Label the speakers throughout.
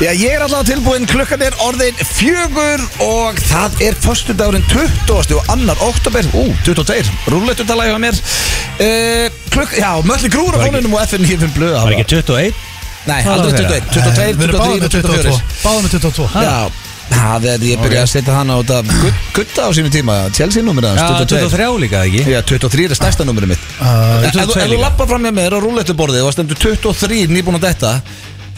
Speaker 1: Já, ég er allavega tilbúinn, klukkan er orðin fjögur og það er föstudagurinn 20. og annar oktober, ú, 22, rúleitutala hjá mér uh, klukk, Já, mölli grúra fónunum og FN hífum blöða
Speaker 2: Var ekki 21?
Speaker 1: Nei, aldrei 21, 22, 23 og 24
Speaker 3: Báðum með 22
Speaker 1: Já, það er, ég byrjaði að setja hann á þetta gu- gutta á sínum tíma, Chelsea númur
Speaker 2: Já, 23 líka ekki
Speaker 1: Já, 23 er stærsta numurinn mitt
Speaker 3: Uh,
Speaker 1: Ef ef
Speaker 2: 22
Speaker 1: þú
Speaker 2: líka.
Speaker 1: lappa fram hjá mér á rúletuborðið og það stendur 23 nýbúin á þetta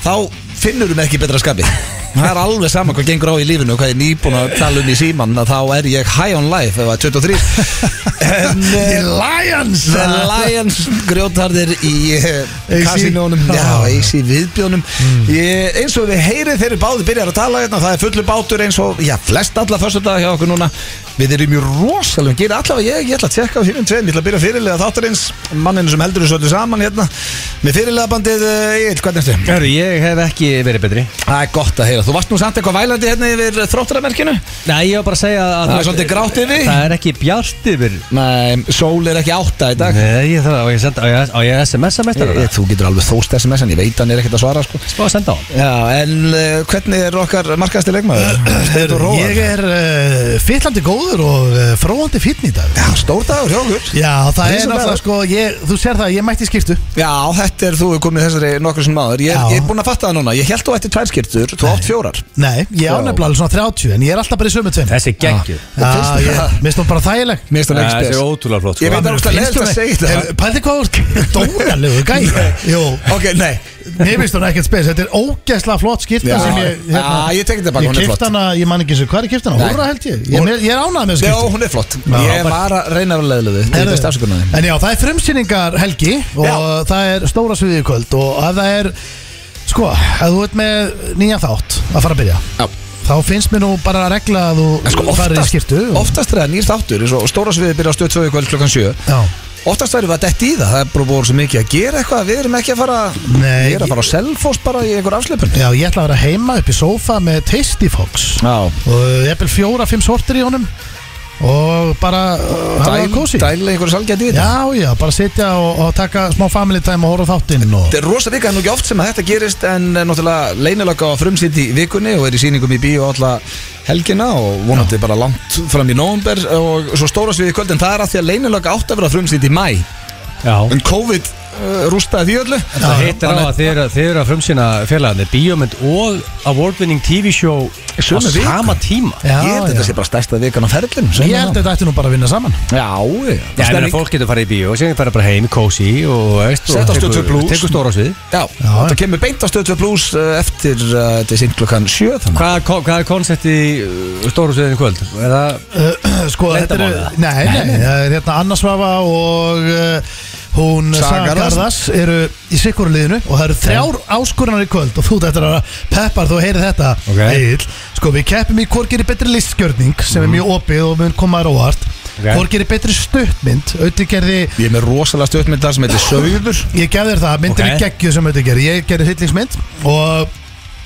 Speaker 1: þá finnur þú mig ekki betra skapi Það er alveg sama hvað gengur á í lífinu og hvað ég er nýbúin að tala um í síman að þá er ég high on life ef það er 23 en,
Speaker 3: The
Speaker 1: eh,
Speaker 3: Lions
Speaker 1: The Lions grjótarðir í
Speaker 3: AC.
Speaker 1: kasinónum Já,
Speaker 3: Já.
Speaker 1: AC viðbjónum ég, eins og við heyrið þeir eru báði byrjar að tala hérna það er fullur bátur eins og já, flest alla föstudag hjá okkur núna við erum mjög rosalega gera allavega ég, ég ætla að tekka á hínum tveim ég ætla að byrja fyrirlega þáttarins manninu sem heldur þessu öllu saman hérna með fyrirlega bandið Egil, hvernig erstu?
Speaker 2: Hörru, ég hef ekki verið betri
Speaker 1: Það er gott að heyra þú varst nú samt eitthvað vælandi hérna yfir þróttaramerkinu
Speaker 2: Nei, ég var bara að segja að
Speaker 1: Það er svolítið grátt yfir.
Speaker 2: Það er ekki bjart yfir
Speaker 1: Nei, sól er ekki átta í dag
Speaker 2: Nei, ég þarf á ég að senda Á ég, á ég SMS-a mestar
Speaker 1: Ég- Þú getur alveg þóst SMS en ég veit að hann er ekkert að svara sko.
Speaker 2: Spá að senda á hann
Speaker 1: Já, en uh, hvernig er okkar markaðasti leikmaður? Steindór Róar?
Speaker 3: Ég er uh, fyllandi góður og uh, fróandi fýtn í dag
Speaker 1: Já, stór dagur hjá okkur
Speaker 3: Já, það
Speaker 1: Eins og
Speaker 3: er náttúrulega
Speaker 1: maður.
Speaker 3: sko ég, Þú sér það, ég mætti í skiptu
Speaker 1: Já, þetta er þú er komið þessari nokkur sem maður Ég,
Speaker 3: Já.
Speaker 1: ég er búinn að fatta það núna, ég held þú ætti tvær skýrtur, þú átt fjórar
Speaker 3: Nei, ég
Speaker 1: Já.
Speaker 3: ánefla alveg svona 30 En ég er alltaf bara í sömu tveim
Speaker 2: Þessi geggjuð.
Speaker 3: Já,
Speaker 1: Það finnst
Speaker 3: já,
Speaker 1: þér
Speaker 3: ég,
Speaker 1: það?
Speaker 3: Mér stóð bara þægileg
Speaker 1: Mér finnst það
Speaker 2: Það
Speaker 1: ekki
Speaker 2: er
Speaker 1: spes
Speaker 2: ótrúlega flott sko.
Speaker 1: Ég veit að það er leðist
Speaker 3: Finnst hún
Speaker 1: að
Speaker 3: ekki-
Speaker 1: segja
Speaker 3: Heyrðu,
Speaker 1: þetta
Speaker 3: Pældi hvað þú ert dónalegu gæja Jú,
Speaker 1: Ok, nei
Speaker 3: mér finnst hún ekkert spes Þetta er ógeðslega flott skipta
Speaker 1: Já,
Speaker 3: sem ég hérna.
Speaker 1: já, ég tek þetta bara,
Speaker 3: Ég
Speaker 1: hún er
Speaker 3: keypti
Speaker 1: flott.
Speaker 3: hana, ég man ekki sem hvað er kipta hana
Speaker 1: Nei.
Speaker 3: Húrra held ég, ég,
Speaker 1: Hún-
Speaker 3: mér- ég er ánægð með
Speaker 1: Já,
Speaker 3: þessu
Speaker 1: hún er flott
Speaker 3: Já,
Speaker 1: Ég
Speaker 3: bara-
Speaker 1: var að reyna að vera leðilegðu Þú veist afsökunar
Speaker 3: En já, það er frumsýningar helgi og
Speaker 1: Já.
Speaker 3: það er stóra sviðið í kvöld og ef það er, sko, ef þú ert með nýjan þátt að fara að byrja
Speaker 1: þig
Speaker 3: þá finnst mér nú bara að regla að þú
Speaker 1: En sko
Speaker 3: farir í
Speaker 1: oftast,
Speaker 3: skýrtu og,
Speaker 1: oftast er það nýr þáttur eins og stóra sviðið byrja á stöð 2 í kvöld klukkan 7
Speaker 3: Já,
Speaker 1: Oftast verðum við að detti í það, það er bara búin svo mikið að gera eitthvað Við erum ekki að fara,
Speaker 3: Nei,
Speaker 1: ég er að fara á selfos bara í einhver afslöpun
Speaker 3: já, ég ætla að vera heima upp í sófa með Tasty Fox
Speaker 1: Já,
Speaker 3: og ég er vel fjóra-fimm sortir í honum og bara uh, hafa það kósi Já,
Speaker 1: dæla einhverju salgæti í þetta
Speaker 3: já, bara sitja og, og taka smá family time og horfa á þáttinn og
Speaker 1: Þetta er rosa vika, það er nú ekki oft sem að þetta gerist en eh, náttúrulega leinilega á frumsýnd í vikunni og er í sýningum í bíu alltaf helgina og vonandi bara langt fram í nóvumber og svo stóra sviði kvöld en það er að því að leinilega átt að vera frumsýnd í mæ
Speaker 2: Já
Speaker 1: en COVID uh, rústaði því öllu
Speaker 2: Það heitir á að þeir, eru- þeir eru að frumsýna félagandi Bíómynd og award-winning TV-show
Speaker 1: Sömu
Speaker 2: á
Speaker 1: viku.
Speaker 2: sama tíma
Speaker 3: Já,
Speaker 1: Ég held að
Speaker 3: já.
Speaker 1: þetta sé bara stærsta vikan á ferlinu
Speaker 3: Ég held að þetta ætti nú bara að vinna saman
Speaker 1: Já, já,
Speaker 2: Já, en fólk getur farið í bíó og síðan fara bara heim, kósi og eh, veist og
Speaker 1: Sett á
Speaker 2: tekur-
Speaker 1: Stöð 2 Plus.
Speaker 2: Tekur stóra svið
Speaker 1: Já,
Speaker 3: Já,
Speaker 1: þetta
Speaker 3: já.
Speaker 1: kemur beint á stöðtöð pluss eftir uh, þetta er sýnd klukkan 7 þannig
Speaker 2: Hvað, hvað, hvað er konsepti uh, stóra sviðin í kvöld? Er það
Speaker 3: Uh, sko, þetta eru
Speaker 2: Leyndarmál, eða?
Speaker 3: nei, nei, nei, það er hérna Anna Svava og uh, hún
Speaker 1: Saga
Speaker 3: Saga
Speaker 1: Garðars.
Speaker 3: Garðas eru í sikkur liðinu og það eru þrjár áskorunar í kvöld og þú þetta er að peppar þú heyrir þetta
Speaker 2: Ok.
Speaker 3: Egill. sko við keppum í hvort gerir betri listgjörning sem er mjög opið og mun koma þér óvart
Speaker 2: Ok.
Speaker 3: hvort gerir betri stuttmynd auðvitað gerði
Speaker 1: Ég er með rosalega stöðmyndar sem heitir Sauður
Speaker 3: Ég gef þér það, myndin
Speaker 2: Ok.
Speaker 3: er geggjuð sem þetta gerir Ég gerir hryllingsmynd og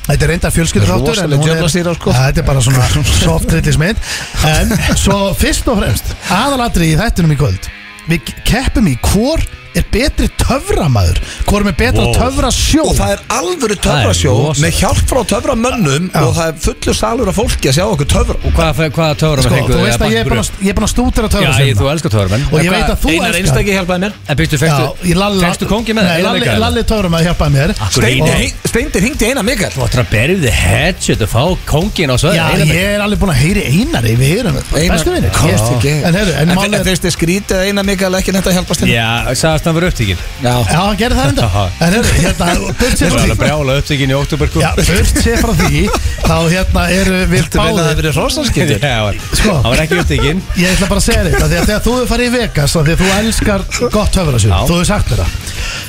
Speaker 3: þetta er reyndar fjölskyldur
Speaker 1: Rosaleg djöflasýra, sko.
Speaker 3: Þetta er bara svona soft hryllingsmynd En svo fyrst og fremst aðalatri í þættinum í kvöld Við keppum í hvor er betri töframaður Hvor er með betra
Speaker 2: Wow.
Speaker 3: töfra sjó
Speaker 1: Og það er alvöru
Speaker 2: Það er
Speaker 1: töfrasjó
Speaker 2: rosa.
Speaker 1: með hjálp frá töframönnum og það er fullur salur af fólki að sjá okkur töfra
Speaker 2: Og hvað, hvað töfra
Speaker 3: sko, Þú veist að ég er búin að- ég er búin að stútera
Speaker 2: Já,
Speaker 3: töfra
Speaker 2: ég, þú elskar töframenn
Speaker 3: Og ég veit að þú
Speaker 1: Einar
Speaker 3: elskar.
Speaker 1: einstaki hjálpaði mér
Speaker 2: En byrstu,
Speaker 3: Já, ég
Speaker 2: fegstu
Speaker 3: lalla
Speaker 2: Fegstu kongi með það?
Speaker 3: Nei, Lalli, Lalli töframaður hjálpaði mér
Speaker 1: Steindi
Speaker 2: Steindi
Speaker 1: hring- Steindi hringdi einar mikal
Speaker 2: Þú ættir að berja við headshot og fá kongin á
Speaker 3: Já,
Speaker 2: sveðin
Speaker 3: ég er alveg búin að heyri einari Við erum bestu vinir
Speaker 1: En
Speaker 3: En heyrðu, en málið er-
Speaker 1: finnst þið skrítið einar mikal ekki hérna? nefnt að hjálpa steindi
Speaker 2: Já, sagðast hann verið upptíkin
Speaker 3: Já, hann gerði það enda En hérna, hérna, burt sér
Speaker 2: Það var alveg
Speaker 3: frá því
Speaker 2: brjála upptíkin í sko. oktober
Speaker 3: Já, burt sér frá því Þá hérna eru við
Speaker 1: Viltu meina að það hafi
Speaker 3: báðir
Speaker 1: verið
Speaker 2: Já,
Speaker 1: rosanskiptir?
Speaker 2: hann
Speaker 3: Sko.
Speaker 2: var ekki upptíkin
Speaker 3: Ég ætla bara að segja þetta Þegar, þegar þú hefur farið í Vegas af Því að þú elskar gott höfðarsjóð
Speaker 2: Já.
Speaker 3: Þú hefur sagt mér það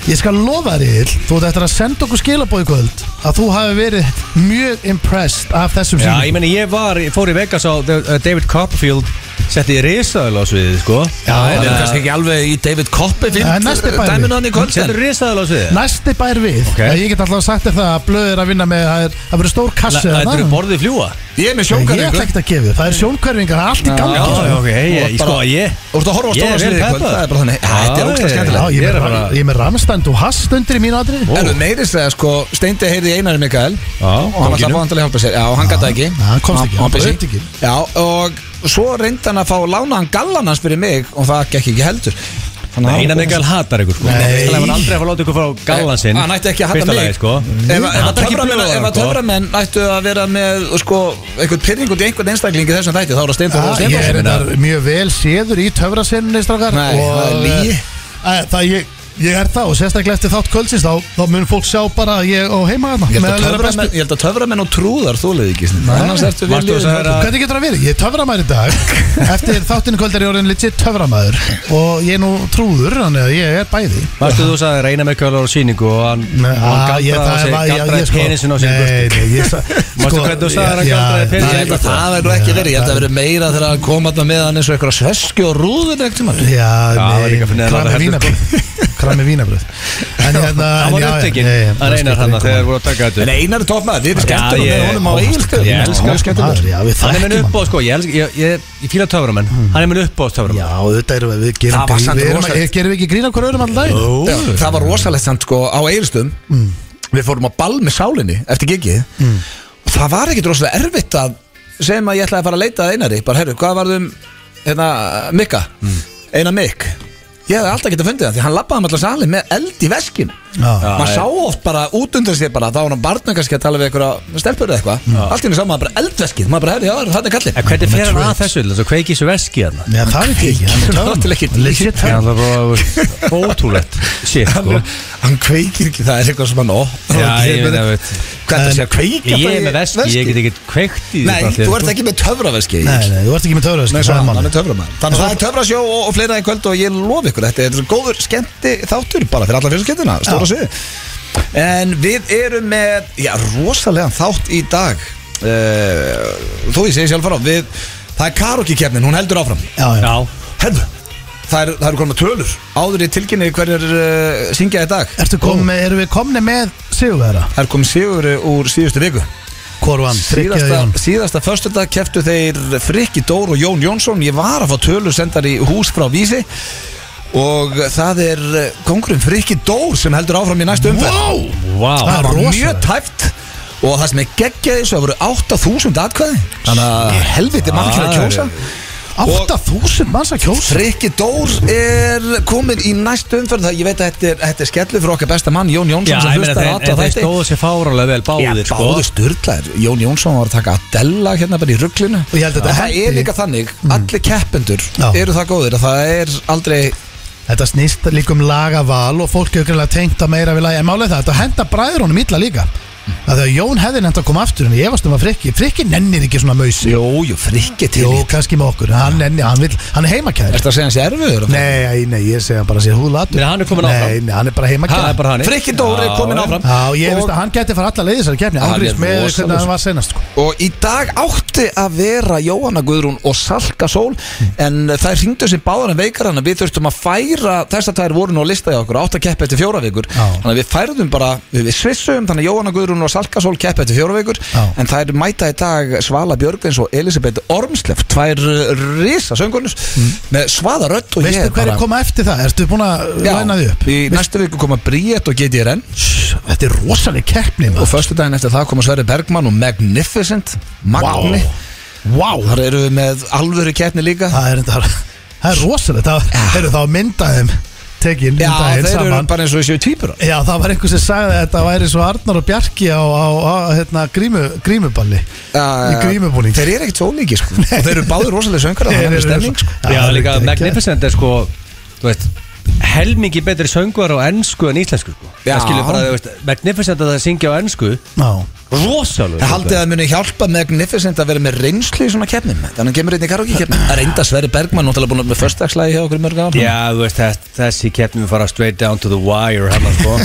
Speaker 3: Ég skal lofa þér Egil, Þú ert eftir að senda okkur skilabóð í kvöld Að þú hafi verið mjög impressed Af þessum
Speaker 2: Já,
Speaker 3: sínum
Speaker 2: ég meni, ég var, ég fór í Vegas á The- uh, David Copperfield Setti ég risaðal á sviðið, sko
Speaker 3: Já,
Speaker 1: Það er
Speaker 2: Þannig að-
Speaker 1: kannski ekki alveg í David
Speaker 2: Eh,
Speaker 3: Ja, næsti
Speaker 1: Copperfield
Speaker 3: bæði.
Speaker 1: dæminu hann í kvöld
Speaker 2: Settu risaðal á sviðið
Speaker 3: Næsti bær við
Speaker 2: Ok.
Speaker 3: Ég get alltaf sagt þér það að blöð er að vinna með Það er- það verður stór kassi
Speaker 2: Þetta
Speaker 3: þarna.
Speaker 2: eru borðið fljúa
Speaker 1: Ég er með
Speaker 3: Ég ætla
Speaker 1: sjóngarðingu
Speaker 3: ekkert að gefa þér, það er sjónkverfingar, það er allt í
Speaker 2: Já,
Speaker 3: gangi
Speaker 2: já,
Speaker 3: sko.
Speaker 2: ok, ég, ég, sko, ég
Speaker 1: Þú ert að horfa á
Speaker 2: Ég er
Speaker 1: stóra sviðið í
Speaker 2: vel
Speaker 1: kvöld
Speaker 2: peppaður.
Speaker 1: Það er bara þannig Æ, Þetta er
Speaker 2: Já,
Speaker 1: ógstlega
Speaker 2: ég-
Speaker 1: skemmtilegt
Speaker 3: Já, ég
Speaker 2: Ég er að
Speaker 3: er með,
Speaker 2: fara-
Speaker 3: ég er með ramstand og hast undir í mínu Ah, aðri
Speaker 2: Ó.
Speaker 1: En meirist það, sko, Steindi heyrði í Einari Mikael
Speaker 2: Já,
Speaker 1: og hann ætlaði að fá hann til að hjálpa sér Já, og hann gæti ekki
Speaker 3: Já, hann komst ekki, hann
Speaker 1: hann busy.
Speaker 3: reyndi ekki.
Speaker 1: Já, og svo reyndi hann að fá lána hann gallan hans fyrir mig og það gekk ekki heldur Þannig að-
Speaker 2: Einar Mikael hatar ykkur sko
Speaker 3: Nei.
Speaker 2: Það var aldrei að fá láta ykkur frá gallan
Speaker 1: Eh,
Speaker 2: sinn
Speaker 1: Hann ætti ekki að hata
Speaker 2: Fyrsta
Speaker 1: mig
Speaker 2: lagi, sko
Speaker 1: Ef- ef að
Speaker 2: Hann ætti ekki að
Speaker 1: töframenn-
Speaker 2: bjóða
Speaker 1: Ef að
Speaker 2: hann, sko.
Speaker 1: töframenn ættu að vera með sko, einhvern pyrring út í einhvern einstakling í þessum þætti þá er það Steinþór og
Speaker 3: Já, ég er
Speaker 1: Steinþór
Speaker 3: reyndar mjög vel séður í töfrasenninni strákar
Speaker 1: Nei,
Speaker 3: og,
Speaker 1: það er lygi.
Speaker 3: eh, að- Það ég, ég er það og sérstaklega eftir þátt kvöldsins þá, þá mun fólk sjá bara að ég á heima hérna
Speaker 1: Ég held að
Speaker 3: meðal þeirra bestu.
Speaker 1: töframenn- ég held að töframenn og trúðar þólið ekki Steindi. annars ertu við
Speaker 2: Varstu að segja
Speaker 1: liðin
Speaker 2: að-
Speaker 3: Ah. Hvernig getur það verið? Ég er töframæður í dag Eftir þáttinu kvöld er ég orðin litið töframæður Og ég er nú trúður, þannig að ég er bæði
Speaker 2: Varstu þú sagði Einar Mikael var á síningu og hann
Speaker 3: Nei,
Speaker 2: og hann
Speaker 3: að, ég- það
Speaker 2: galdraði á sig-
Speaker 3: var- já,
Speaker 2: galdraði
Speaker 3: ég sko-
Speaker 2: penisin á sig
Speaker 3: Nei, nei, ég sa- sko,
Speaker 2: Manstu hvernig þú sagðir að
Speaker 3: já,
Speaker 2: galdraði penisinn?
Speaker 1: Ég held að það verður ekki verið, ég held að verður meira þegar að koma þarna með hann eins og einhverja sveski og rúðin ekkert tíma
Speaker 3: Já,
Speaker 2: það var
Speaker 3: nei,
Speaker 2: líka fyrir neðan
Speaker 3: kramið
Speaker 2: að láta
Speaker 3: vínabröð Kramið vínabröð En hérna
Speaker 2: Hann
Speaker 3: en
Speaker 2: var
Speaker 3: já, já,
Speaker 2: upptekinn
Speaker 3: nei, sko,
Speaker 2: Hann reynar hann
Speaker 3: skiptir
Speaker 2: þegar
Speaker 3: engu
Speaker 2: voru að taka
Speaker 1: En
Speaker 2: þetta
Speaker 1: Einar er toppmæður, við erum skemmtum
Speaker 2: Já,
Speaker 1: með
Speaker 2: ég-
Speaker 1: honum á eigilstöðum
Speaker 2: Ég elska hann,
Speaker 3: máli. Maður, Já, við
Speaker 2: Hann er minn
Speaker 3: þekkjum hann
Speaker 2: uppbóð sko, ég, elsk- ég, ég, ég fíla töframenn Hann er minn uppbóð töframenn
Speaker 3: Já, þetta erum við, við gerum
Speaker 1: Það var
Speaker 3: grín
Speaker 1: samt
Speaker 3: Við erum að-
Speaker 1: rosalegt.
Speaker 3: gerum við ekki grín á hverju öðrum alltaf daginn
Speaker 1: Það var rosalegt samt sko á eigilstöðum
Speaker 3: Mm.
Speaker 1: Við fórum á ball með sálinni eftir gigið Og það var ekkert rosalega erfitt að sem að ég ætlaði að fara að leita að Einari Bara herru, hvað varðum hérna, Mikka?
Speaker 3: Mm.
Speaker 1: Einar Mikk Ég hefði alltaf getað fundið það því hann labbaði um allar salin með eld í veskinu
Speaker 3: Já.
Speaker 1: maður
Speaker 2: Já,
Speaker 1: sá oft bara út undan sér bara þá var hann barnum kannski að tala við einhverja stelpur eða eitthvað allt í henni sá maður bara eldveskið maður bara herri já það er kallið
Speaker 2: En hvernig fer hann að
Speaker 3: Metroid.
Speaker 2: þessu, þess að kveiki svo veski hann
Speaker 3: Nei, það er ekki ekki, hann er
Speaker 1: Það er til ekki
Speaker 3: töframæður Legit
Speaker 2: Það er
Speaker 3: töframæður
Speaker 2: alltaf bara ótrúlegt Shit sko
Speaker 1: hann kveikir ekki það er eitthvað sem hann ó
Speaker 2: Já, ég veit að veit
Speaker 1: hvað það sé að kveika
Speaker 2: Ég er með veski, ég get ekki kveikt í sko. því
Speaker 1: nei
Speaker 2: bara allir.
Speaker 1: þú ert ekki með töfraveski
Speaker 3: Nei, nei, þú ert ekki með töframæður
Speaker 1: Nei,
Speaker 3: sko,
Speaker 1: svo
Speaker 3: það er
Speaker 1: hann hann
Speaker 3: málið.
Speaker 1: er töframann Þannig að það er töfrasjó og, og fleira í kvöld og ég lofi ykkur Þetta er góður skemmti þáttur bara fyrir alla fjölskyldina Stóra
Speaker 3: Já.
Speaker 1: sviði En við erum með, já, rosalegan þátt í dag uh, Þó ég segi sjálf frá við, Það er karaoke kefnin, hún heldur áfram
Speaker 3: Já, já
Speaker 2: Já,
Speaker 1: Herðu, það eru er konar tölur Áður í tilkynni hverjir uh, syngja í dag
Speaker 3: Ertu komin með, eru við komni með Sigurvera?
Speaker 1: Það er komið sigur úr síðustu viku
Speaker 3: Korvan,
Speaker 1: Síðasta, síðasta föstudag keftu þeir Frikki Dór og Jón Jónsson Ég var að fá tölur sendar í hús frá Vísi Og það er eh, kóngurinn Frikki Dór sem heldur áfram í næstu umferð
Speaker 3: Wow!
Speaker 2: vá
Speaker 1: Það
Speaker 3: Það er
Speaker 1: var
Speaker 3: rosalegt.
Speaker 1: mjög tæft Og það sem er geggjaði svo að voru 8000 atkvæði Þannig að helviti mann ekki að
Speaker 2: Það er-
Speaker 1: kjósa
Speaker 3: 8000 manns að kjósa
Speaker 1: Frikki Dór er komin í næstu umferð Það ég veit að þetta er, þetta er skellu fyrir okkar besta mann Jón
Speaker 2: Já,
Speaker 1: Jónsson
Speaker 2: ég
Speaker 1: sem
Speaker 2: meina
Speaker 1: hlustar á
Speaker 2: þeir,
Speaker 1: alla
Speaker 2: þeir
Speaker 1: þætti
Speaker 2: stóðu sér fárálega vel báðir sko
Speaker 1: Báðu styrlaðir, Jón Jónsson var að taka Adela hérna bara í rugglinu
Speaker 3: Og ég held að þetta
Speaker 1: Það
Speaker 3: hendi-
Speaker 1: er líka þannig, allir keppendur
Speaker 3: Já.
Speaker 1: eru það góðir að það er aldrei
Speaker 3: Þetta snýst líka um lagaval og fólk er greinlega tengt að meira við lagi En málið er það, þetta henda bræður honum illa líka Það þegar Jón hefði nefnt að koma aftur en ég varst um að frikki Frikki nennir ekki svona mausi
Speaker 1: Jú, jú, frikki til
Speaker 3: Jó,
Speaker 1: í
Speaker 3: kannski með okkur, en hann, nenni, hann, vill, hann er heimakæður
Speaker 1: Ertu að segja hans ég erfiður?
Speaker 3: Nei, nei, ég segja bara að sé húðlatur
Speaker 2: Nei, hann er kominn
Speaker 3: Nei,
Speaker 2: áfram.
Speaker 3: nei, hann er bara
Speaker 2: Það er
Speaker 3: heimakæður
Speaker 2: bara hann
Speaker 1: Frikki Dór er komin áfram.
Speaker 3: Já, ég veist
Speaker 1: Og-
Speaker 3: að hann geti fara alla leiði þessari kefni
Speaker 1: Hann er
Speaker 3: Ángríns með
Speaker 1: rosalegur.
Speaker 3: hvernig hann var senast sko.
Speaker 1: Og í dag átti að vera Jóhanna Guðrún og Salka Sól En það ringdu sér báðar en veikar hann Við þurftum að færa, þess að það er voru nú að lista í okkur Átt að keppa eftir fjóra vikur
Speaker 3: Já.
Speaker 1: Þannig að við færðum bara, við, við svissum Þannig að Jóhanna Guðrún og Salka Sól keppa eftir fjóra vikur
Speaker 3: Já.
Speaker 1: En það er mæta í dag Svala Björgvins og Elisabeth Ormslef Tvær risa söngurnus Með svaða rödd og
Speaker 3: Veistu
Speaker 1: ég
Speaker 3: hverju koma eftir það? Ertu búin að
Speaker 1: Já,
Speaker 3: læna því upp?
Speaker 1: í næstu viku koma Bríett og GDRN
Speaker 3: Sss, Þetta er rosaleg keppni
Speaker 1: Og
Speaker 3: maður.
Speaker 1: föstudaginn eftir það koma Sverri Bergmann og Magnificent Magni
Speaker 3: Vá, vá.
Speaker 1: Þar eru við með alvöru keppni líka
Speaker 3: Það er enda Það er rosalegt Það eru þá myndaðum Tekin
Speaker 1: Já,
Speaker 3: myndaðin
Speaker 1: þeir eru
Speaker 3: saman
Speaker 1: bara eins og þessu týpur
Speaker 3: Já, það var einhver sem sagði að þetta væri svo Arnar og Bjarki á, á, á hérna, grímu, grímuballi Í grímubúning
Speaker 1: Þeir eru ekkert svo líki sko. Og þeir eru báður rosalega söngar
Speaker 3: Þeir
Speaker 1: Það er
Speaker 3: eru-
Speaker 1: stemning sko.
Speaker 3: Já,
Speaker 2: Já,
Speaker 3: það er
Speaker 2: líka
Speaker 3: geggjað.
Speaker 2: Magnificent er sko Þú veist Helmingi betri söngvar á ennsku en íslensku sko
Speaker 1: Já.
Speaker 2: Það skilur bara, þú veist Magnificent að það syngja á ennsku
Speaker 3: Já,
Speaker 2: Rosalega
Speaker 1: Það haldið að muni hjálpa Magnificent að vera með reynslu í svona keppnum Þannig að hann kemur einnig karokki keppnum Það reynda Sverri Bergmann Náttúrulega búin að með förstagslægi hjá okkur í mörg ára
Speaker 2: Já, þú veist þess, Þessi keppnum fara straight down to the wire Hanna sko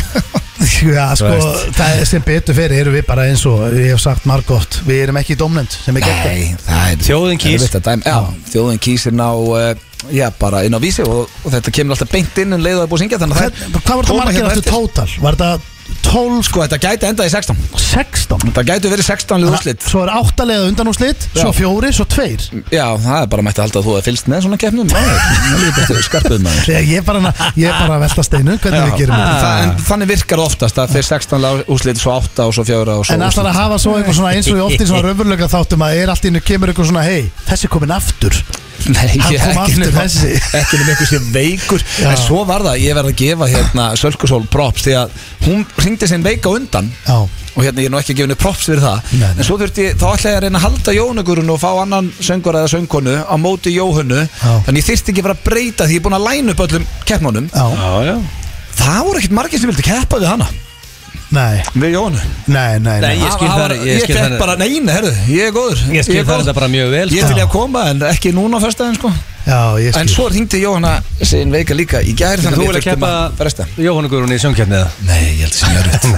Speaker 3: já sko,
Speaker 2: veist.
Speaker 3: það er sem betur fyrir erum við bara eins og ég hef sagt margótt Við erum ekki í domnend sem er gegn
Speaker 1: Nei, það er
Speaker 2: Þjóðin kýs.
Speaker 1: erfitt að dæma. Já, þjóðin kýs er ná uh, já, bara inn á vísi og, og þetta kemur alltaf beint inn um en leiðu að búið að syngja þannig að
Speaker 3: Hvern, hvað var þetta
Speaker 1: koma
Speaker 3: margir
Speaker 1: hérna
Speaker 3: aftur
Speaker 1: eftir.
Speaker 3: tótal? Var þetta 12,
Speaker 1: Sko, þetta gæti enda í 16
Speaker 3: 16?
Speaker 1: Þetta gæti verið 16 lið úrslit
Speaker 3: Svo er 8 leiða undan úrslit, svo
Speaker 1: Já.
Speaker 3: 4, svo 2
Speaker 1: Já, það er bara mætti að halda að þú hefði fylgst með svona keppnum Nei, það er bara skarpuð maður
Speaker 3: Þegar ég er bara, ég er bara að velta steinu, hvernig við gerum þetta?
Speaker 1: það, en þannig virkar það oftast að fyrir 16 lag- úrslit svo 8 og svo 4 og svo
Speaker 3: En ætlar að hafa svo eitthvað svona eins og í ofti svona raunveruleika þáttum að er allt í innu kemur eitthvað svona hei, þessi er komin aftur
Speaker 1: Nei,
Speaker 3: Hann
Speaker 1: ég-
Speaker 3: kom
Speaker 1: ekki
Speaker 3: aftur
Speaker 1: nema-
Speaker 3: þessi.
Speaker 1: Ekki nema einhver sem veikur
Speaker 3: Já.
Speaker 1: En svo var það, ég verð að gefa hérna Sölkusól props Því að hún ringdi sinn veika á undan
Speaker 3: Já,
Speaker 1: Og hérna ég er nú ekki að gefa henni props fyrir það
Speaker 3: Nei, nei.
Speaker 1: En svo þurfti, ég- þá ætla ég að reyna að halda Jónugurinn Og fá annan söngur eða söngkonu Á móti Jóhönnu
Speaker 3: Já.
Speaker 1: Þannig ég þyrfti ekki að fara að breyta Því ég er búin að læna upp öllum keppnunum
Speaker 3: já,
Speaker 2: já
Speaker 1: Það voru ekkert margir sem vildi keppa við hana
Speaker 3: nei,
Speaker 1: Við Jóhönnu
Speaker 3: nei, nei,
Speaker 2: Nei,
Speaker 3: nei.
Speaker 2: ég skil
Speaker 1: Það
Speaker 2: það-
Speaker 1: var-
Speaker 2: ég
Speaker 1: Ég
Speaker 2: skil
Speaker 1: fekk
Speaker 2: það-
Speaker 1: bara, neina, herðu, ég er góður
Speaker 2: Ég skil
Speaker 1: er
Speaker 2: það
Speaker 1: góður.
Speaker 2: þetta bara mjög vel
Speaker 1: Ég
Speaker 2: sko.
Speaker 1: til ég að koma, en ekki núna á föstudaginn, sko.
Speaker 3: Já, ég
Speaker 1: En
Speaker 3: skil
Speaker 1: svo ringdi Jóhanna sin veika líka í gæri
Speaker 2: Þú
Speaker 1: þannig
Speaker 2: vilja
Speaker 1: þurftum
Speaker 2: keppa
Speaker 1: að fresta
Speaker 2: Jóhannu Guðrún í söngkjarni eða?
Speaker 1: Nei, ég held sem ég er rétt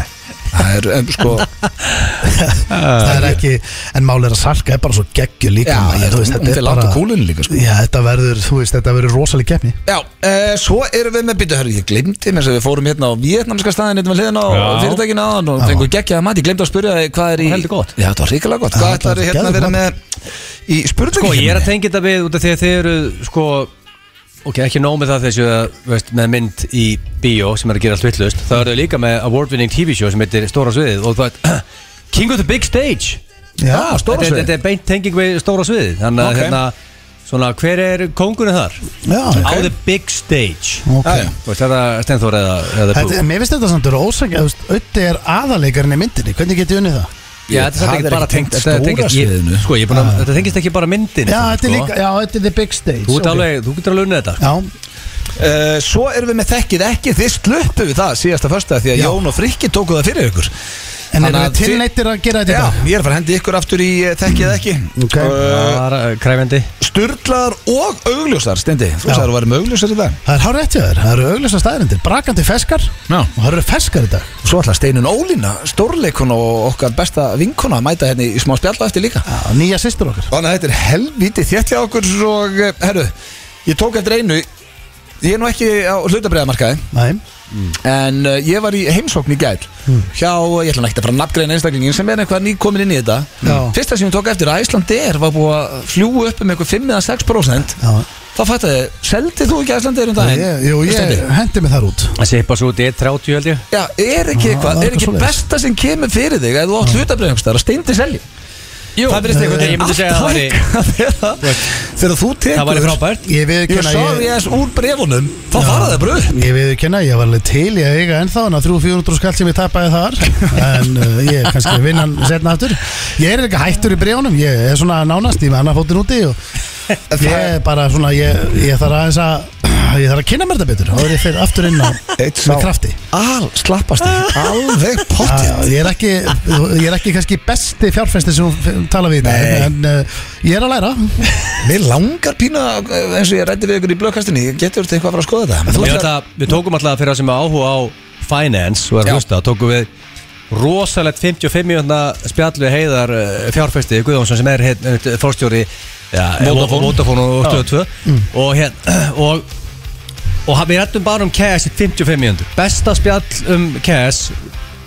Speaker 1: Það er, um, sko,
Speaker 3: Það er ekki, en mál er að salka er bara svo geggju líka
Speaker 1: já,
Speaker 3: maður,
Speaker 1: ég veist,
Speaker 3: þú veist,
Speaker 1: hún
Speaker 3: þetta
Speaker 1: fyrir
Speaker 3: er
Speaker 1: langt á
Speaker 3: bara
Speaker 1: kúlinu líka, sko
Speaker 3: Já, þetta verður, þú veist, þetta verður rosaleg keppni
Speaker 1: Já, e, svo erum við með byttu, hörru, ég glemdi mér sem við fórum hérna á vietnamska staðin hérna með hliðin á
Speaker 2: Já.
Speaker 1: fyrirtækina aðan og fengum geggjaða mat, ég glemdi að spyrja þig hvað er í
Speaker 2: Það var heldur gott.
Speaker 1: Já, þetta var ríkilega gott, hvað
Speaker 3: Já, þetta
Speaker 1: ætlar
Speaker 3: var
Speaker 1: hérna að vera með
Speaker 3: geðveikt
Speaker 1: í
Speaker 2: Sko,
Speaker 1: spurningi
Speaker 2: ég er að tengja þetta við út af því að þið eru sko, ok, ekki nóg með það þessu að, veist, með mynd í bíó sem er að gera allt vittlust, það eru þau líka með award-winning TV show sem heitir Stóra Sviðið og það King of the Big Stage
Speaker 3: Já,
Speaker 2: Þetta-
Speaker 1: Sviðið.
Speaker 2: Þetta er beint tenging við Stóra Sviðið þannig að
Speaker 1: Ok.
Speaker 2: hérna, svona, hver er kóngurinn þar?
Speaker 3: já,
Speaker 2: Á the Big Stage
Speaker 3: ok
Speaker 1: Já, já.
Speaker 2: Þú veist, þetta Stenþór eða, eða
Speaker 3: Þetta,
Speaker 2: Bú
Speaker 3: en mér finnst þetta samt að vera ósækja Ötti er aðaleikarinn í myndinni, hvernig getið unnið það?
Speaker 2: Já, þetta er
Speaker 1: það
Speaker 2: samt
Speaker 1: er
Speaker 2: ekki bara
Speaker 1: ekki tengt
Speaker 2: tengt þetta er
Speaker 1: Stóra
Speaker 2: tengt- ég-
Speaker 1: Sviðinu.
Speaker 2: Sko, ég er búin að, þetta tengist ekki bara myndin
Speaker 3: Já, þetta
Speaker 1: sko-
Speaker 3: er líka, já, þetta er the big stage
Speaker 2: Þú ert
Speaker 3: ok.
Speaker 2: alveg- þú getur alveg unnið þetta sko.
Speaker 3: Já,
Speaker 1: Eh, Svo erum við með þekkið ekki, þið sluppu við það síðasta fösta því að
Speaker 3: Já.
Speaker 1: Jón og Frikki tóku það fyrir ykkur
Speaker 3: en
Speaker 1: Þannig
Speaker 3: erum
Speaker 1: að
Speaker 3: við
Speaker 1: þið-
Speaker 3: tilneittir að gera þetta í
Speaker 1: Já,
Speaker 3: dag?
Speaker 1: ég er að fara að hendi ykkur aftur í eh, þekkið ekki
Speaker 3: Ok.
Speaker 1: Eh,
Speaker 2: Bara, eh, Kræfjandi
Speaker 1: Sturlaðar og augljósar, Stendi Þú
Speaker 3: Já.
Speaker 1: sagði að þú væri með augljósar í dag
Speaker 3: Það er hár rétt hjá þér, það eru augljósa staðarindir, brakandi feskar
Speaker 1: Já.
Speaker 3: og það eru feskar í dag
Speaker 1: Svo ætla Steinun Ólína, stórleikun og okkar besta vinkona að mæta hérna í smá spjalla eftir líka
Speaker 3: Já, Nýja sýstur okkar
Speaker 1: Þannig að þetta er helvítið þétt hjá okkur og, eh, herru, ég tók eftir einu Ég er nú ekki á hlutabræðamarkaði
Speaker 3: Nei,
Speaker 1: En uh, ég var í heimsókn í gær Hjá, ég ætla nú ekkert að fara að nafngreina einstaklingin sem er eitthvað nýkomin inn í þetta
Speaker 3: Já.
Speaker 1: Fyrsta sem ég tók eftir að Æslandir var búið að fljú upp um eitthvað 5-6%
Speaker 3: já
Speaker 1: Þá fætti ég, seldi þú ekki Æslandir um
Speaker 3: Það
Speaker 1: daginn?
Speaker 3: ég, jú,
Speaker 1: Steindi?
Speaker 3: ég hendi mig þar út
Speaker 2: Það sé bara svo út í 1.30 held ég
Speaker 1: Já, er ekki
Speaker 3: Já,
Speaker 1: eitthvað,
Speaker 3: það
Speaker 1: er ekki
Speaker 3: er eitthvað svoleiðis.
Speaker 1: besta sem kemur fyrir þig að þú átt hlutabræðumstæðar að steindi selji
Speaker 2: Jú,
Speaker 1: Það verðist eitthvað
Speaker 2: Ég myndi segja að það væri
Speaker 1: Þegar þú tekur
Speaker 2: Það væri frábært
Speaker 3: Ég við
Speaker 1: Ég
Speaker 3: kynna,
Speaker 1: sá því
Speaker 3: ég,
Speaker 1: aðeins úr brefunum Þá fara það bröð
Speaker 3: ég, við kynna, ég var alveg til í að eiga ennþá en að 300-400 skall sem ég tapaði þar en uh, ég er kannski vinnan setna aftur Ég er ekki hættur í brjónum, ég er svona nánast, ég með annar fótinn úti og ég er bara svona, ég, ég þarf aðeins að ég þarf að kynna mér þetta betur og er ég fyrir aftur inn á
Speaker 1: Eitt
Speaker 3: með krafti
Speaker 1: Al, slappast þig Alveg
Speaker 3: Já,
Speaker 1: pottið
Speaker 3: ég er ekki, ég er ekki kannski besti fjárfæstir sem hún tala við í dag,
Speaker 1: Nei.
Speaker 3: en uh, ég er að læra
Speaker 1: Mér langar pína eh, eins og ég ræddi við ykkur í blöðkastinni Getur þetta eitthvað að fara að skoða þetta
Speaker 2: Ég veit að Við tókum alltaf fyrir það sem er áhuga á finance og
Speaker 1: Já.
Speaker 2: er að hlusta tókum við rosalegt 55 mjönda spjallu heiðar eh, fjárfesti Guðjónsson sem er heit- eh, forstjóri ja,
Speaker 1: Vodafone.
Speaker 2: Vodafone og 22
Speaker 1: Mm.
Speaker 2: og hérna og og hann- við rættum bara um KS í 55 mjöndu besta spjall um KS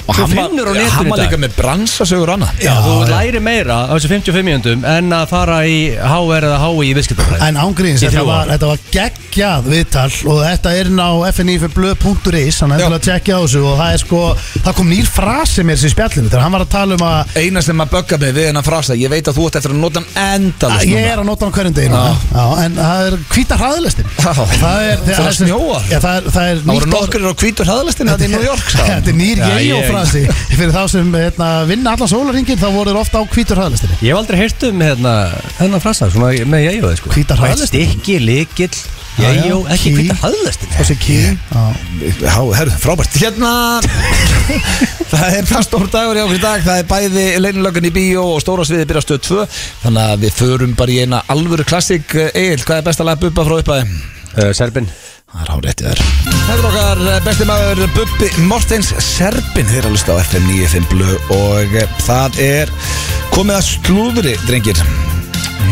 Speaker 1: Og
Speaker 2: Þú
Speaker 1: hann var-
Speaker 2: finnur á netinu
Speaker 1: hann
Speaker 2: í
Speaker 1: var
Speaker 2: dag.
Speaker 1: líka með bransasögur og annað
Speaker 2: Já, þú
Speaker 3: já.
Speaker 2: læri meira á þessu 55 mjöndum en að fara í HR eða HI í viðskiptafræði
Speaker 3: En ángríns,
Speaker 2: Í
Speaker 3: þetta
Speaker 2: þrjú
Speaker 3: var,
Speaker 2: ár.
Speaker 3: þetta var geggjað viðtal og þetta er inn á fnifblöð.is þannig
Speaker 1: Já.
Speaker 3: að þetta tjekkja á þessu og það er sko það kom nýr frasi mér sem spjallinu þegar hann var að tala um að
Speaker 1: Eina sem að bögga mig við hennar frasa Ég veit að þú ert eftir að nota hann endalist
Speaker 3: að ég er að nota hann hverjum deginu
Speaker 1: Já.
Speaker 3: já, en það er hvíta hraðlistin
Speaker 1: Já.
Speaker 3: það er
Speaker 1: Það
Speaker 3: er-
Speaker 1: snjóar.
Speaker 3: Já, það er, það er
Speaker 1: Það voru
Speaker 3: nýtt orð-
Speaker 1: nokkur á hvítur hraðlistin Þetta er New York sá
Speaker 3: Þetta er nýr
Speaker 2: Já,
Speaker 3: geio
Speaker 2: ég-
Speaker 3: frasi Fyrir þá sem hérna, vinna allan sólaringin Þá voru þeir ofta á hvítur hraðlistinni
Speaker 2: Ég hef aldrei heyrt um hérna, hennan frasa svona með jæjóði sko
Speaker 3: Hvítar
Speaker 2: Bara
Speaker 3: hraðlestir.
Speaker 2: Stykki, líkil,
Speaker 3: Já, já,
Speaker 2: jæjó, ekki
Speaker 3: ký.
Speaker 2: hvítar hraðlestin
Speaker 3: Þessi ký Já.
Speaker 1: Já, herru, frábært Hérna Það er það stór dagur í okkur í dag Það er bæði leinilögan í bíó og stóra sviði byrja stöð 2 Þannig að við förum bara í eina alvöru klassik Egil, hvað er best að laga bubba frá uppaði?
Speaker 2: uh, Serbin
Speaker 1: Það er háréttið þær Það er okkar eh, besti maður Bubbi Mortens Serbin Þeir að lusta á FM 95 Blu Og eh, það er komið að slúðri, drengir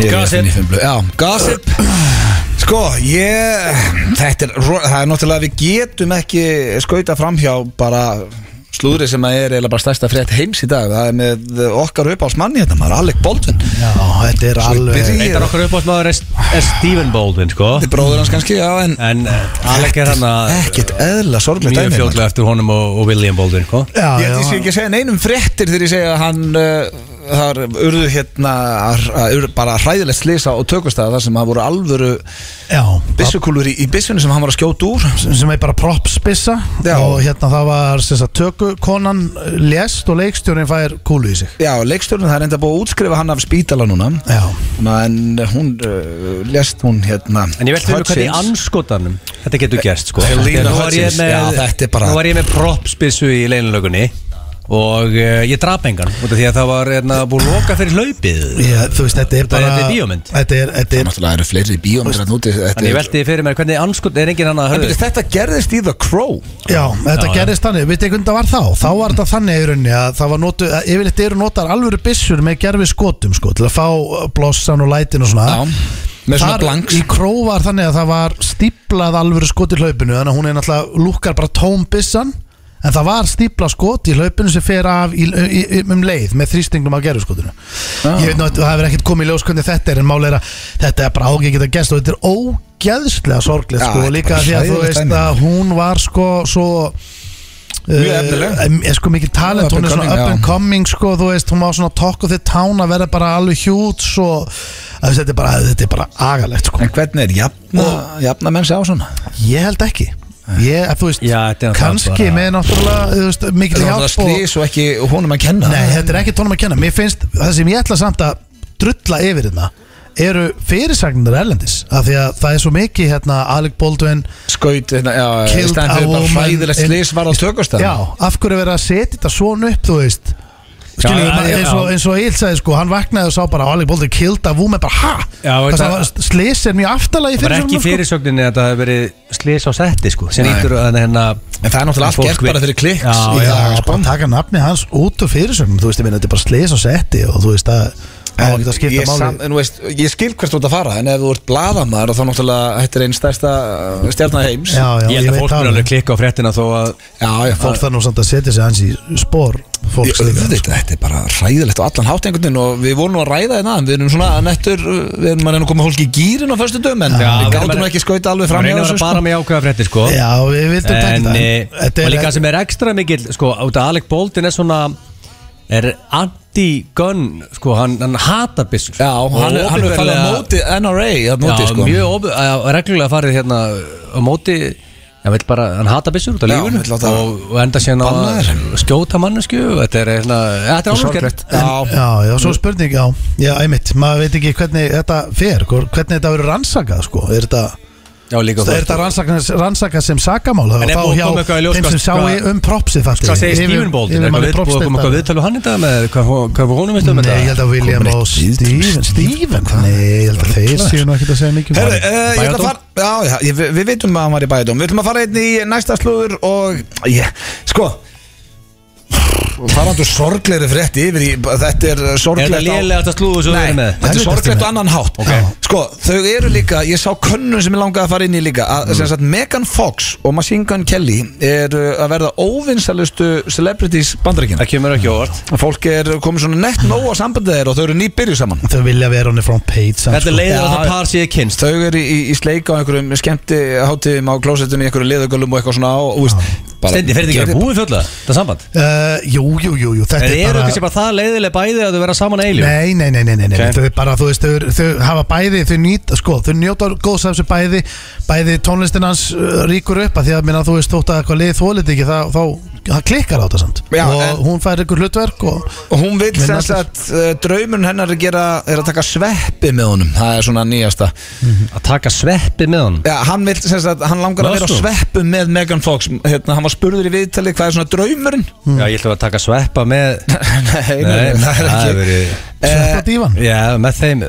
Speaker 1: Hér er
Speaker 2: Gossip.
Speaker 1: FM 95 Blu Já, gossip Sko, ég, þetta er, ro- það er náttúrulega við getum ekki skauta framhjá bara slúðri sem að er eiginlega bara stærsta frétt heims í dag það er með okkar uppáhalsmanni þetta maður Alec Baldwin
Speaker 3: Já, þetta er
Speaker 1: Svo
Speaker 3: alveg
Speaker 1: byrja-
Speaker 2: Eitt af okkar uppáhaldsmaður er, er Stephen Baldwin sko.
Speaker 1: þetta er bróður hans kannski já, en
Speaker 2: En eh, Alec er hann að
Speaker 1: ekkert eðla sorglega
Speaker 2: Mjög
Speaker 1: dæmi maður.
Speaker 2: fljótlega eftir honum og, og William Baldwin sko.
Speaker 3: Já,
Speaker 1: Ég held
Speaker 3: já.
Speaker 1: ég sé ekki að segja neinum fréttir þegar ég segja að hann uh, þar urðu hérna að- að urðu bara hræðilegt slisa og tökustæða þar sem það voru alvöru
Speaker 3: já
Speaker 1: byssukúlur í, í byssunni sem hann var að skjóta úr
Speaker 3: sem er bara propsbissa
Speaker 1: Já.
Speaker 3: og hérna það var sem sagt, tökukonan eh, lést og leikstjórin fær kúlu í sig
Speaker 1: Já, leikstjórnum það er enda búið að útskrifa hann af spítala núna Hérna,
Speaker 3: Já,
Speaker 1: en hún uh, lest hún hérna
Speaker 2: En ég veldi fyrir hvernig í
Speaker 1: Hutchins.
Speaker 2: anskotanum Þetta getur gerst sko
Speaker 1: Helena
Speaker 2: Nú var ég
Speaker 1: Hutchins,
Speaker 2: með,
Speaker 1: já, þetta er bara-
Speaker 2: Nú var ég með propsbissu í leinlögunni Og uh, ég drap engan Út af því að það var erna, búið að loka fyrir laupið
Speaker 3: ég, þú veist, þetta er
Speaker 2: Þetta er-
Speaker 3: bara
Speaker 2: þetta er bíómynd.
Speaker 3: Þetta er, þetta er
Speaker 1: Náttúrulega eru fleiri bíómyndir að núti þetta
Speaker 2: Þannig ég
Speaker 1: er-
Speaker 2: veldi fyrir mér hvernig anskot Er engin annað að
Speaker 1: En byrju,
Speaker 2: höfðu
Speaker 1: Þetta gerðist í The Crow
Speaker 3: Já, þetta
Speaker 2: Já, já.
Speaker 3: gerðist þannig, veit ekki hvernig það var þá Þá var þetta þannig í rauninni að það var notu að Yfirleitt eru notar alvöru byssur með gerfi skotum sko, Til að fá eh, blossan og lætin og svona
Speaker 1: með svona
Speaker 3: Þar
Speaker 1: blanks
Speaker 3: Í kró var þannig að það var stíplað alvöru skot í hlaupinu Þannig að hún er náttúrulega lúkkar bara tóm byssan En það var stíplað skot í hlaupinu sem fer af í, í, í, um leið með þrýstingnum af gerfiskotinu
Speaker 1: Ah.
Speaker 3: Ég veit nú að það hefur ekkert komið í ljós hvernig þetta er En máli er að þetta er bara ágengið að gesta Og þetta er ógeðslega sorglegt
Speaker 1: Já,
Speaker 3: sko
Speaker 1: þetta er
Speaker 3: Líka
Speaker 1: bara
Speaker 3: því að þú
Speaker 1: hræðilegt
Speaker 3: veist
Speaker 1: dæmi.
Speaker 3: að hún var sko svo
Speaker 1: Mjög efnileg.
Speaker 3: eh, eh, sko mikið talent,
Speaker 1: Up
Speaker 3: hún
Speaker 1: and
Speaker 3: er svona
Speaker 1: coming,
Speaker 3: up and
Speaker 1: já.
Speaker 3: coming sko, þú veist, hún má svona talk of the town að vera bara alveg hjút og þú veist, þetta er bara, þetta er bara agalegt sko.
Speaker 1: En hvernig er jafna, jafna mennsi á svona?
Speaker 3: ég held ekki ég, að, þú veist,
Speaker 2: Já, þetta er náttúrulega
Speaker 3: kannski
Speaker 2: bara-
Speaker 3: með náttúrulega þú veist, mikil
Speaker 1: Það var
Speaker 3: hjálp og,
Speaker 1: slís og ekki honum að kenna
Speaker 3: nei, þetta er ekki tónum að kenna, mér finnst það sem ég ætla samt að drulla yfir þetta eru fyrirsagnir erlendis af því að það er svo mikið hérna Alec Baldwin
Speaker 1: skaut hérna, já,
Speaker 3: Killed
Speaker 1: í staðan
Speaker 3: a
Speaker 1: fyrir bara
Speaker 3: woman
Speaker 1: hræðilegt
Speaker 3: in-
Speaker 1: slís var á tökustæð
Speaker 3: Já, af hverju verið að setja þetta svona upp, þú veist Skilur,
Speaker 2: Já,
Speaker 3: já,
Speaker 2: já,
Speaker 3: eins, og,
Speaker 2: já.
Speaker 3: eins og Egil sagði sko, hann vaknaði og sá bara Alec Baldwin killed a woman, bara ha
Speaker 2: Já,
Speaker 3: Það
Speaker 2: veit
Speaker 3: sem
Speaker 2: að-
Speaker 3: var- Slis er mjög aftalagi
Speaker 2: Það var
Speaker 3: fyrir sko.
Speaker 2: ekki fyrirsögninni að það hefur verið slis á setti sko sem
Speaker 1: Nei.
Speaker 2: ítur að hérna
Speaker 1: En það er náttúrulega allt
Speaker 2: fólk
Speaker 1: gert
Speaker 2: vil-
Speaker 1: bara fyrir klikks
Speaker 2: Já,
Speaker 1: í
Speaker 3: Já,
Speaker 1: dag,
Speaker 3: já
Speaker 1: sko.
Speaker 3: bara taka nafni hans út úr fyrirsögnum Þú veist, ég minna, þetta er bara slis á setti og þú veist að það var ekki að skipta
Speaker 1: ég,
Speaker 3: máli
Speaker 1: sam, en, þú veist, ég skil hvert þú ert að fara en ef þú ert bladamæður þá náttúrulega þetta er einn stærsta uh, stjarnar heims
Speaker 3: Já, já,
Speaker 2: Ég held að fólk
Speaker 3: það
Speaker 2: verið alveg klikka á fréttina þó að
Speaker 1: já, já
Speaker 3: Fólk þarf nú samt að setja sig hans í spór
Speaker 1: Ég,
Speaker 3: fólks líka
Speaker 1: auðvitað, þetta er bara ræðilegt á allan hátt einhvern veginn og við vorum nú að ræða þetta en við erum svona nettur, uh, við erum að reyna að koma fólki í gýrin á förstu döm en
Speaker 2: Já,
Speaker 1: við
Speaker 2: við erum
Speaker 1: gátum
Speaker 2: að-
Speaker 1: nú ekki skauta alveg fram
Speaker 2: Framlega að vera bara með ákveða fréttir sko
Speaker 3: Já, við vildum taka
Speaker 2: En
Speaker 3: þetta
Speaker 2: eh,
Speaker 3: þetta
Speaker 2: og líka
Speaker 3: er-
Speaker 2: sem er ekstra mikill sko, út af Alec Bolton er svona er anti-gun sko, hann, hann hatar byssur
Speaker 1: Já, hann,
Speaker 2: Og
Speaker 1: er- hann er farið á
Speaker 2: opinberlega-
Speaker 1: móti NRA að
Speaker 2: Já,
Speaker 1: móti sko
Speaker 2: mjög opi, að, reglulega farið hérna á móti hann vill bara, hann hatar byssur út af
Speaker 1: Já,
Speaker 2: lífinu
Speaker 1: vill láta
Speaker 2: og, og enda síðan á
Speaker 1: banna
Speaker 2: að skjóta mannesku þetta er hérna, ja, þetta er
Speaker 1: sorglegt.
Speaker 2: áluggerð
Speaker 1: Já.
Speaker 3: Já, já, svo er spurning, já, já, einmitt, maður veit ekki hvernig þetta fer, hvor- hvernig þetta verður rannsakað, sko, er þetta,
Speaker 2: Já, líka
Speaker 3: er þetta rannsakað, rannsakað sem sakamál, þá
Speaker 2: En er
Speaker 3: þá
Speaker 2: búið að
Speaker 3: hjá
Speaker 2: koma eitthvað í ljós,
Speaker 3: þeim sem
Speaker 2: hvað-
Speaker 3: sjá
Speaker 2: hvað-
Speaker 3: um propsið, fattir,
Speaker 2: Hvað segir Stephen Bolton? Er eitthvað við- búið að koma eitthvað viðtölu hann í dag með hvað hvað honum veist um
Speaker 3: Nei,
Speaker 2: þetta?
Speaker 3: ég held að William og Steven, Steven, nei, ég held að þeir séu nú ekkert að segja mikið um
Speaker 1: Herru,
Speaker 3: það.
Speaker 1: uh,
Speaker 2: eh,
Speaker 1: ég ætla að fara Já, já, ég, við veitum að hann var í bæðum Við ætlum að fara einn í næsta slúður og ég, sko farandu sorglegri frétt yfir í, þetta er
Speaker 2: Er þetta
Speaker 1: sorglegt á-
Speaker 2: lélega þetta slúðu sem við erum
Speaker 1: Nei,
Speaker 2: með?
Speaker 1: þetta er
Speaker 3: Helvítast
Speaker 1: sorglegt
Speaker 3: tíma.
Speaker 1: á annan hátt
Speaker 2: Ok.
Speaker 1: Sko, þau eru líka, ég sá könnun sem ég langaði að fara inn í líka að, sem sagt, Megan Fox og Machine Gun Kelly er að verða óvinsalustu celebrities bandaríkina
Speaker 2: Það kemur ekki á orð
Speaker 1: Fólk er komið svona nett nóg á sambandið þeir og þau eru nýbyrju saman
Speaker 3: Þau vilja vera henni frá page, samt,
Speaker 2: Þetta
Speaker 3: sko.
Speaker 2: leiðir að
Speaker 1: Já,
Speaker 2: það par sér kynst
Speaker 1: þau eru í, í sleik á einhverjum skemmti hátíðum á klósettinu í einhverju liðugölum og eitthvað svona á og úst,
Speaker 2: Stendi, fer þetta ekki að búið fjöldlega? Það er samband
Speaker 3: Eh, Jú, jú, jú, jú, þetta
Speaker 2: En
Speaker 3: er
Speaker 2: eru
Speaker 3: bara...
Speaker 2: kannski bara það leiðilega bæði að þau vera saman eilu?
Speaker 3: Nei, nei, nei, nei, nei, nei.
Speaker 2: Ok.
Speaker 3: Þau bara, þú veist, þau, eru- þau hafa bæði þau, nýt, sko, þau njóta góðs af þessu bæði bæði tónlistin hans uh, ríkur upp að því að minna, þú veist, þótt að eitthvað liðið þólið ekki þá, þá, það klikkar á þetta samt
Speaker 1: Já,
Speaker 3: og
Speaker 1: en-
Speaker 3: hún fær ykkur hlutverk og
Speaker 1: og hún vil
Speaker 3: Minna
Speaker 1: þess að uh, draumurinn hennar er, að gera, er að taka sveppi með honum það er svona nýjasta
Speaker 2: Að taka sveppi með hann
Speaker 1: Já, hann, vil, sem sagt, hann langar að vera á
Speaker 2: Varstu?
Speaker 1: sveppu með Megan Fox hérna, hann var spurður í viðtali hvað er svona draumurinn
Speaker 2: Já, ég ætlum að taka sveppa með
Speaker 1: nei, nei, það er
Speaker 2: Nei, það
Speaker 1: ekki
Speaker 2: er verið-
Speaker 1: Eh,
Speaker 3: Sveppa dívan
Speaker 2: Já, með þeim,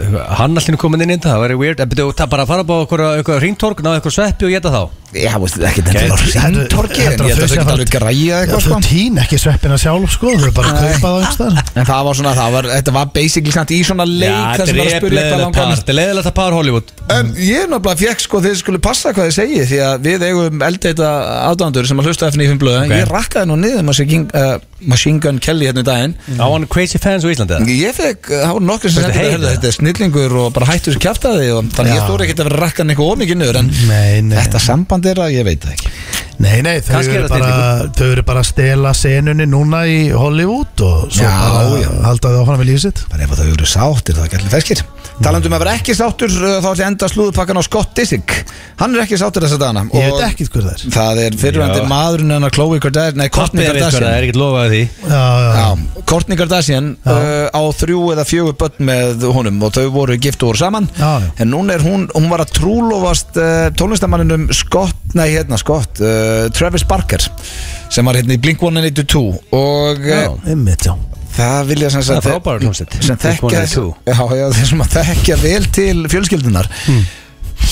Speaker 2: hann allir komin inn í þetta, það væri weird En byrju, það bara að fara upp á eitthvað ringtorg, ná eitthvað sveppi og geta þá
Speaker 1: Já, veist, ekki þetta var ringtorki En ég held að þau geta alveg græja eitthvað
Speaker 3: Þau
Speaker 1: sko.
Speaker 3: týn ekki sveppina sjálf sko Þau eru bara að
Speaker 1: Nei.
Speaker 3: kaupa það einhverstaðar
Speaker 1: En það var svona, það var, þetta var basically samt í svona leik þar sem var að spyrja eitthvað langan
Speaker 2: par, þetta er leiðilegt að par Hollywood
Speaker 1: En ég er náttúrulega fekk sko þið skulle passa hvað þið segi því að við eigum elddeita aðdándur sem að hlusta FNF blöðu
Speaker 2: Ok.
Speaker 1: Ég rakkaði nú niður Machine King- uh, Machine Gun Kelly hérna í daginn
Speaker 2: Á hann crazy fans á Íslandi eða?
Speaker 1: Ég fekk, það voru nokkur sem sendur
Speaker 2: Veistu, hey,
Speaker 1: hey, þetta er snillingur og bara hættu þessu kjaftaði og þannig ég
Speaker 3: Já.
Speaker 1: stóri ekkert að vera rakkan eitthvað ómikið niður en
Speaker 3: Nei, nei.
Speaker 1: þetta samband er að ég veit það ekki
Speaker 3: Nei, nei, þau
Speaker 2: Kannski er
Speaker 3: eru,
Speaker 2: það
Speaker 3: bara, þau eru bara að stela senunni núna í Hollywood og svo
Speaker 1: Já,
Speaker 3: bara
Speaker 1: já.
Speaker 3: halda þau áfram í lífið sitt
Speaker 1: Bara ef að þau eru sáttir þá er ekki allir ferskir
Speaker 3: Mm.
Speaker 1: Talandum að vera ekki sáttur uh, þá ætli að enda slúðupakkan á Scott Disick Hann er ekki sáttur þessa dagana
Speaker 3: Ég
Speaker 1: og
Speaker 3: veit ekkert hver það er
Speaker 1: Það er
Speaker 2: Já.
Speaker 1: fyrirvændi maðurinn hennar Khloe Kardashian Nei, Kourtney
Speaker 2: Kottni er eitthvað,
Speaker 1: Kardashian
Speaker 2: það er ekkert lofað því
Speaker 3: Já, já,
Speaker 1: Já, Kourtney Kardashian uh, á þrjú eða fjögur börn með honum og þau voru gift og voru saman
Speaker 3: Já, já.
Speaker 1: en núna er hún, hún var að trúlofast uh, tónlistamanninum Scott, nei hérna Scott uh, Travis Barker sem var hérna í Blink-182 og uh,
Speaker 3: einmitt, já
Speaker 1: það vilja sem
Speaker 2: Það er
Speaker 1: sagt
Speaker 2: frábæra hljómsveit,
Speaker 1: sem þekkja,
Speaker 2: Blink-182.
Speaker 1: já, já, þeir sem að þekkja vel til fjölskyldunar hmm.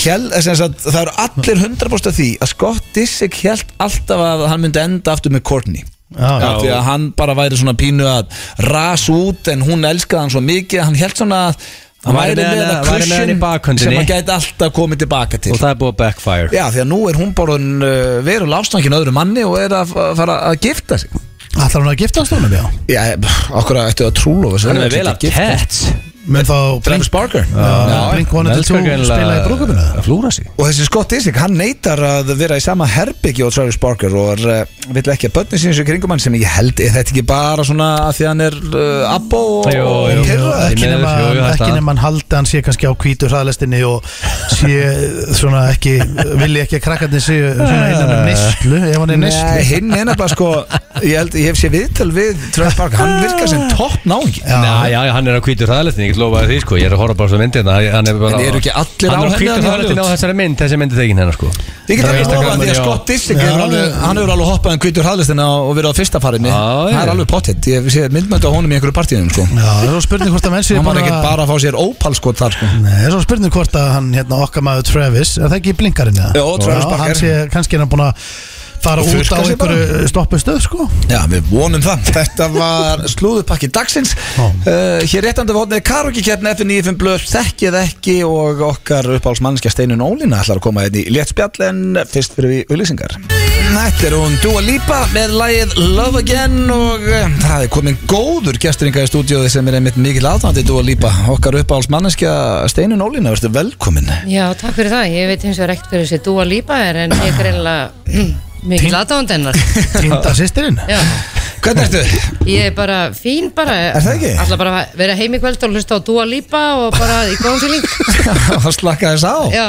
Speaker 1: Hjel, sem sagt, það eru allir 100% af því að Scott Disick held alltaf að hann myndi enda aftur með Courtney
Speaker 3: Já, já.
Speaker 1: Já, því að hann bara væri svona pínu að ras út en hún elskaði hann svo mikið hann held svona að
Speaker 2: Hann væri með hana- væri með hana í
Speaker 1: cushion
Speaker 2: bakhöndinni.
Speaker 1: sem hann gæti alltaf komið tilbaka til
Speaker 2: Og það er búið að backfire
Speaker 1: Já, því að nú er hún bara uh, verið lásnangin öðru manni og er að að fara að gifta sig
Speaker 3: Ætlar hún að gifta hans núna, já
Speaker 1: Já, okkur að ættu að trúlofa sig,
Speaker 2: Hann er
Speaker 1: ættu
Speaker 2: vel
Speaker 1: að
Speaker 2: af
Speaker 1: gifta-
Speaker 2: cats
Speaker 3: Menn þá Blink,
Speaker 1: Travis Barker
Speaker 3: Já, Blink 182 spila í brúkupinu
Speaker 2: Að flúra sig
Speaker 1: Og þessi Scott Disick, hann neitar að vera í sama herbyggi og Travis Barker og er, uh, vill ekki að börnin síns í kringum hann sem ég held, er þetta ekki bara svona að því að hann er uh, abbo og,
Speaker 2: Jú,
Speaker 1: og
Speaker 2: jú.
Speaker 1: pirraður?
Speaker 2: Því
Speaker 3: Ekki
Speaker 2: miður,
Speaker 3: nema
Speaker 2: jú, jú, það er
Speaker 3: ekki
Speaker 2: það.
Speaker 3: nema hann haldi að hann sé kannski á hvítur hraðlestinni og sé svona ekki vilji ekki að krakkarnir séu svona innan um neyslu ef hann er
Speaker 1: Nei,
Speaker 3: neyslu
Speaker 1: hinn er nefnilega sko Ég held, ég hef sé viðtöl við Travis Barker, hann virkar sem topp náingi
Speaker 3: Já.
Speaker 2: Já, já, já, hann er á hvítur hraðalettin, ég get lofaði því sko Ég er að horfa bara svo myndið hérna. hann er bara
Speaker 1: En eru ekki allir á
Speaker 2: Hann
Speaker 1: henni
Speaker 2: er á
Speaker 1: þarna
Speaker 2: hvítur
Speaker 1: í
Speaker 2: hraðalettin á
Speaker 1: Hollywood?
Speaker 2: þessari mynd, þessi myndið tekin hennar sko
Speaker 1: Ég get alveg
Speaker 2: Já.
Speaker 1: stakka því að
Speaker 2: Já.
Speaker 1: Scott Disick hefur
Speaker 3: Já.
Speaker 1: alveg, hann hefur alveg hoppað en hvítur hraðlistina og verið á fyrsta farinni
Speaker 2: Já,
Speaker 1: Það
Speaker 2: já.
Speaker 1: er alveg pottitt, ég sé myndmöndu á honum í einhverju partíðum sko
Speaker 3: Já, það er svo spurning hvort að menn séu
Speaker 1: Hann var ekkert bara að fá sér ópal sko þar sko
Speaker 3: Nei, það er svo spurning hvort að hann hérna okkar maður Travis, er það ekki í blinkarinn eða?
Speaker 1: Jó, Travis Barker.
Speaker 3: Hann sé kannski hann búin að fara
Speaker 1: Og
Speaker 3: út
Speaker 1: þurrka
Speaker 3: á
Speaker 1: sig bara.
Speaker 3: einhverju stoppustöð sko
Speaker 1: Já, við vonum það Þetta var slúðupakki dagsins
Speaker 3: Já.
Speaker 1: uh, Hér réttandi votnið Karokikeppn F95 blöð þekkið ekki og okkar uppáhalsmannskja Steinun Ólína ætlar að koma hérna í léttspjall en fyrst fyrir við auðlýsingar Þetta er hún Dua Lipa með lagið Love Again og uh, það er komin góður gestringa í stúdíóði sem er einmitt mikil aðnandi Dua Lipa okkar uppáhalsmannskja Steinun Ólína, verður velkomin
Speaker 4: Já, takk fyrir það. Ég veit hins vegar ekkert fyrir þessi dúa lípa er en ég er greinlega mikið latánd hennar.
Speaker 3: Týnda sýstirinn
Speaker 4: Já,
Speaker 1: Hvernig ertu?
Speaker 4: ég er bara fín bara.
Speaker 1: Er það ekki?
Speaker 4: Alltaf bara að vera heim í kvöld og hlusta á dúa lípa og bara í góðum fíling.
Speaker 1: Það slakka þess á
Speaker 4: Já,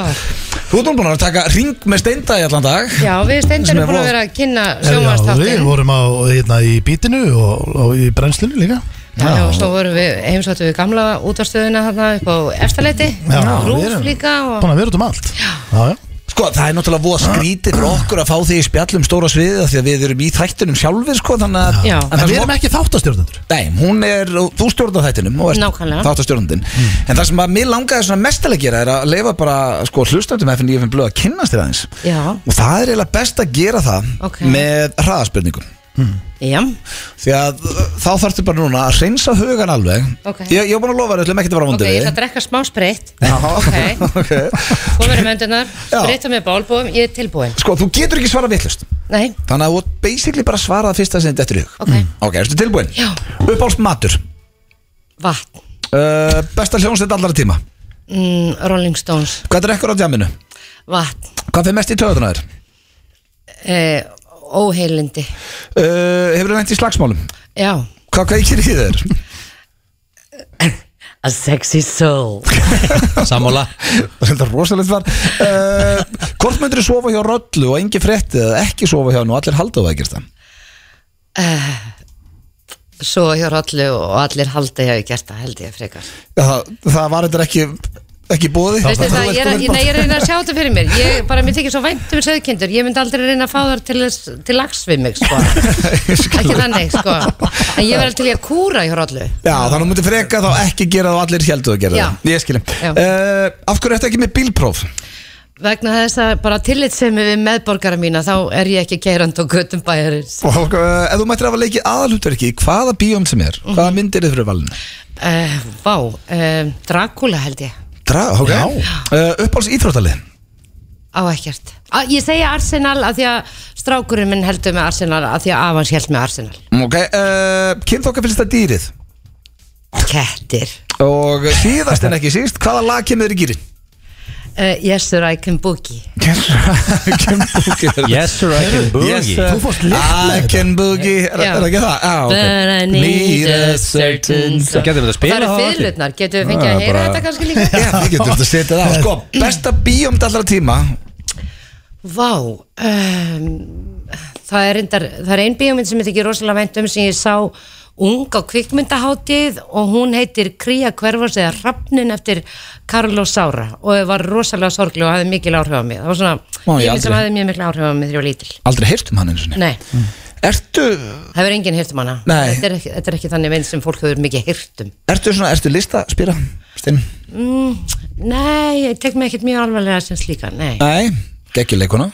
Speaker 1: Þú ert nú búin að taka ring með steinda í allan dag
Speaker 4: já við
Speaker 1: Sem
Speaker 4: steindir
Speaker 1: er
Speaker 4: erum búin
Speaker 1: vont.
Speaker 4: að vera að kynna
Speaker 3: Já, við
Speaker 4: sjómaðastáttin.
Speaker 3: vorum á, hérna, í bítinu og, og í brennslinu líka
Speaker 4: Já, og svo vorum við heimsóttu við gamla útvarstöðuna þarna upp á efstaleiti,
Speaker 3: Já, við
Speaker 4: rúf
Speaker 3: erum-
Speaker 4: líka og...
Speaker 3: Búin að vera út um allt Já, já
Speaker 1: Sko, það er náttúrulega voða skrítið fyrir okkur að fá því í spjallum stóra sviðið af því að við erum í þættinum sjálfur, sko, þannig að
Speaker 4: Já.
Speaker 1: En
Speaker 3: En
Speaker 1: það
Speaker 3: við
Speaker 1: sem
Speaker 3: erum ekki þáttastjórnendur
Speaker 1: Nei, hún er, og þú stjórnar þættinum og
Speaker 4: Nákvæmlega.
Speaker 1: þáttastjórnandinn En það sem að mér langaði svona mestilega að gera er að leifa bara, sko, hlustandum FNF blöð að kynnast þér aðeins
Speaker 4: Já,
Speaker 1: Og það er eiginlega best að gera það
Speaker 4: Ok.
Speaker 1: með hraðaspurningum
Speaker 4: já,
Speaker 1: Því að uh, þá þarftu bara núna að reynsa hugan alveg
Speaker 4: Ok.
Speaker 1: Ég, ég er búin að lofa þér, ætlum ekkert að vera
Speaker 4: ok,
Speaker 1: vondur
Speaker 4: ég ætla að drekka smá sprit
Speaker 1: okay.
Speaker 4: Ok, komur um öndunar,
Speaker 1: Já.
Speaker 4: sprita með bálbúum, ég er tilbúin
Speaker 1: Sko, þú getur ekki svarað vittlust
Speaker 4: Nei,
Speaker 1: Þannig að þú ert basically bara að svara það fyrsta sem þetta er í hug
Speaker 4: Ok.
Speaker 1: Ok, ertu tilbúin?
Speaker 4: Já.
Speaker 1: Uppáls matur
Speaker 4: vatn
Speaker 1: uh, Besta hljónsveit allra tíma
Speaker 4: mm, Rolling Stones,
Speaker 1: Hvað er ekkur á djaminu?
Speaker 4: vatn
Speaker 1: Hvað fyrir mest í töðuna þér?
Speaker 4: eh, óheilindi
Speaker 1: Uh, hefur þú nefnt í slagsmálum?
Speaker 4: já
Speaker 1: Hvað kveikir í þér?
Speaker 4: a sexy soul
Speaker 2: Sammála
Speaker 1: Þetta er rosalegt var uh, Hvort myndir þú sofa hjá röllu og engi frétti eða ekki sofa hjá hann og allir halda á það ekkert það?
Speaker 4: svo hjá allu og allir halda ég hafi gert það held ég frekar
Speaker 1: Það, það var sko- þetta ekki ekki bóði
Speaker 4: Veistu það, ég er, að- ég, nei, ég er að reyna að sjá þetta fyrir mér ég, bara mér þykir svo vænt um söðkindur ég myndi aldrei reyna að fá þar til, þess- til lags við mig sko. ekki þannig sko. en ég verði til í að kúra hjá rollu
Speaker 1: Já, þannig að þú myndir freka þá ekki gera það og allir heldur að gera
Speaker 4: Já.
Speaker 1: það Ég skilji
Speaker 4: Já.
Speaker 1: uh, Af hverju ertu ekki með bílpróf?
Speaker 4: vegna þess að bara tillit sem við meðborgara mína þá er ég ekki keirand og göttum bæjarins
Speaker 1: Og uh, ef þú mættir hafa leikið aðalhutverki í Hvaða bíóm sem er?
Speaker 4: Mhm.
Speaker 1: Hvaða myndir þið fyrir valinu?
Speaker 4: uh, Vá, uh, Dracula held ég
Speaker 1: Dra, ok uh, Uppáls íþróttalið
Speaker 4: á ekkert A, ég segja Arsenal af því að strákurinn minn heldur með Arsenal af því að afans held með Arsenal
Speaker 1: Ok, uh, kynþokka fylgst að dýrið
Speaker 4: Kettir
Speaker 1: Og síðast en ekki síst, hvaða lag kemur þér í gýrin?
Speaker 4: uh, Yes sir I can boogie
Speaker 1: Kemur
Speaker 2: Yes sir, I can boogie
Speaker 1: Þú
Speaker 3: fórst létt með
Speaker 1: I can Ah, boogie, er,
Speaker 4: Já.
Speaker 1: er það ekki það? Ah,
Speaker 4: But I need a certain
Speaker 2: Þú getur þetta að
Speaker 4: Það
Speaker 2: spila
Speaker 4: eru fyrirlutnar, getum við fengið að heyra þetta kannski líka?
Speaker 1: Ah, Já, við getum þetta að setja það á. Sko, besta bíómynd allra tíma
Speaker 4: Vá, um, það er, reyndar, það er ein bíómynd sem ég þykir rosalega vænt um sem ég sá ung á kvikmyndaháttið og hún heitir Kría Hverfors eða Hrafnin eftir Carlos Sára og það var rosalega sorglega og hafði mikil áhrif á mig. Það var svona,
Speaker 1: Má, ég
Speaker 4: ég sem
Speaker 1: aldrei.
Speaker 4: hafði mjög mikil áhrif á mig þegar ég var lítil.
Speaker 1: Aldrei heyrt um hann eins og
Speaker 4: Nei,
Speaker 1: Ertu,
Speaker 4: það hefur enginn heyrt um hana.
Speaker 1: Nei.
Speaker 4: Þetta er, ekki, þetta er ekki þannig mynd sem fólk hefur mikið heyrt um.
Speaker 1: ertu svona, ertu lista, spýra, Stinn?
Speaker 4: Mm, nei, ég tek mig ekkert mjög alvarlega sem slíka, nei.
Speaker 1: Nei, geggjuleikuna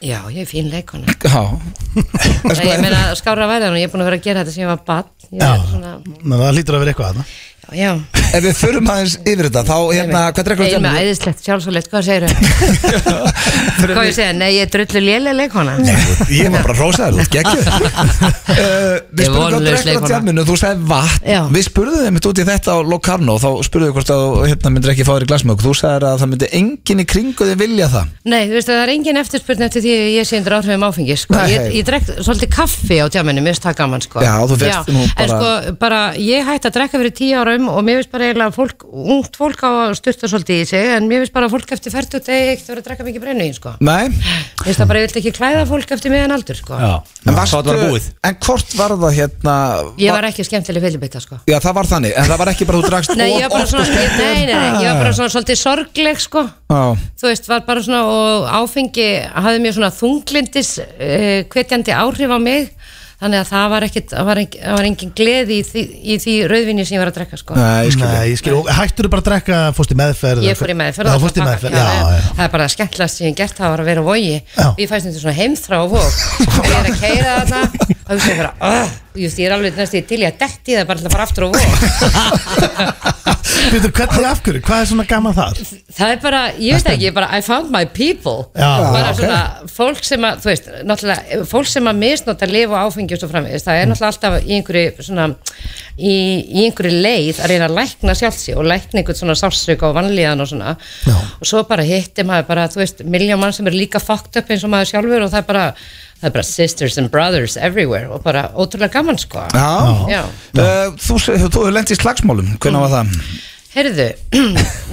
Speaker 4: Já, ég er fín leikona.
Speaker 1: Já Sko,
Speaker 4: Nei, ég meina skára væðan og ég er búin að vera að gera þetta sem ég var bann ég er svona,
Speaker 3: Ná, það lítur að vera eitthvað þarna.
Speaker 4: já, já
Speaker 1: Ef við förum aðeins yfir þetta, þá hérna, hvað drekkur
Speaker 4: Ég er
Speaker 1: þetta?
Speaker 4: með æðislegt sjálfsvöldet, hvað segir þau? hvað ég segja, nei, ég er drullu lélega leikona
Speaker 1: Ég var bara rósaður, þú ert geggjuð uh, Við
Speaker 4: Ég
Speaker 1: spurðum hvað
Speaker 4: vonlaus
Speaker 1: drekkur á
Speaker 4: leikona.
Speaker 1: tjáminu, þú sagði vatn
Speaker 4: Já.
Speaker 1: Við spurðum þeim út í þetta á Locarno Þá spurðum við hvort að þú, hérna, myndir ekki fá þér í glasmögg Þú sagðir að það myndi enginn í kringu þið vilja það
Speaker 4: Nei, þú veist að það er engin eftirspurn eftir því að ég sé undir áhrifum áfengi sko.
Speaker 1: Nei.
Speaker 4: Ég, ég drekk svolítið kaffi á tjáminu, mér finnst það gaman sko.
Speaker 1: Já, þú fékkst nú bara-
Speaker 4: En sko, bara, ég hætti að drekka fyrir tíu árum og mér finnst bara eiginlega fólk, ungt fólk á að stutta svolítið í sig en mér finnst bara að fólk eftir ferdu degi ekkert að vera að drekka mikið brennu sko.
Speaker 1: Nei,
Speaker 4: Mér finnst það bara, ég vilt ekki klæða fólk eftir meðan aldur sko.
Speaker 2: Já,
Speaker 1: en,
Speaker 2: þá þetta var búið
Speaker 1: en hvort var það hérna
Speaker 4: Ég var ekki skemmtileg fyllibita sko
Speaker 1: Já, það var þannig, en það var ekki bara þú drakst
Speaker 4: Nei, ég var
Speaker 1: of
Speaker 4: bara
Speaker 1: oft og
Speaker 4: svona, ég,
Speaker 1: skemmtir.
Speaker 4: nei, nei, nei, ég var bara svona svolítið sorgleg sko
Speaker 1: Já.
Speaker 4: Þú veist, var bara svona og áfengi hafði mjög svona þunglindis uh, hvetjandi áhrif á mig Þannig að það var ekkit, það var, engin, það var engin gleði í því, í því rauðvinni sem ég var að drekka sko
Speaker 1: Nei, ég skil
Speaker 3: Nei, ég skil, og hættur þú bara að drekka fórst í meðferð
Speaker 4: Ég fór í meðferð
Speaker 3: Já,
Speaker 4: og
Speaker 3: fórst í
Speaker 4: það-
Speaker 3: meðferð, já, já
Speaker 4: Það er bara skemmtilegast sem ég hef gert það var að vera á vogi
Speaker 3: Já.
Speaker 4: Ég fæst þetta svona heimþrá á vog Ég er að keira þarna og hugsa bara, "Ugh." Ég veist, ég er alveg næstu til ég að detti það bara til að fara aftur á vog
Speaker 3: Veitur, hvernig af hverju, hvað er svona gaman þar?
Speaker 4: Það er bara, ég veit ekki, ég er bara I found my people
Speaker 3: Já,
Speaker 4: bara
Speaker 3: ok.
Speaker 4: svona fólk sem að, þú veist, náttúrulega fólk sem að misnota lifa og áfengi og svo framvegis það er
Speaker 3: Mm.
Speaker 4: náttúrulega alltaf í einhverju svona í, í einhverju leið að reyna að lækna sjálfsi og lækna einhvern svona sársöka og vanlíðan og svona
Speaker 3: Já.
Speaker 4: og svo bara hittir maður bara, þú veist, miljón mann sem er líka fucked up eins og maður sjálfur og það er bara það er bara sisters and brothers everywhere og bara ótrúlega gaman sko
Speaker 1: Já,
Speaker 4: Já.
Speaker 1: Uh, Þú, þú, þú hefur lent í slagsmálum, hvernig var það?
Speaker 4: Herðu,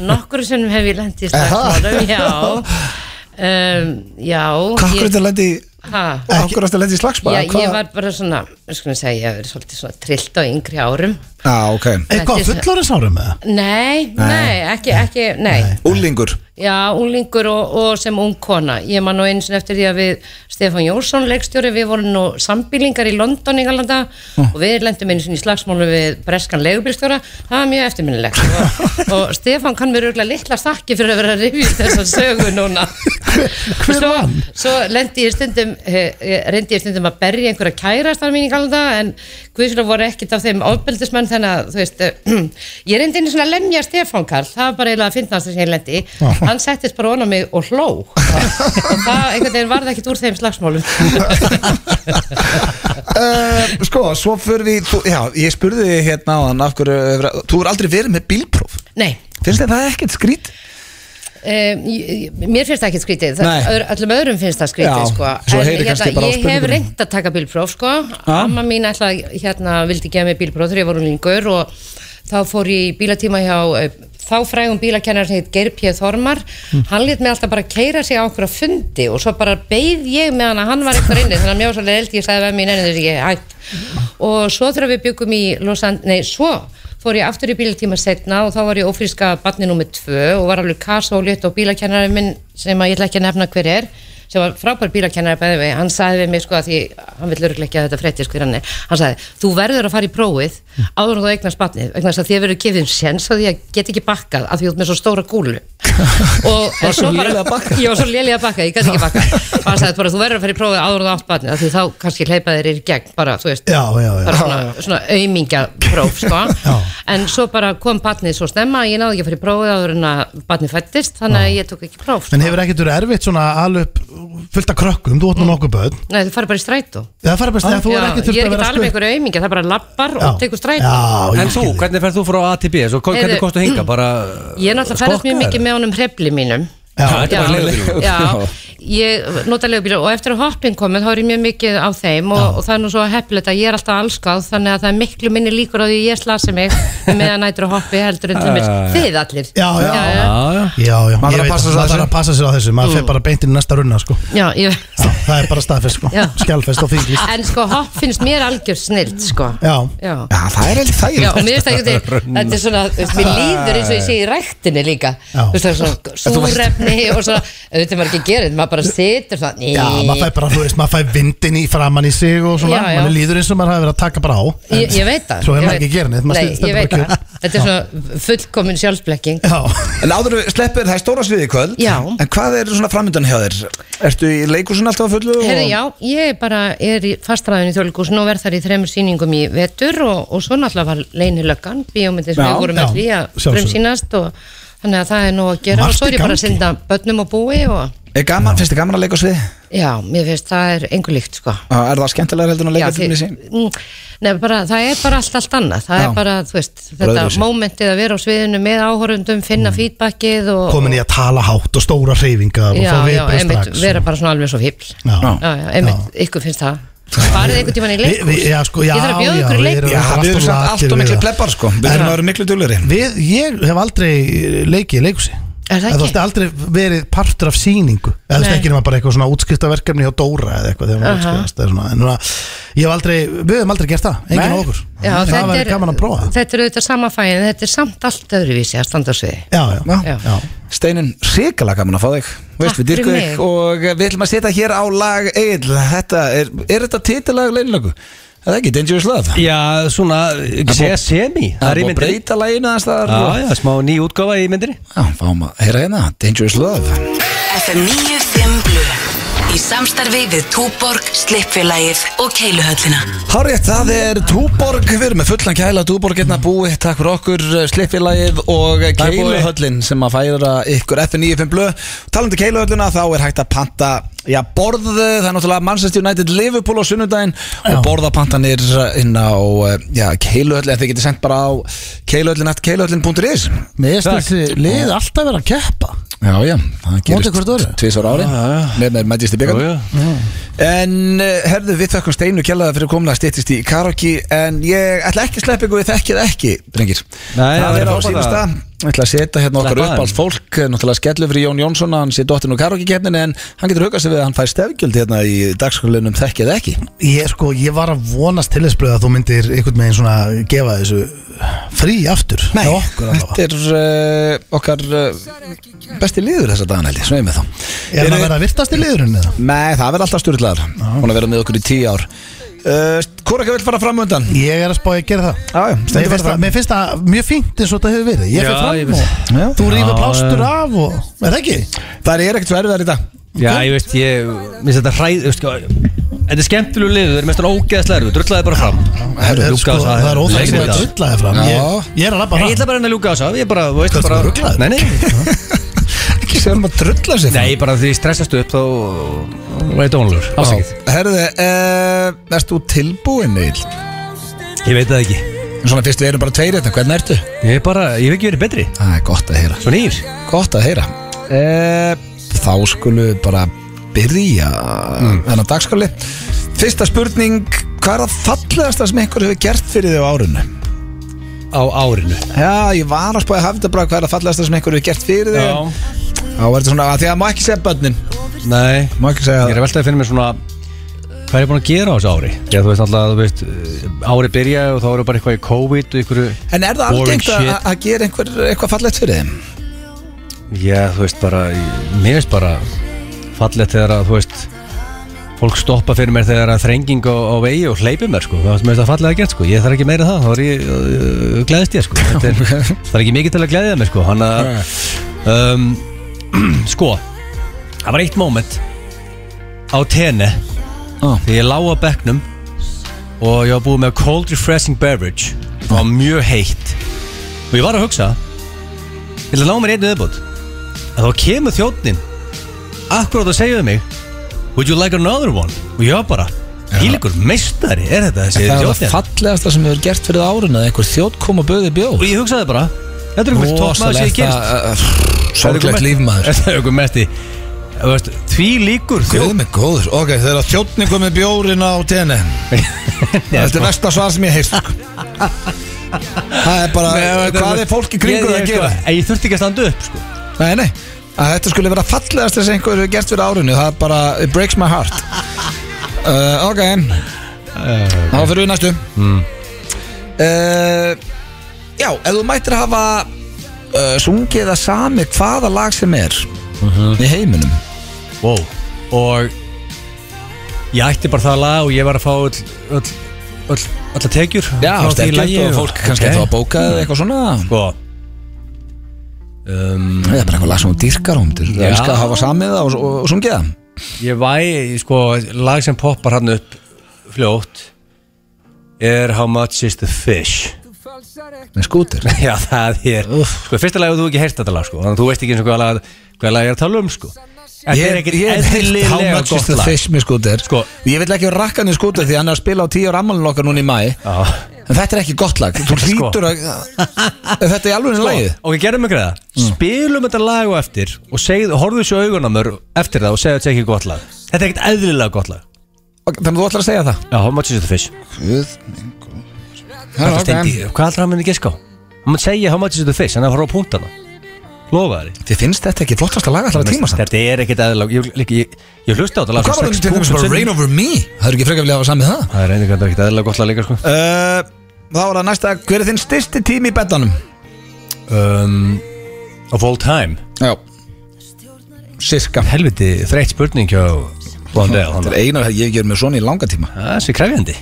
Speaker 4: nokkur sinnum hef ég lent í slagsmálum, já um, Já
Speaker 1: Hvað akkur
Speaker 4: ég-
Speaker 1: þetta lendi
Speaker 4: Ha?
Speaker 1: Akkur þetta lendi í slagsmál?
Speaker 4: Já, ég var bara svona, sko að segja, ég hef verið svolítið svona trillt á yngri árum
Speaker 1: Já, ok
Speaker 3: Eitthvað
Speaker 4: Þetta er-
Speaker 3: fullorins Eh, árum eða?
Speaker 4: Nei, nei, ekki, ekki, nei,
Speaker 1: Úlingur
Speaker 4: Já, unglingur og, og sem ung kona Ég man nú eins og eftir því að við Stefán Jónsson, leikstjóri, við vorum nú sambýlingar í London, Engalanda og við lendum eins og í slagsmálu við breskan leigubílstjóra, það var mjög eftirminnilegt og, og Stefán kann mér auðvitað litla þakki fyrir að vera að rifja upp þessa sögu núna
Speaker 3: hver
Speaker 4: svo,
Speaker 3: vann?
Speaker 4: svo lendi ég stundum eh, eh, reyndi ég stundum að berja einhverja kærastar mín í galda en Guðsjóla voru ekkit af þeim ofbeldismenn þannig að þú veist eh, ég reyndi einu svona að lemja Stefán Karl það var bara eiginlega að finna það sem ég lendi í. hann settist bara ofan á mig og hló og það einhvern veginn varði ekkit úr þeim slagsmálum
Speaker 1: uh, Sko, svo fyrir við þú, Já, ég spurði þig hérna á hann af hverju hefur- Þú er aldrei verið með bílpróf
Speaker 4: Nei,
Speaker 1: Finnst þér það ekkert skrít?
Speaker 4: Um, ég- mér finnst það ekkert skrítið
Speaker 1: Nei.
Speaker 4: það, öðru- öllum öðrum finnst það skrítið
Speaker 1: Já,
Speaker 4: sko.
Speaker 1: svo heyri kannski bara á
Speaker 4: ég hef
Speaker 1: spurningunum.
Speaker 4: reynd að taka bílpróf sko. amma mín ætla, hérna, vildi gefa mig bílpróf þegar ég var unlingur og þá fór ég í bílatíma hjá eh, þá frægum bílakennar sem heit Geir P. Þormar hann lit mig alltaf bara keira sig á okkur að fundi og svo bara beið ég meðan að hann var eitthvað inni þannig að mjög svolítið eldi ég sagði við mér neina þess að ég hætt og svo þegar við byggum í Los Angeles, nei svo fór ég aftur í bílatíma setna og þá var ég ófríska barni nummer tvö og var alveg kasólétt og bílakennari minn sem að ég ætla ekki að nefna hver er sem var frábær bílakennari bæði við hann sagði við mig sko að því hann vil örglega ekki að þetta fréttis hver hann er, hann sagði þú verður að fara í prófið áður en þú eignast barnið vegna þess að þið verður gefið séns að ég get ekki bakkað að því þú ert með svo stóra kúlu og en svo bara ég var svo lélega að bakka, ég gæti ekki bakka og hann sagði bara þú verður að fara í prófið áður en þú átt barnið af því þá kannski hleypa þeir í gegn bara, þú veist,
Speaker 3: Já, já, já.
Speaker 4: bara svona, svona aumingapróf sko. en svo bara kom barnið svo snemma að ég náði ekki að fara í prófið áður en að barnið fættist þannig að ég tók ekki próf sko.
Speaker 3: En hefur ekkert verið erfitt svona alveg fullt af krökkum, þú átt nú nokkuð börn
Speaker 4: Nei, þú farið bara í strætó
Speaker 3: Það fara best, þegar þú
Speaker 4: Mm. Já,
Speaker 3: er ekki
Speaker 4: Ég
Speaker 3: þurft
Speaker 4: er
Speaker 3: að
Speaker 4: ekki um
Speaker 3: vera
Speaker 4: talað með einhverju aumingi, það bara lappar og tekur strætó
Speaker 3: Já,
Speaker 2: En þú,
Speaker 3: ég skil þig
Speaker 2: hvernig ferð þú frá A til B? Svo, hva- hvernig
Speaker 4: Heyrðu, mm.
Speaker 2: komstu hinga? Bara
Speaker 4: Ég er náttlega ferðast mjög
Speaker 2: skokkaður?
Speaker 4: mikið með honum um hrefli mínum
Speaker 2: Já, þetta er bara
Speaker 4: já,
Speaker 2: leiðbílur
Speaker 4: já, ég nota leigubíla og eftir að hoppin komið þá er ég mjög mikið á þeim og, og það er nú svo heppilegt að ég er alltaf allskáð þannig að það er miklu minni líkur á því ég slasi mig meðan nætur að hoppi heldur en til mér þið allir
Speaker 3: Já, já.
Speaker 2: Já, já
Speaker 3: Já, já,
Speaker 1: Maður þarf
Speaker 3: ég
Speaker 1: að passa sig á þessu.
Speaker 3: veit það, maður þarf að passa sér á þessu Maður fer bara beint inn í næsta runna, sko
Speaker 4: já, ég,
Speaker 3: Já, Það er bara staðfest, sko
Speaker 4: Já.
Speaker 3: Skjálfest og þinglist
Speaker 4: en sko hopp finnst mér algjör snilt sko
Speaker 3: Já,
Speaker 4: já.
Speaker 1: Já, það er heldur
Speaker 4: Já, og
Speaker 1: þægilegt
Speaker 4: mér finnst það ekki þetta er svona, þú veist, mér líður eins og ég sé í ræktinni líka
Speaker 3: Já.
Speaker 4: þú veist það er svona súrefni og svona, auðvitað er maður ekki að gera þetta maður bara situr það
Speaker 3: já, maður fær bara, þú veist, maður fær vindin í framann í sig og svona
Speaker 4: Já, já.
Speaker 3: Manni líður eins og maður hafi verið að taka bara á
Speaker 4: ég, ég veit það
Speaker 3: Svo er
Speaker 4: ég
Speaker 3: maður ekki
Speaker 4: veit-
Speaker 3: að gera neitt, maður
Speaker 4: Nei,
Speaker 3: stendur
Speaker 4: ég
Speaker 3: bara
Speaker 4: veit
Speaker 3: kjur.
Speaker 4: það, þetta er svona fullkomin sjálfsblekking
Speaker 3: Já,
Speaker 1: En áður en við sleppir það er stóra sviði í kvöld
Speaker 4: Já.
Speaker 1: En hvað er svona framöndan hjá þér? Ertu í leikusun alltaf að fullu? og-
Speaker 4: Herri, já, ég bara er í fastræðinu í þjóðleikúsin og verð þar í þremur sýningum í vetur og, og svo náttúrulega var leinilöggan bíómyndin sem
Speaker 1: Já,
Speaker 4: við vorum
Speaker 3: já,
Speaker 4: með því að
Speaker 3: sjálfsögðu.
Speaker 4: frumsýnast og þannig að það er nú að gera
Speaker 3: Margt
Speaker 4: og svo
Speaker 3: í
Speaker 4: er ég bara að
Speaker 3: gangi.
Speaker 4: synda börnum og búi og
Speaker 1: Er gaman, finnst þið gaman að leika á sviði?
Speaker 4: já, mér finnst það er engu líkt sko
Speaker 1: Og Er það skemmtilega heldur en að
Speaker 4: Já,
Speaker 1: leika
Speaker 4: þið-
Speaker 1: til mér sín?
Speaker 4: mm, Nei, bara, það er bara allt, allt annað það
Speaker 1: Já.
Speaker 4: er bara, þú veist, þetta
Speaker 1: öðruvísi.
Speaker 4: mómentið að vera á sviðinu með áhorundum, finna feedbackið og,
Speaker 3: Mm. komin í að tala hátt og stóra hreyfingar og
Speaker 4: já,
Speaker 3: fá
Speaker 4: já,
Speaker 3: viðbröð
Speaker 4: einmitt,
Speaker 3: strax
Speaker 4: vera bara svona alveg svo fíbl já,
Speaker 3: Já.
Speaker 4: já, einmitt, ykkur finnst það farið einhvern tímann í
Speaker 3: Við-
Speaker 4: leikhús
Speaker 3: við- Já, sko, já,
Speaker 4: ég þarf að bjóða
Speaker 3: já,
Speaker 4: ykkur í
Speaker 3: við
Speaker 4: leikhús
Speaker 1: Já,
Speaker 3: allt
Speaker 1: við
Speaker 3: of
Speaker 1: erum samt
Speaker 3: lakir
Speaker 1: allt og
Speaker 3: við
Speaker 1: miklu
Speaker 3: það.
Speaker 1: pleppar sko Við erum að vera miklu dulleri
Speaker 3: Við, ég hef aldrei leikið í leikúsi
Speaker 4: Er það
Speaker 3: Eða, Þú
Speaker 4: ekki?
Speaker 3: veist, aldrei verið partur af sýningu Eða þú veist
Speaker 4: Nei.
Speaker 3: ekki nema bara eitthvað svona útskriftaverkefni hjá Dóra eða eitthvað þegar maður
Speaker 4: Aha.
Speaker 3: útskrifast eða svona En núna, ég hef aldrei, við hefum aldrei gert það, enginn
Speaker 1: Nei.
Speaker 3: á okkur
Speaker 4: Já,
Speaker 3: Það
Speaker 4: þetta
Speaker 3: væri
Speaker 4: er-
Speaker 3: gaman að prófa það
Speaker 4: þetta er auðvitað sama fæin, þetta er samt allt öðruvísi að standa á sviði
Speaker 3: Já, já,
Speaker 4: Já.
Speaker 3: já
Speaker 1: Steinin, hrikalega gaman að fá þig Þú Veist,
Speaker 4: Takk
Speaker 1: við dyrkum þig
Speaker 4: fyrir mig.
Speaker 1: og við ætlum að setja hér á lag Egil, þetta er, er þetta titilag leinlöku? Er það ekki Dangerous Love?
Speaker 2: Já, svona, ekki
Speaker 1: Það
Speaker 2: segja semi Það er í
Speaker 1: búið að
Speaker 2: myndinni
Speaker 1: breyta laginu aðeins það
Speaker 2: Já, já, smá ný útgáfa í myndinni
Speaker 1: Já, fáum að heyra hérna, Dangerous Love
Speaker 5: FM 95 Blu Í samstarfi við Túborg, Slippfélagið og Keiluhöllina
Speaker 1: Hárétt, það er Túborg, við erum með fullan kæla Túborg hérna búið, takk fyrir okkur Slippfélagið og
Speaker 2: Takk, Búi.
Speaker 1: Keiluhöllin sem að færa ykkur F95 blöð Talandi um Keiluhöllina, þá er hægt að panta Já, borð, það er náttúrulega Manchester United Liverpool á sunnudaginn og borðapantanir inn á já, Keiluhöllin, en þið getur sendt bara á keiluhöllin.keiluhöllin.is
Speaker 3: Mér finnst
Speaker 2: Takk.
Speaker 3: þessi lið alltaf vera að keppa
Speaker 1: Já, já, það
Speaker 3: Mótið hvert öðru.
Speaker 1: gerist tvisar ári með með mætist í byggjum En eh, herðu, við þökkum Steinu kjallaða fyrir komna að stýttist í karaoke En ég ætla ekki að sleppa ykkur við þekkið ekki, drengir
Speaker 2: Nei,
Speaker 1: Það er
Speaker 2: það er
Speaker 1: á
Speaker 2: frábært.
Speaker 1: síðasta Ég ætla að setja hérna okkar
Speaker 2: Sleppa
Speaker 1: uppáls fólk Náttúrulega skellu fyrir Jón Jónsson Hann sé dottinn úr karaoke keppninu En hann getur hugað sig við að hann fær stefgjöld hérna í dagskólinum þekkið ekki
Speaker 3: Ég sko, ég var að vonast til þess blöð að þú myndir einhvern veginn svona gefa þessu frí aftur Hjá okkur allavega.
Speaker 1: þetta er uh, okkar uh, besti liður þessa dagana held ég, Sveið með þá
Speaker 3: Er hann að vera að virtast í liðurinn eða?
Speaker 1: Nei, það verður alltaf styrlaðar Hún er að vera með okkur í tíu ár uh, Hvoraka vil fara fram undan?
Speaker 3: Ég er að spája að gera það
Speaker 1: Já, já,
Speaker 3: Mér
Speaker 1: stendur
Speaker 3: finnst,
Speaker 1: bara
Speaker 3: það,
Speaker 1: fram
Speaker 3: mér finnst það mjög fínt eins og þetta hefur verið Ég
Speaker 2: Já,
Speaker 3: fyrir
Speaker 2: ég
Speaker 3: fram
Speaker 2: veist.
Speaker 3: og
Speaker 1: Já.
Speaker 3: þú rýfur
Speaker 2: Já,
Speaker 3: plástur
Speaker 2: já.
Speaker 3: af og Er það ekki?
Speaker 1: Það er ekkert svo erfiðar í dag
Speaker 2: Já, ég veist, ég, minnst þetta hræð veist, hvað- Þetta er skemmtilegu lið, það er mestan ógeðslega erfið Drullaði bara fram
Speaker 3: Er, er, sko, það, er óþægt
Speaker 2: Leikmynd.
Speaker 3: að drulla þér fram
Speaker 1: Já.
Speaker 3: ég, ég er að labba
Speaker 2: Ég ætla
Speaker 3: fram
Speaker 2: bara að reyna að ljúka þess að Ég bara, þú veist,
Speaker 3: Hvað,
Speaker 2: bara
Speaker 3: ertu ruglaður?
Speaker 2: Nei, nei,
Speaker 1: Ekki sem að drulla sér
Speaker 2: nei, bara því ég stressast upp þá Það er dónulegur, ásakið
Speaker 1: Herðu, uh, erst þú tilbúin Egil?
Speaker 2: Ég veit það ekki
Speaker 1: Svona fyrst við erum bara tveir þetta, hvernig ertu?
Speaker 2: Ég er bara, ég hef ekki verið betri
Speaker 1: Það er gott að heyra
Speaker 2: Svo nýr
Speaker 1: Gott að heyra uh, Þá skulum við bara byrja mm. þennan dagskáli Fyrsta spurning, hvað er það fallegasta sem einhver hefur gert fyrir þig á árunni?
Speaker 2: Á árinu
Speaker 1: Já, ég var að spáði að hafa þetta bara hvað er það fallegasta sem einhver hefur gert fyrir þig Já, var þetta svona, af því að það má ekki segja börnin
Speaker 2: Nei
Speaker 1: Má ekki
Speaker 2: Ég er
Speaker 1: segja
Speaker 2: að veltaði að finna mér svona Hvað er ég búin að gera á þessu ári? Já, þú veist alltaf, þú veist, eh, ári byrjaði og þá eru bara eitthvað í COVID og einhverju
Speaker 1: En er það
Speaker 2: boring
Speaker 1: algengt að
Speaker 2: shit.
Speaker 1: að gera einhver, eitthvað fallegt fyrir þeim?
Speaker 2: Já, þú veist bara, ég- mér veist bara fallegt þegar að, þú veist fólk stoppa fyrir mér þegar að þrenging á, á vegi og hleypi mér, sko, það er mér veist að fallega gert, sko ég þarf ekki meira en það, þá er ég uh, gleðist ég, sko, Þetta er, það er ekki mikið til að gleðja mér, sko, hann að um, sko það var eitt moment á tenni
Speaker 1: Ah.
Speaker 2: þegar ég lág á bekknum og ég var búið með cold refreshing beverage það var mjög heitt og ég var að hugsa ég ætla að ná mér einu viðbútt að þá kemur þjóttnin akkurát að segja við mig would you like another one og ég var bara hílikur meistari er þetta þessi
Speaker 1: Það er það
Speaker 2: þjóttnin
Speaker 1: fallegasta sem hefur gert fyrir árun að einhver þjótt kom og böði bjóð
Speaker 2: og ég hugsaði bara þetta er einhver toppmaður sem ég gerist
Speaker 1: uh, Sorglegt líf maður
Speaker 2: Þetta er okkur mest í þú veist, Því líkur
Speaker 1: Guð með góður, ok, þegar þjóttni kom með bjórin á tenni
Speaker 2: sko-
Speaker 1: Þetta er versta svar sem ég heist Það er bara, hvað er fólk í kringu
Speaker 2: Ég-
Speaker 1: að
Speaker 2: ég-
Speaker 1: gera?
Speaker 2: sko, Ég þurfti ekki að standa upp sko.
Speaker 1: Nei, nei, að þetta skulle vera fallegast sem einhver hefur gert fyrir árinu Það er bara, it breaks my heart uh, Ok, þá fyrir við næstu uh, Já, ef þú mættir hafa uh, sungið að sami hvaða lag sem er í heiminum
Speaker 2: wow. Og Ég ætti bara það lag og ég var að fá öll, öll, öll, Alla tekjur
Speaker 1: Já,
Speaker 2: frá því lagi
Speaker 1: sterkjöld og fólk kannski þá að bóka eða eitthvað svona
Speaker 2: Sko um,
Speaker 1: Það er bara eitthvað lag sem hún dýrkar hún til
Speaker 2: Já.
Speaker 1: Það skal hafa samið það og, og, og sungið það
Speaker 2: Ég væ, sko, lag sem poppar hann upp Fljótt Er How Much Is The Fish
Speaker 1: Með skútir
Speaker 2: Já, það er Sko, fyrsta lagi þú ekki heyrt þetta lag, sko Þannig að þú veist ekki eins og hvað lag, hvað lag ég er að tala um, sko Þetta er ekkert
Speaker 1: heyrt How
Speaker 2: eðlilega
Speaker 1: much is
Speaker 2: gott
Speaker 1: the
Speaker 2: lag
Speaker 1: fish með skútir
Speaker 2: Sko.
Speaker 1: Ég vil ekki rakka niður skútir því hann er að spila á tíu ára ammálinu okkar núna í mæ
Speaker 2: Já.
Speaker 1: En þetta er ekki gott lag Þú
Speaker 2: Sko.
Speaker 1: hlýtur að Er Þetta er alveg lagið Mm.
Speaker 2: Ok, gerðum mig greiða Spilum þetta lag og eftir Og segð, horfðu svo augun á mér eftir það Og segðu þetta sé ekki gott lag Þetta er ekkert eðlilega gott lag
Speaker 1: Ok, Þannig að þú ætlar að segja það
Speaker 2: Já, how much is the fish? Hvað er stendi? Hvað heldur hann myndi giska á? Hann myndi segja how much is the fish Þannig að horfa á punktana Lofa þér
Speaker 1: Þið finnst þetta ekki flottasta lag allra tíma samt
Speaker 2: Þetta er ekkert eðlilega Ég, ég, ég, ég hlusta á þetta lag
Speaker 1: Hvað var
Speaker 2: svona
Speaker 1: það til
Speaker 2: 6.000
Speaker 1: dæmis bara
Speaker 2: sinnum.
Speaker 1: Rain Over Me? Það er ekki frekar vilja hafa samið það
Speaker 2: Það er einhvern veginn ekkert eðlilega gott lag líka sko
Speaker 1: Uh, Þá er það næsta Hver er þinn styrsti tími í betanum?
Speaker 2: um, Of all time
Speaker 1: Já Sirka
Speaker 2: Helviti þreytt spurning hjá Blondell
Speaker 1: Þetta er einar að ég ger mér svona í langa tíma
Speaker 2: Það er sér krefjandi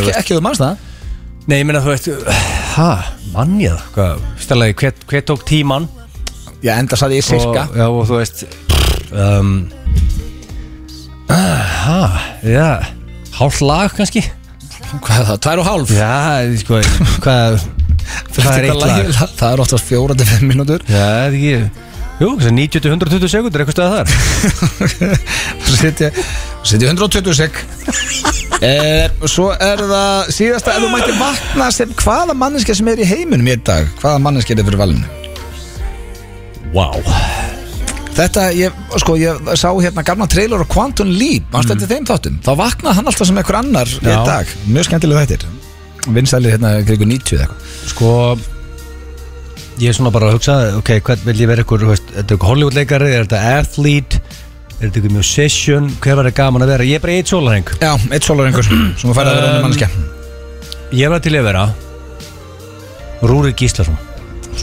Speaker 1: Ekki, ekki þú manns það
Speaker 2: Nei, ég meina þú veist Hæ, mann ég það Hvað, stærlega, hver, hver tók tíman
Speaker 1: Já, enda saði ég sirka
Speaker 2: og, Já, og þú veist um, Hæ, já Hálf lag kannski
Speaker 1: Hvað er það? Tvær og hálf?
Speaker 2: Já, sko, hvað Hvað er eitt lag?
Speaker 1: Það, það er oftast fjóra til fimm mínútur
Speaker 2: Já, það er ekki Jú, þessi 90-120 sekundur, eitthvað stöða þar
Speaker 1: Svo setja setja 120 sek eh, Svo er það síðasta Ef þú mætti vakna sem hvaða manneska sem er í heiminum í einn dag Hvaða manneska er það fyrir valinu?
Speaker 2: Vá
Speaker 1: Þetta, ég, sko, ég sá hérna gamla trailer á Quantum Leap Manstu eftir þeim þáttum? Þá vaknaði hann alltaf sem einhver annar í
Speaker 2: Mm. Já.
Speaker 1: dag Mjög skemmtilega þættir Vinsælir hérna krigu 90 eða eitthvað
Speaker 2: Sko Ég er svona bara að hugsa Ok, hvern vil ég vera ykkur þú veist, Er þetta ykkur Hollywoodleikari, er þetta athlete Er þetta ykkur musician Hver var þetta gaman að vera Ég er bara eitt sólarheng
Speaker 1: Já, eitt sólarengur sem færði að vera önnur
Speaker 2: Um,
Speaker 1: manneskja
Speaker 2: Ég var til í að vera Rúri Gíslason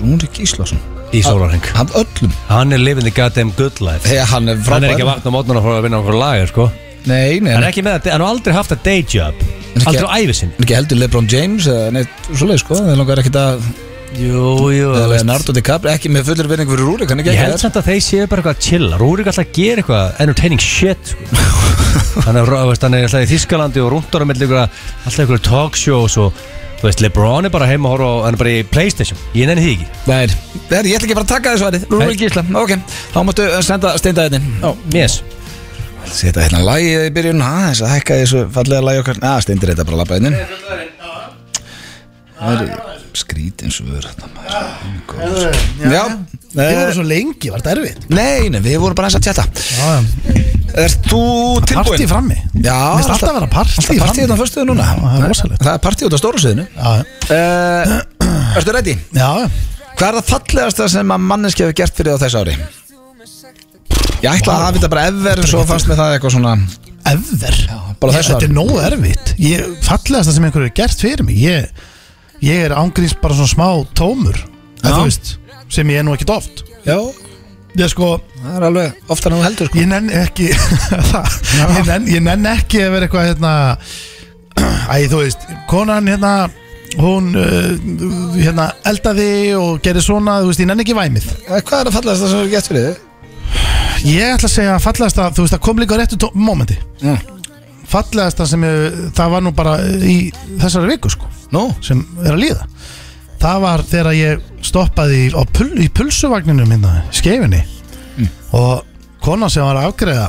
Speaker 1: Rúrik Íslasson
Speaker 2: Í sólarheng
Speaker 1: Hann öllum
Speaker 2: Hann er living the goddamn good life
Speaker 1: Þegar hann er
Speaker 2: Hann er
Speaker 1: frábær
Speaker 2: ekki að vakna á mótnuna Fór að vinna okkur lagar sko
Speaker 1: Nei, nei,
Speaker 2: Hann er
Speaker 1: nei
Speaker 2: ekki með þetta Hann har aldrei haft a day job
Speaker 1: En ekki-
Speaker 2: Aldrei á ævi sinni
Speaker 1: En ekki heldur Lebron James eða neitt svoleið sko Það langar ekkit að
Speaker 2: Jú, jú
Speaker 1: eða Leonardo DiCaprio ekki með fullir vinning fyrir Rúrik hann er
Speaker 2: Ég
Speaker 1: ekki
Speaker 2: held
Speaker 1: ekki
Speaker 2: samt að þeir séu bara eitthvað að chilla Rúrik er alltaf að gera eitthvað entertaining shit sko. hann, er, veist, hann er alltaf í Þískalandi og rúndar um eitthvað alltaf eitthvað talkshows og þú veist, Lebron er bara heima og horfa á- hann er bara í Playstation, ég nenni því ekki
Speaker 1: Nei, nei, ég ætla ekki bara að taka þessu aðri Rúrik Ísla, ok Þá máttu eh, senda steinda þetta
Speaker 2: oh. yes.
Speaker 1: Seta hérna lagið í byrjun aðeins að hækka þessu fallega lagi okkar að steindir þetta hérna. bara labba innin Það er skrít eins og við erum þetta maður Minn góður. Já,
Speaker 3: Þið voru
Speaker 1: eh,
Speaker 3: svo lengi, var þetta erfitt
Speaker 1: nei, nei, við vorum bara eins að tjata
Speaker 3: Já,
Speaker 1: Ert þú tilbúin?
Speaker 3: Partí frammi
Speaker 1: Já,
Speaker 3: Mér finnst alltaf að vera partí
Speaker 1: Alltaf hérna. partí þetta á föstuðu núna
Speaker 3: Já, það er rosalegt.
Speaker 1: Það er partí út á stóru sviðinu
Speaker 3: Já,
Speaker 1: uh, Ertu ready?
Speaker 3: já
Speaker 1: Hvað er það fallegasta sem að manneski hefur gert fyrir þá þess ári? Ég ætla að hafa þetta bara ever en svo fannst með það eitthvað svona
Speaker 3: ever
Speaker 1: bara
Speaker 3: Ég-
Speaker 1: þessu
Speaker 3: Þetta er
Speaker 1: ári.
Speaker 3: nógu erfitt ég, Fallegasta sem einhverju er gert fyrir mig Ég, ég er ángríns bara svona smá tómur
Speaker 1: Já.
Speaker 3: að, þú veist, Sem ég er nú ekkert oft
Speaker 1: Já,
Speaker 3: Ég sko,
Speaker 1: það er alveg oftar en þú heldur sko.
Speaker 3: ég nenn ekki það, ég, nenn, ég nenn ekki að vera eitthvað hérna Æ, þú veist, konan hérna Hún uh, hérna eldaði og gerði svona Þú veist, ég nenn ekki væmið
Speaker 1: Eh, Hvað er að falla þetta sem þú gett fyrir þig?
Speaker 3: Ég ætla að segja fallegasta, þú veist, það kom líka á réttu tó- mómenti
Speaker 1: Mm.
Speaker 3: Fallegasta sem ég, það var nú bara í þessari viku, sko
Speaker 1: Nú,
Speaker 3: sem er að líða það var þegar ég stoppaði í, á pul, í pulsuvagninum hérna, í skeifinni og kona sem var að afgreða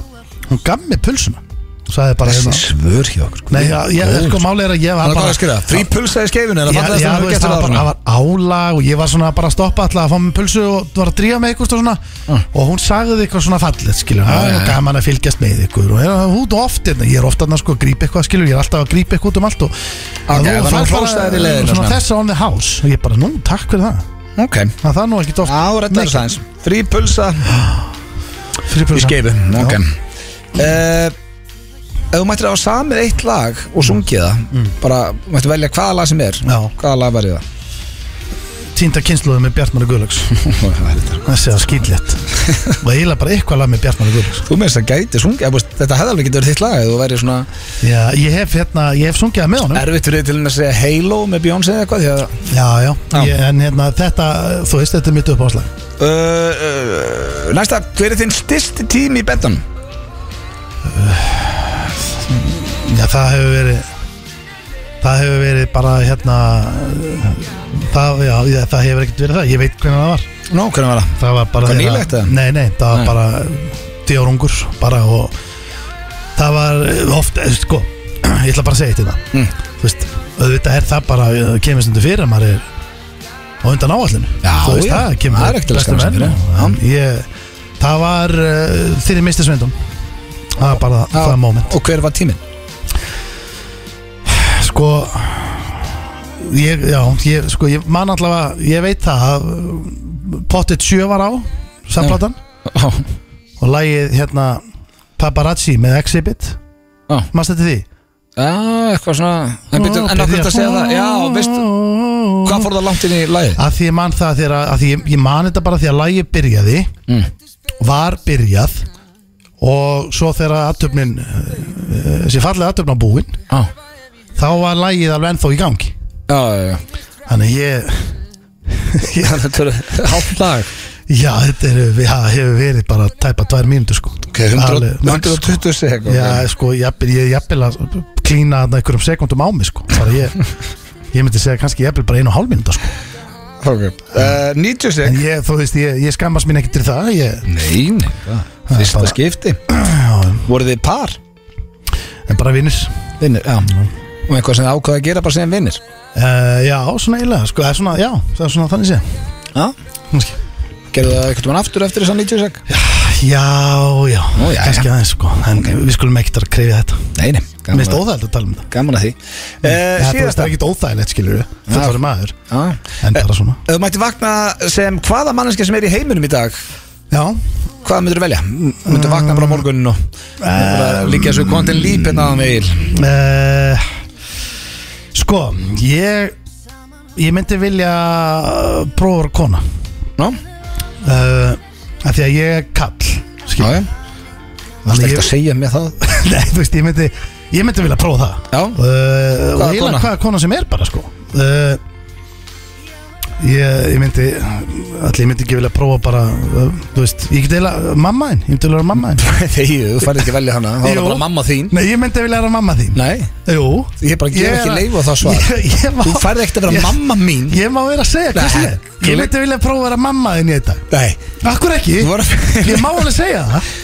Speaker 3: hún gaf mér pulsuna og sagði bara hérna
Speaker 1: svör hjá okkur
Speaker 3: Nei, já, ég, sko, máli er að ég var
Speaker 1: Hann er hvað
Speaker 3: bara
Speaker 1: að skrifa, frí pulsa í skeifinu En
Speaker 3: Já,
Speaker 1: að falla þetta
Speaker 3: já,
Speaker 1: sem
Speaker 3: þú
Speaker 1: þú
Speaker 3: veist,
Speaker 1: gett fyrir
Speaker 3: það var bara- það var álag og ég var svona bara að stoppa alltaf að fá mér pulsu og var að drífa með ykkur og svona
Speaker 1: Ah.
Speaker 3: og hún sagði eitthvað svona fallet skilur, það er gaman að fylgjast með ykkur og er hún oft, hérna, ég er oft að sko að grípa eitthvað skilur, ég er alltaf að grípa eitthvað út um allt og
Speaker 1: Ok, þannig
Speaker 3: að
Speaker 1: hún
Speaker 3: þú fær
Speaker 1: hrósaði þér í leiðinni og
Speaker 3: svona
Speaker 1: svona.
Speaker 3: þess on the house og ég bara, nú, takk fyrir það
Speaker 1: áfram Ok,
Speaker 3: það, það er nú ekki oft
Speaker 1: á réttar þess aðeins Frí pulsa
Speaker 3: fyrir
Speaker 1: í
Speaker 3: pulsa
Speaker 1: skeifu Ok
Speaker 3: Já.
Speaker 1: Eh, Ef þú mættir að hafa samið eitt lag og sungið það Bara, þú mættir velja hvaða lag sem er
Speaker 3: Já.
Speaker 1: Hvaða lag verið það?
Speaker 3: Týnda kynsluðu með Bjartmar og Guðlags
Speaker 1: Það er þetta
Speaker 3: þessi að skýtlegt og eiginlega bara eitthvað lag með Bjartmar og Guðlags
Speaker 1: Þú meðist að gæti sungið, eða, þú veist, þetta hefði alveg getur þitt lag eða þú væri svona
Speaker 3: Já, ég hef hérna, ég hef sungið það með honum
Speaker 1: erfitt fyrir þig til og með að segja Halo með Beyoncé eða eitthvað því að
Speaker 3: Já, já,
Speaker 1: Já.
Speaker 3: Ég, en hérna þetta, þú veist, þetta er mitt uppáslag
Speaker 1: uh, uh, Næsta, hver er þinn styrsti tími í betan?
Speaker 3: Já, það hefur verið Það hefur verið bara hérna það, já, ég, það hefur ekkert verið það, ég veit hvernig það var
Speaker 1: Nó, hvernig var það?
Speaker 3: Það var bara
Speaker 1: Hvað,
Speaker 3: þegar-
Speaker 1: nýlegt eða?
Speaker 3: Nei, nei, það var
Speaker 1: Nei.
Speaker 3: bara djórungur bara og það var oft, eh, sko ég ætla bara að segja eitt í það
Speaker 1: Mm.
Speaker 3: þú veist, auðvitað er það bara eh, kemur stundu fyrir að maður er á undan áallinu
Speaker 1: Já,
Speaker 3: þú veist
Speaker 1: já.
Speaker 3: það, kemur
Speaker 1: Það er ekkert að
Speaker 3: bestum
Speaker 1: skamma sín
Speaker 3: enn
Speaker 1: fyrir.
Speaker 3: og- en ég, það var uh, þeirri misti sveindum það var bara það moment
Speaker 1: Og hver var tíminn?
Speaker 3: sko ég, já, ég, sko, ég man allavega ég veit það að uh, pottet sjö var á samplatan
Speaker 1: Ó,
Speaker 3: og lagið hérna Paparazzi með Exhibit
Speaker 1: Já.
Speaker 3: mannst þetta því?
Speaker 1: Já, eitthvað svona En býtum, en okkur þetta að segja það Já, veistu, hvað fór það langt inn í lagið?
Speaker 3: að því ég man það þegar að að því ég, ég man þetta bara því að lagið byrjaði
Speaker 1: Mm.
Speaker 3: var byrjað og svo þegar aðtöfnin þessi fallega aðtöfna búin
Speaker 1: Já,
Speaker 3: þá var lagið alveg ennþá í gangi
Speaker 1: já, já, já
Speaker 3: þannig ég
Speaker 1: Þetta er hálft lag
Speaker 3: já þetta er, já, hefur verið bara tæpa tvær mínútur sko
Speaker 1: Ok, 100
Speaker 3: Alveg max, sko.
Speaker 1: 120 sekund
Speaker 3: Já, sko, jafnvel- ég jafnvel að klína þarna einhverjum sekundum á mig, sko bara ég, ég myndi segja kannski jafnvel bara einu og hálf mínúta, sko
Speaker 1: okay. uh, 90
Speaker 3: en
Speaker 1: sekund
Speaker 3: ég, þú veist, ég, ég skammast mín ekkert til það ég,
Speaker 1: Nei, nei, hvað? fyrsta
Speaker 3: bara-
Speaker 1: skipti
Speaker 3: já,
Speaker 1: Voruð þið par?
Speaker 3: en bara vinnir
Speaker 1: Vinnir, já Og eitthvað sem þið ákvaða að gera bara sem vinnir
Speaker 3: uh, já, svona eiginlega, sko, eða svona, já það er svona þannig sé
Speaker 1: Já
Speaker 3: Kannski.
Speaker 1: Gerðu það eitthvað mann aftur eftir þessan 90 sekund?
Speaker 3: já, já,
Speaker 1: Nú, já,
Speaker 3: kannski aðeins, sko en við skulum ekkert að krefja þetta
Speaker 1: Nei, nei,
Speaker 3: mér
Speaker 1: gaman,
Speaker 3: finnst
Speaker 1: að-
Speaker 3: óþægilegt að tala um það
Speaker 1: gaman að því uh,
Speaker 3: Eh, þú veist, það
Speaker 1: Síðasta
Speaker 3: er ekkert óþægilegt, skilur við fullari maður,
Speaker 1: Já.
Speaker 3: en bara svona
Speaker 1: Ef Þú mætti vakna sem hvaða manneska sem er í heiminum í dag
Speaker 3: Já,
Speaker 1: Hvað myndur þú velja? Myndur vakna bara á morgunin og bara Líka þessu kontin lípinn aðan við Egil
Speaker 3: Eh, Sko, ég Ég myndi vilja eh, prófa að vera kona
Speaker 1: Ná,
Speaker 3: uh, af Því að ég er kall
Speaker 1: já, já
Speaker 3: skilur.
Speaker 1: Það er
Speaker 3: Þannig
Speaker 1: ekkert að
Speaker 3: ég,
Speaker 1: segja mér það
Speaker 3: nei, þú veist, ég myndi Ég myndi vilja prófa það
Speaker 1: Já,
Speaker 3: uh, Og
Speaker 1: Hvaða
Speaker 3: ég
Speaker 1: kona?
Speaker 3: er hvaða kona sem er bara sko uh, ég, ég myndi Allir, ég myndi ekki vilja prófa bara uh, Þú veist, ég get eila mamma þín Ég myndi vilja vera mamma þín
Speaker 1: þegið, þú færði ekki að velja hana Það var
Speaker 3: Jú.
Speaker 1: bara mamma þín
Speaker 3: Nei, ég myndi vilja vera mamma þín
Speaker 1: Nei,
Speaker 3: Jú
Speaker 1: ég bara gef
Speaker 3: Ég-
Speaker 1: ekki leif á það svar
Speaker 3: Ég, ég má,
Speaker 1: Þú færði ekkert að vera
Speaker 3: ég-
Speaker 1: mamma mín
Speaker 3: Ég má vera að segja hvað sem er
Speaker 1: Nei.
Speaker 3: Ég myndi vilja prófa að vera mamma þín í þetta
Speaker 1: Nei,
Speaker 3: Akkur ekki
Speaker 1: Þú var að-
Speaker 3: Ég má alveg segja það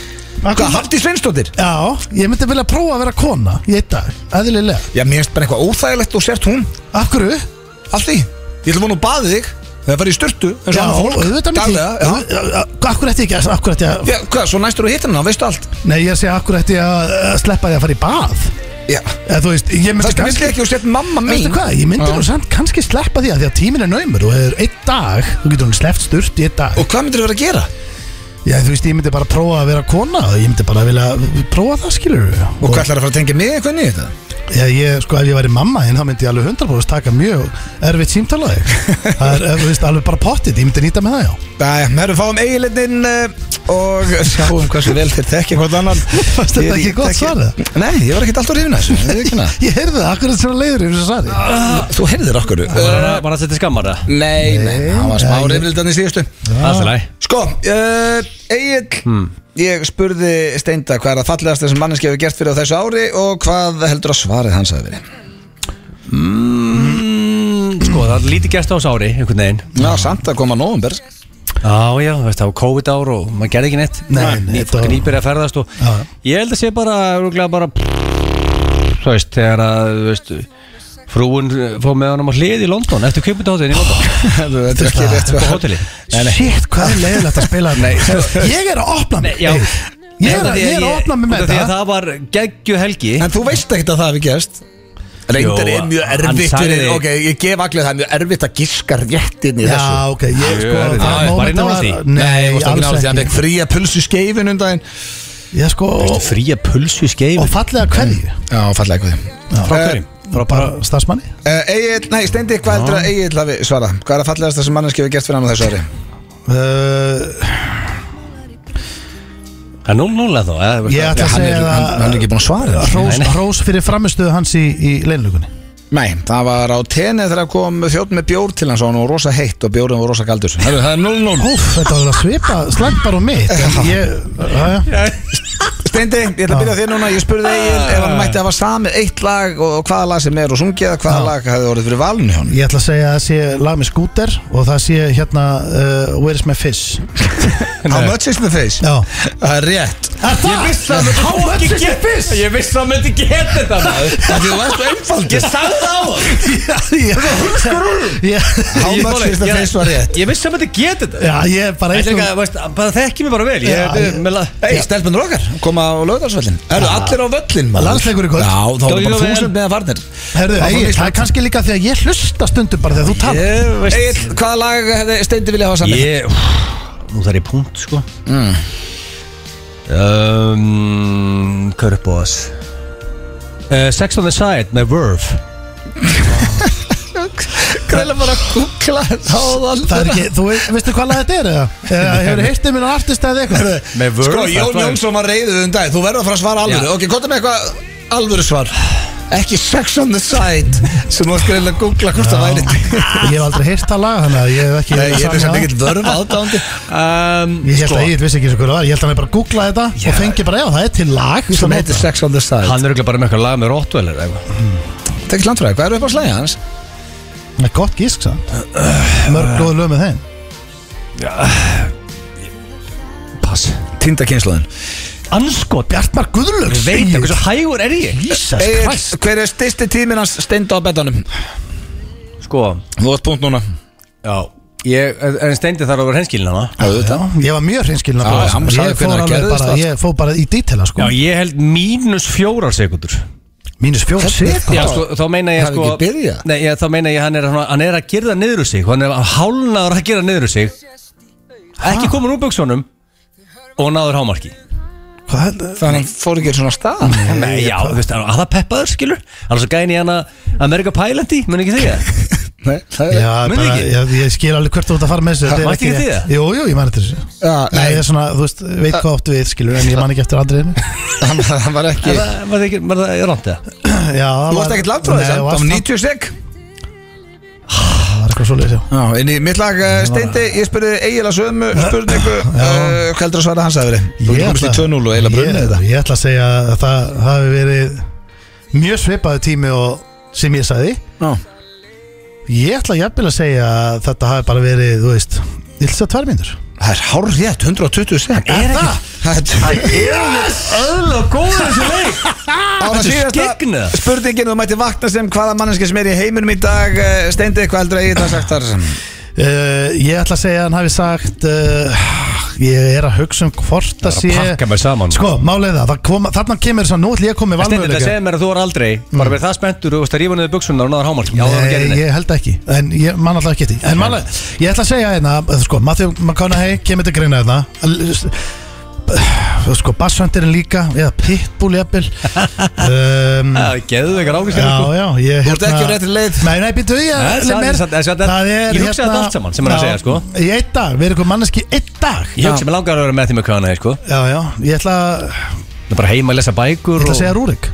Speaker 3: Akkur,
Speaker 1: hvað, Hafdís Sveinsdóttir?
Speaker 3: Já, ég myndi vilja prófa að vera kona í þetta Æðlilega
Speaker 1: Já, mér finnst bara eitthvað óþægilegt og sért hún
Speaker 3: Akkur
Speaker 1: Allt í, ég ætlum hún og baði þig Það farið í styrtu, eins og
Speaker 3: Já,
Speaker 1: annað fólk
Speaker 3: auðvitað myndi
Speaker 1: daglega, já.
Speaker 3: Akkur ætti ekki Akkur ætti að
Speaker 1: Já, hvað, svo næstur þú hittir hann, veistu allt
Speaker 3: Nei, ég segi akkur ætti að eh, sleppa því að fara í bað
Speaker 1: Já,
Speaker 3: Eða þú veist, ég myndi
Speaker 1: það skilst ekki og sett mamma mín
Speaker 3: Veistu hvað, ég myndi nú samt kannski sleppa því að því að tíminn er naumur og er einn dag, þú getur hún sleppt sturt í einn dag
Speaker 1: Og hvað myndir þú vera að gera?
Speaker 3: Já, þú veist, ég myndi bara prófa að vera kona Ég myndi bara vilja prófa það, skilur við
Speaker 1: Og hvað ætlar að fara að tengja mig eitthvað nýtt?
Speaker 3: Já, ég, sko, ef ég væri mamma þín, þá myndi ég alveg 100% taka mjög erfitt símtalaði Það er, ef þú veist, alveg bara pottit, ég myndi nýta með það, já
Speaker 1: Jæja, við erum fáum eiginleginn eh, og sjáum hversu vel þeir tekja hvort annan
Speaker 3: Fannst þetta
Speaker 1: Ég-
Speaker 3: ekki
Speaker 1: ég
Speaker 3: gott
Speaker 1: þekki-
Speaker 3: svar, eða?
Speaker 1: Nei, ég var ekkert alltaf hrifin að þessu ég viðurkenna það.
Speaker 3: Ég heyrði það, akkurat svona leiður yfir þessu svari
Speaker 1: Ah. Þú heyrðir okkur Uh,
Speaker 2: Var hann- var hann setið skammar það?
Speaker 1: Nei, Ah. nei, það var smá reyfrildan í síðustu
Speaker 2: Alltaf læg
Speaker 1: Sko, uh, Egil Ég spurði Steinda hvað er að fallegast þessum manneski hefur gert fyrir á þessu ári og hvað heldur að svarið hans hafi verið
Speaker 2: Sko, það er lítið gæst á þessu ári, einhvern veginn
Speaker 1: Já, samt að koma nóvumber
Speaker 2: Já, já, þú veist, það var COVID ár og maður gerði ekki neitt
Speaker 3: Nei, nei, þetta
Speaker 2: Fólk
Speaker 3: var-
Speaker 2: er nýbyrja að ferðast og
Speaker 3: Já, já.
Speaker 2: Ég held að sé bara, rúglega bara Þú veist, þegar að, þú veist Frúin eh, fór með honum á hlið í London Eftir kjöpindahóttin í London
Speaker 1: Þetta er ekki rétt
Speaker 2: Upp á
Speaker 1: svar.
Speaker 2: hóteli
Speaker 3: Shit, hvað er leiðilegt að spila þetta Ég er að opna mig
Speaker 2: Já
Speaker 3: Ég er að- ég er að opna mig með
Speaker 2: Þegar
Speaker 3: þetta
Speaker 2: það var geggju helgi
Speaker 1: En þú veist ekkert að það hefur gerst Reyndar
Speaker 2: Jó,
Speaker 1: er mjög
Speaker 2: hann
Speaker 1: erfitt
Speaker 2: sagði-
Speaker 1: fyrir, Ok, ég gef allir það er mjög erfitt að giska rétt inn í
Speaker 3: Já,
Speaker 1: þessu
Speaker 3: ok, ég sko
Speaker 2: Ég er- Já,
Speaker 3: það
Speaker 2: var ég
Speaker 3: moment
Speaker 2: nálægt því?
Speaker 3: Nei,
Speaker 1: ég ekki nála
Speaker 3: alls
Speaker 1: því að hann
Speaker 3: ekki
Speaker 1: fekk fría pulsu skeifin um daginn
Speaker 3: Ég sko,
Speaker 2: Fría pulsu í
Speaker 3: og
Speaker 2: skeif
Speaker 3: fallega hverju
Speaker 1: Já, fallega eitthvað
Speaker 2: Frá hverjum?
Speaker 3: Frá bara starfsmanni
Speaker 1: Uh, Egil, nei, Steindi, hvað heldur að Egil hafi svarað? Hvað er að fallegast þessum manneski hefur gert fyrir hann á þessu ári?
Speaker 3: Uh,
Speaker 2: Það er 0-0 eða þá eða-
Speaker 3: Ég
Speaker 1: Já,
Speaker 3: ætla að
Speaker 1: hann
Speaker 3: segja
Speaker 1: er- hann- hann er ekki búinn að svara það.
Speaker 3: Hrós,
Speaker 2: Nei, nei.
Speaker 3: hrós fyrir framistöðu hans í, í leinlugunni
Speaker 1: Nei, það var á tenni þegar kom þjótt með bjór til hans og hann var rosa heitt og bjórinn var rosa kaldur Herru, Það er 0-0
Speaker 3: Úf, þetta var að svipa slæmt bara á mitt en ég, já, já.
Speaker 1: Steindi, ég ætla að byrja á þér núna, ég spurði Egil ef hann mætti hafa samið eitt lag og hvaða lag sem er og sungið hvaða lag hefði orðið fyrir valinu hjá hann
Speaker 3: ég ætla að segja að það sé lag með skúter og það sé hérna uh, Where's my fish
Speaker 1: How much is the face?
Speaker 3: Já.
Speaker 1: Það er rétt
Speaker 3: Ég vissi það How much is the fish?
Speaker 2: Ég vissi að hann myndi geta þetta maður
Speaker 1: Það því þú varst svo einfaldur
Speaker 2: Ég sagði það á hann
Speaker 3: Ég var húskur úr
Speaker 1: How much is the face var rétt
Speaker 2: Ég vissi að hann myndi geta þetta
Speaker 3: Já, ég er bara
Speaker 2: Þetta er
Speaker 3: eitthvað
Speaker 2: eitthvað, veist, bara þekki mig bara vel Ég
Speaker 3: Já,
Speaker 2: er
Speaker 3: ég-
Speaker 2: með la...
Speaker 1: Ei, stelpunur okkar, koma á lögdagsvöllin Eru allir á völlin maður?
Speaker 3: Landsleikur í kvöld.
Speaker 1: Já, þá eru bara
Speaker 2: Gangi ykkur vel.
Speaker 1: þúsund meða farnir
Speaker 3: Herðu, Egil, það er kannski líka því að ég hlusta stundum bara þegar þú talar
Speaker 2: Ég, veist
Speaker 1: Egil, hvaða lag hefði Steindi vilja hafa samið?
Speaker 2: Ég, nú þarf ég punkt, sko
Speaker 1: Mm.
Speaker 2: um, Hvað er upp á þess? Uh, Sex on the side með Verve
Speaker 1: Kræla bara að kúkla Háðan
Speaker 3: Það er ekki, þú ve- veistu hvað lag þetta er eða? Eða hefur heyrtið minn á artist eða eitthvað Herðu,
Speaker 2: Með Verve
Speaker 1: Sko, Jón
Speaker 2: þetta var-
Speaker 1: Jónsson var reyðið um dag Þú verður að fara að svara alvöru
Speaker 2: Já.
Speaker 1: Ok, gott með eitthvað alvöru svar Ekki sex on the side Sem þú skriðilega að googla hvort það væri
Speaker 3: Ég hef aldrei heyrt það lag, þannig að ég hef ekki
Speaker 1: Nei, Ég er þess
Speaker 3: samið
Speaker 1: að
Speaker 3: það.
Speaker 1: mikill vörf aðdándi
Speaker 2: um,
Speaker 3: Ég held
Speaker 2: sko,
Speaker 3: að ég vissi ekki eins og hverju var Ég held að hann bara googlaði þetta og fengi bara, já það er til lag
Speaker 1: Sem
Speaker 3: Svona
Speaker 1: heitir
Speaker 3: nota.
Speaker 1: sex on the side
Speaker 2: Hann er örugglega bara með eitthvað lag með Rottwell eða eitthvað
Speaker 1: Tekst landfræði, hvað eru upp á slæði hans?
Speaker 3: Með gott gísk samt Mörg góð lög með þeim
Speaker 2: Pass
Speaker 1: Tinda kynsluðin
Speaker 3: Anskot Bjartmar Guðlöks
Speaker 2: Veit það, hversu hægur er ég?
Speaker 3: Jesus Christ
Speaker 1: Hver er styrsti tíminn hans steinda á betanum?
Speaker 2: Sko,
Speaker 1: Þú átt punkt núna
Speaker 2: já Ég, en steindi þar að vera henskilin hana
Speaker 3: Já, eh, ég var mjög hreinskilin
Speaker 1: Já, hann sagði
Speaker 3: Ég fór
Speaker 1: hvenær
Speaker 3: alveg
Speaker 1: gerðist
Speaker 3: bara
Speaker 1: allt.
Speaker 3: Ég fór bara í detaila
Speaker 2: Já,
Speaker 3: sko
Speaker 2: ég held mínus fjórar sekundur
Speaker 3: Mínus fjóð sekund
Speaker 2: Já, sko, þá meina ég
Speaker 1: Hafi
Speaker 2: sko
Speaker 1: ekki byrjað?
Speaker 2: Nei, ég, þá meina ég hann er, svona- hann er að gyrða niður úr sig Hann er að hálnaður að gyrða niður úr sig Ekki komin úr buksunum Og náður hámarki
Speaker 1: Þannig fór ekki svona stað
Speaker 2: Nei, já, þú veist, hann er að það peppaður, skilur Hann er svo gæni í hana America Pilot í, mun ekki þig það?
Speaker 1: Nei, það
Speaker 3: Já,
Speaker 1: er
Speaker 2: Munið
Speaker 3: bara,
Speaker 2: ekki?
Speaker 3: ég, ég skil alveg hvert þú ert að fara með þessu þetta er
Speaker 2: Mætti
Speaker 3: ekki
Speaker 2: ekki þið
Speaker 3: rétt.
Speaker 2: það?
Speaker 3: Jú, jú, ég man eftir
Speaker 1: Já,
Speaker 3: þessu Nei,
Speaker 1: nei.
Speaker 3: ég er svona, þú veist, veit hvað áttu við skilur En ég man ekki eftir andriðinu
Speaker 1: Það var ekki
Speaker 2: Var það ekki, var það rámt það?
Speaker 3: Já,
Speaker 1: Þú varst ekkert landfræði, það var 90 sek
Speaker 3: Það var eitthvað svolítið, já
Speaker 1: Já, inn í mitt lag uh, Steindi, ég spurði eiginlega sömu spurningu uh, Hvað heldur að svara hans að veri? Þú
Speaker 3: Ég
Speaker 1: komist í
Speaker 3: ætla-
Speaker 1: 2-0 og eiginlega brunnið
Speaker 3: ég,
Speaker 1: þetta
Speaker 3: Ég ætla að segja að það það hafi verið mjög svipaðu tími og sem ég sagði
Speaker 1: Já.
Speaker 3: Ég ætla jafnvel að segja að þetta hafi bara verið, þú veist, ylsa tværmyndur
Speaker 1: Það er hár rétt, 120 sek
Speaker 2: Er ekki-
Speaker 1: það?
Speaker 2: Öðla og góður þessu leik
Speaker 1: Ára
Speaker 2: Þetta er
Speaker 1: síðasta
Speaker 2: skeggnað.
Speaker 1: spurningin þú mætti vakna sem hvaða manneski sem er í heiminum í dag eh, Steindi, hvað heldur að ég það sagt þar
Speaker 3: Eh, uh, Ég ætla að segja að hann hafi sagt uh, Ég er að hugsa um
Speaker 2: Það
Speaker 3: hvort það
Speaker 2: er
Speaker 3: sé
Speaker 2: að pakka mér saman.
Speaker 3: Sko, málið er það, það kom, þarna kemur þess að nú ætlum ég að koma
Speaker 2: Stendur
Speaker 3: með
Speaker 2: þetta að
Speaker 3: valmöðuleika
Speaker 2: segja mér að þú er aldrei bara verið það spenntur og þú veist að rífa niður buksunar og náðar hámál Já, það var að gera
Speaker 3: Nei,
Speaker 2: þetta
Speaker 3: ég held ekki En ég man alltaf ekki þetta En málið, ég ætla að segja hérna eh, Sko, Matthew McConaughey kemur til greina hérna Al- s- eh, Sko, Basshundirinn líka Eða Pitbull, jafnvel um,
Speaker 2: Það er geðveikar ákvæmst
Speaker 3: Já, já, ég hérna-
Speaker 1: Þú ert ekki á réttri leið.
Speaker 3: Nei, nei, býttu, ég
Speaker 2: Nei,
Speaker 3: leið
Speaker 2: það er
Speaker 3: mér.
Speaker 2: satt- það er satt- ég hugsaði þetta allt saman sem hann er að
Speaker 3: hérna-
Speaker 2: segja,
Speaker 3: Já,
Speaker 2: sko.
Speaker 3: Í einn dag, við erum ykkur manneski einn dag
Speaker 2: Ég hugsa mig langar að vera með því með kvæðan sko
Speaker 3: Já, já, ég ætla að
Speaker 2: Það er bara heima að lesa
Speaker 3: Ég
Speaker 2: bækur
Speaker 3: ætla
Speaker 2: og
Speaker 3: að segja Rúrik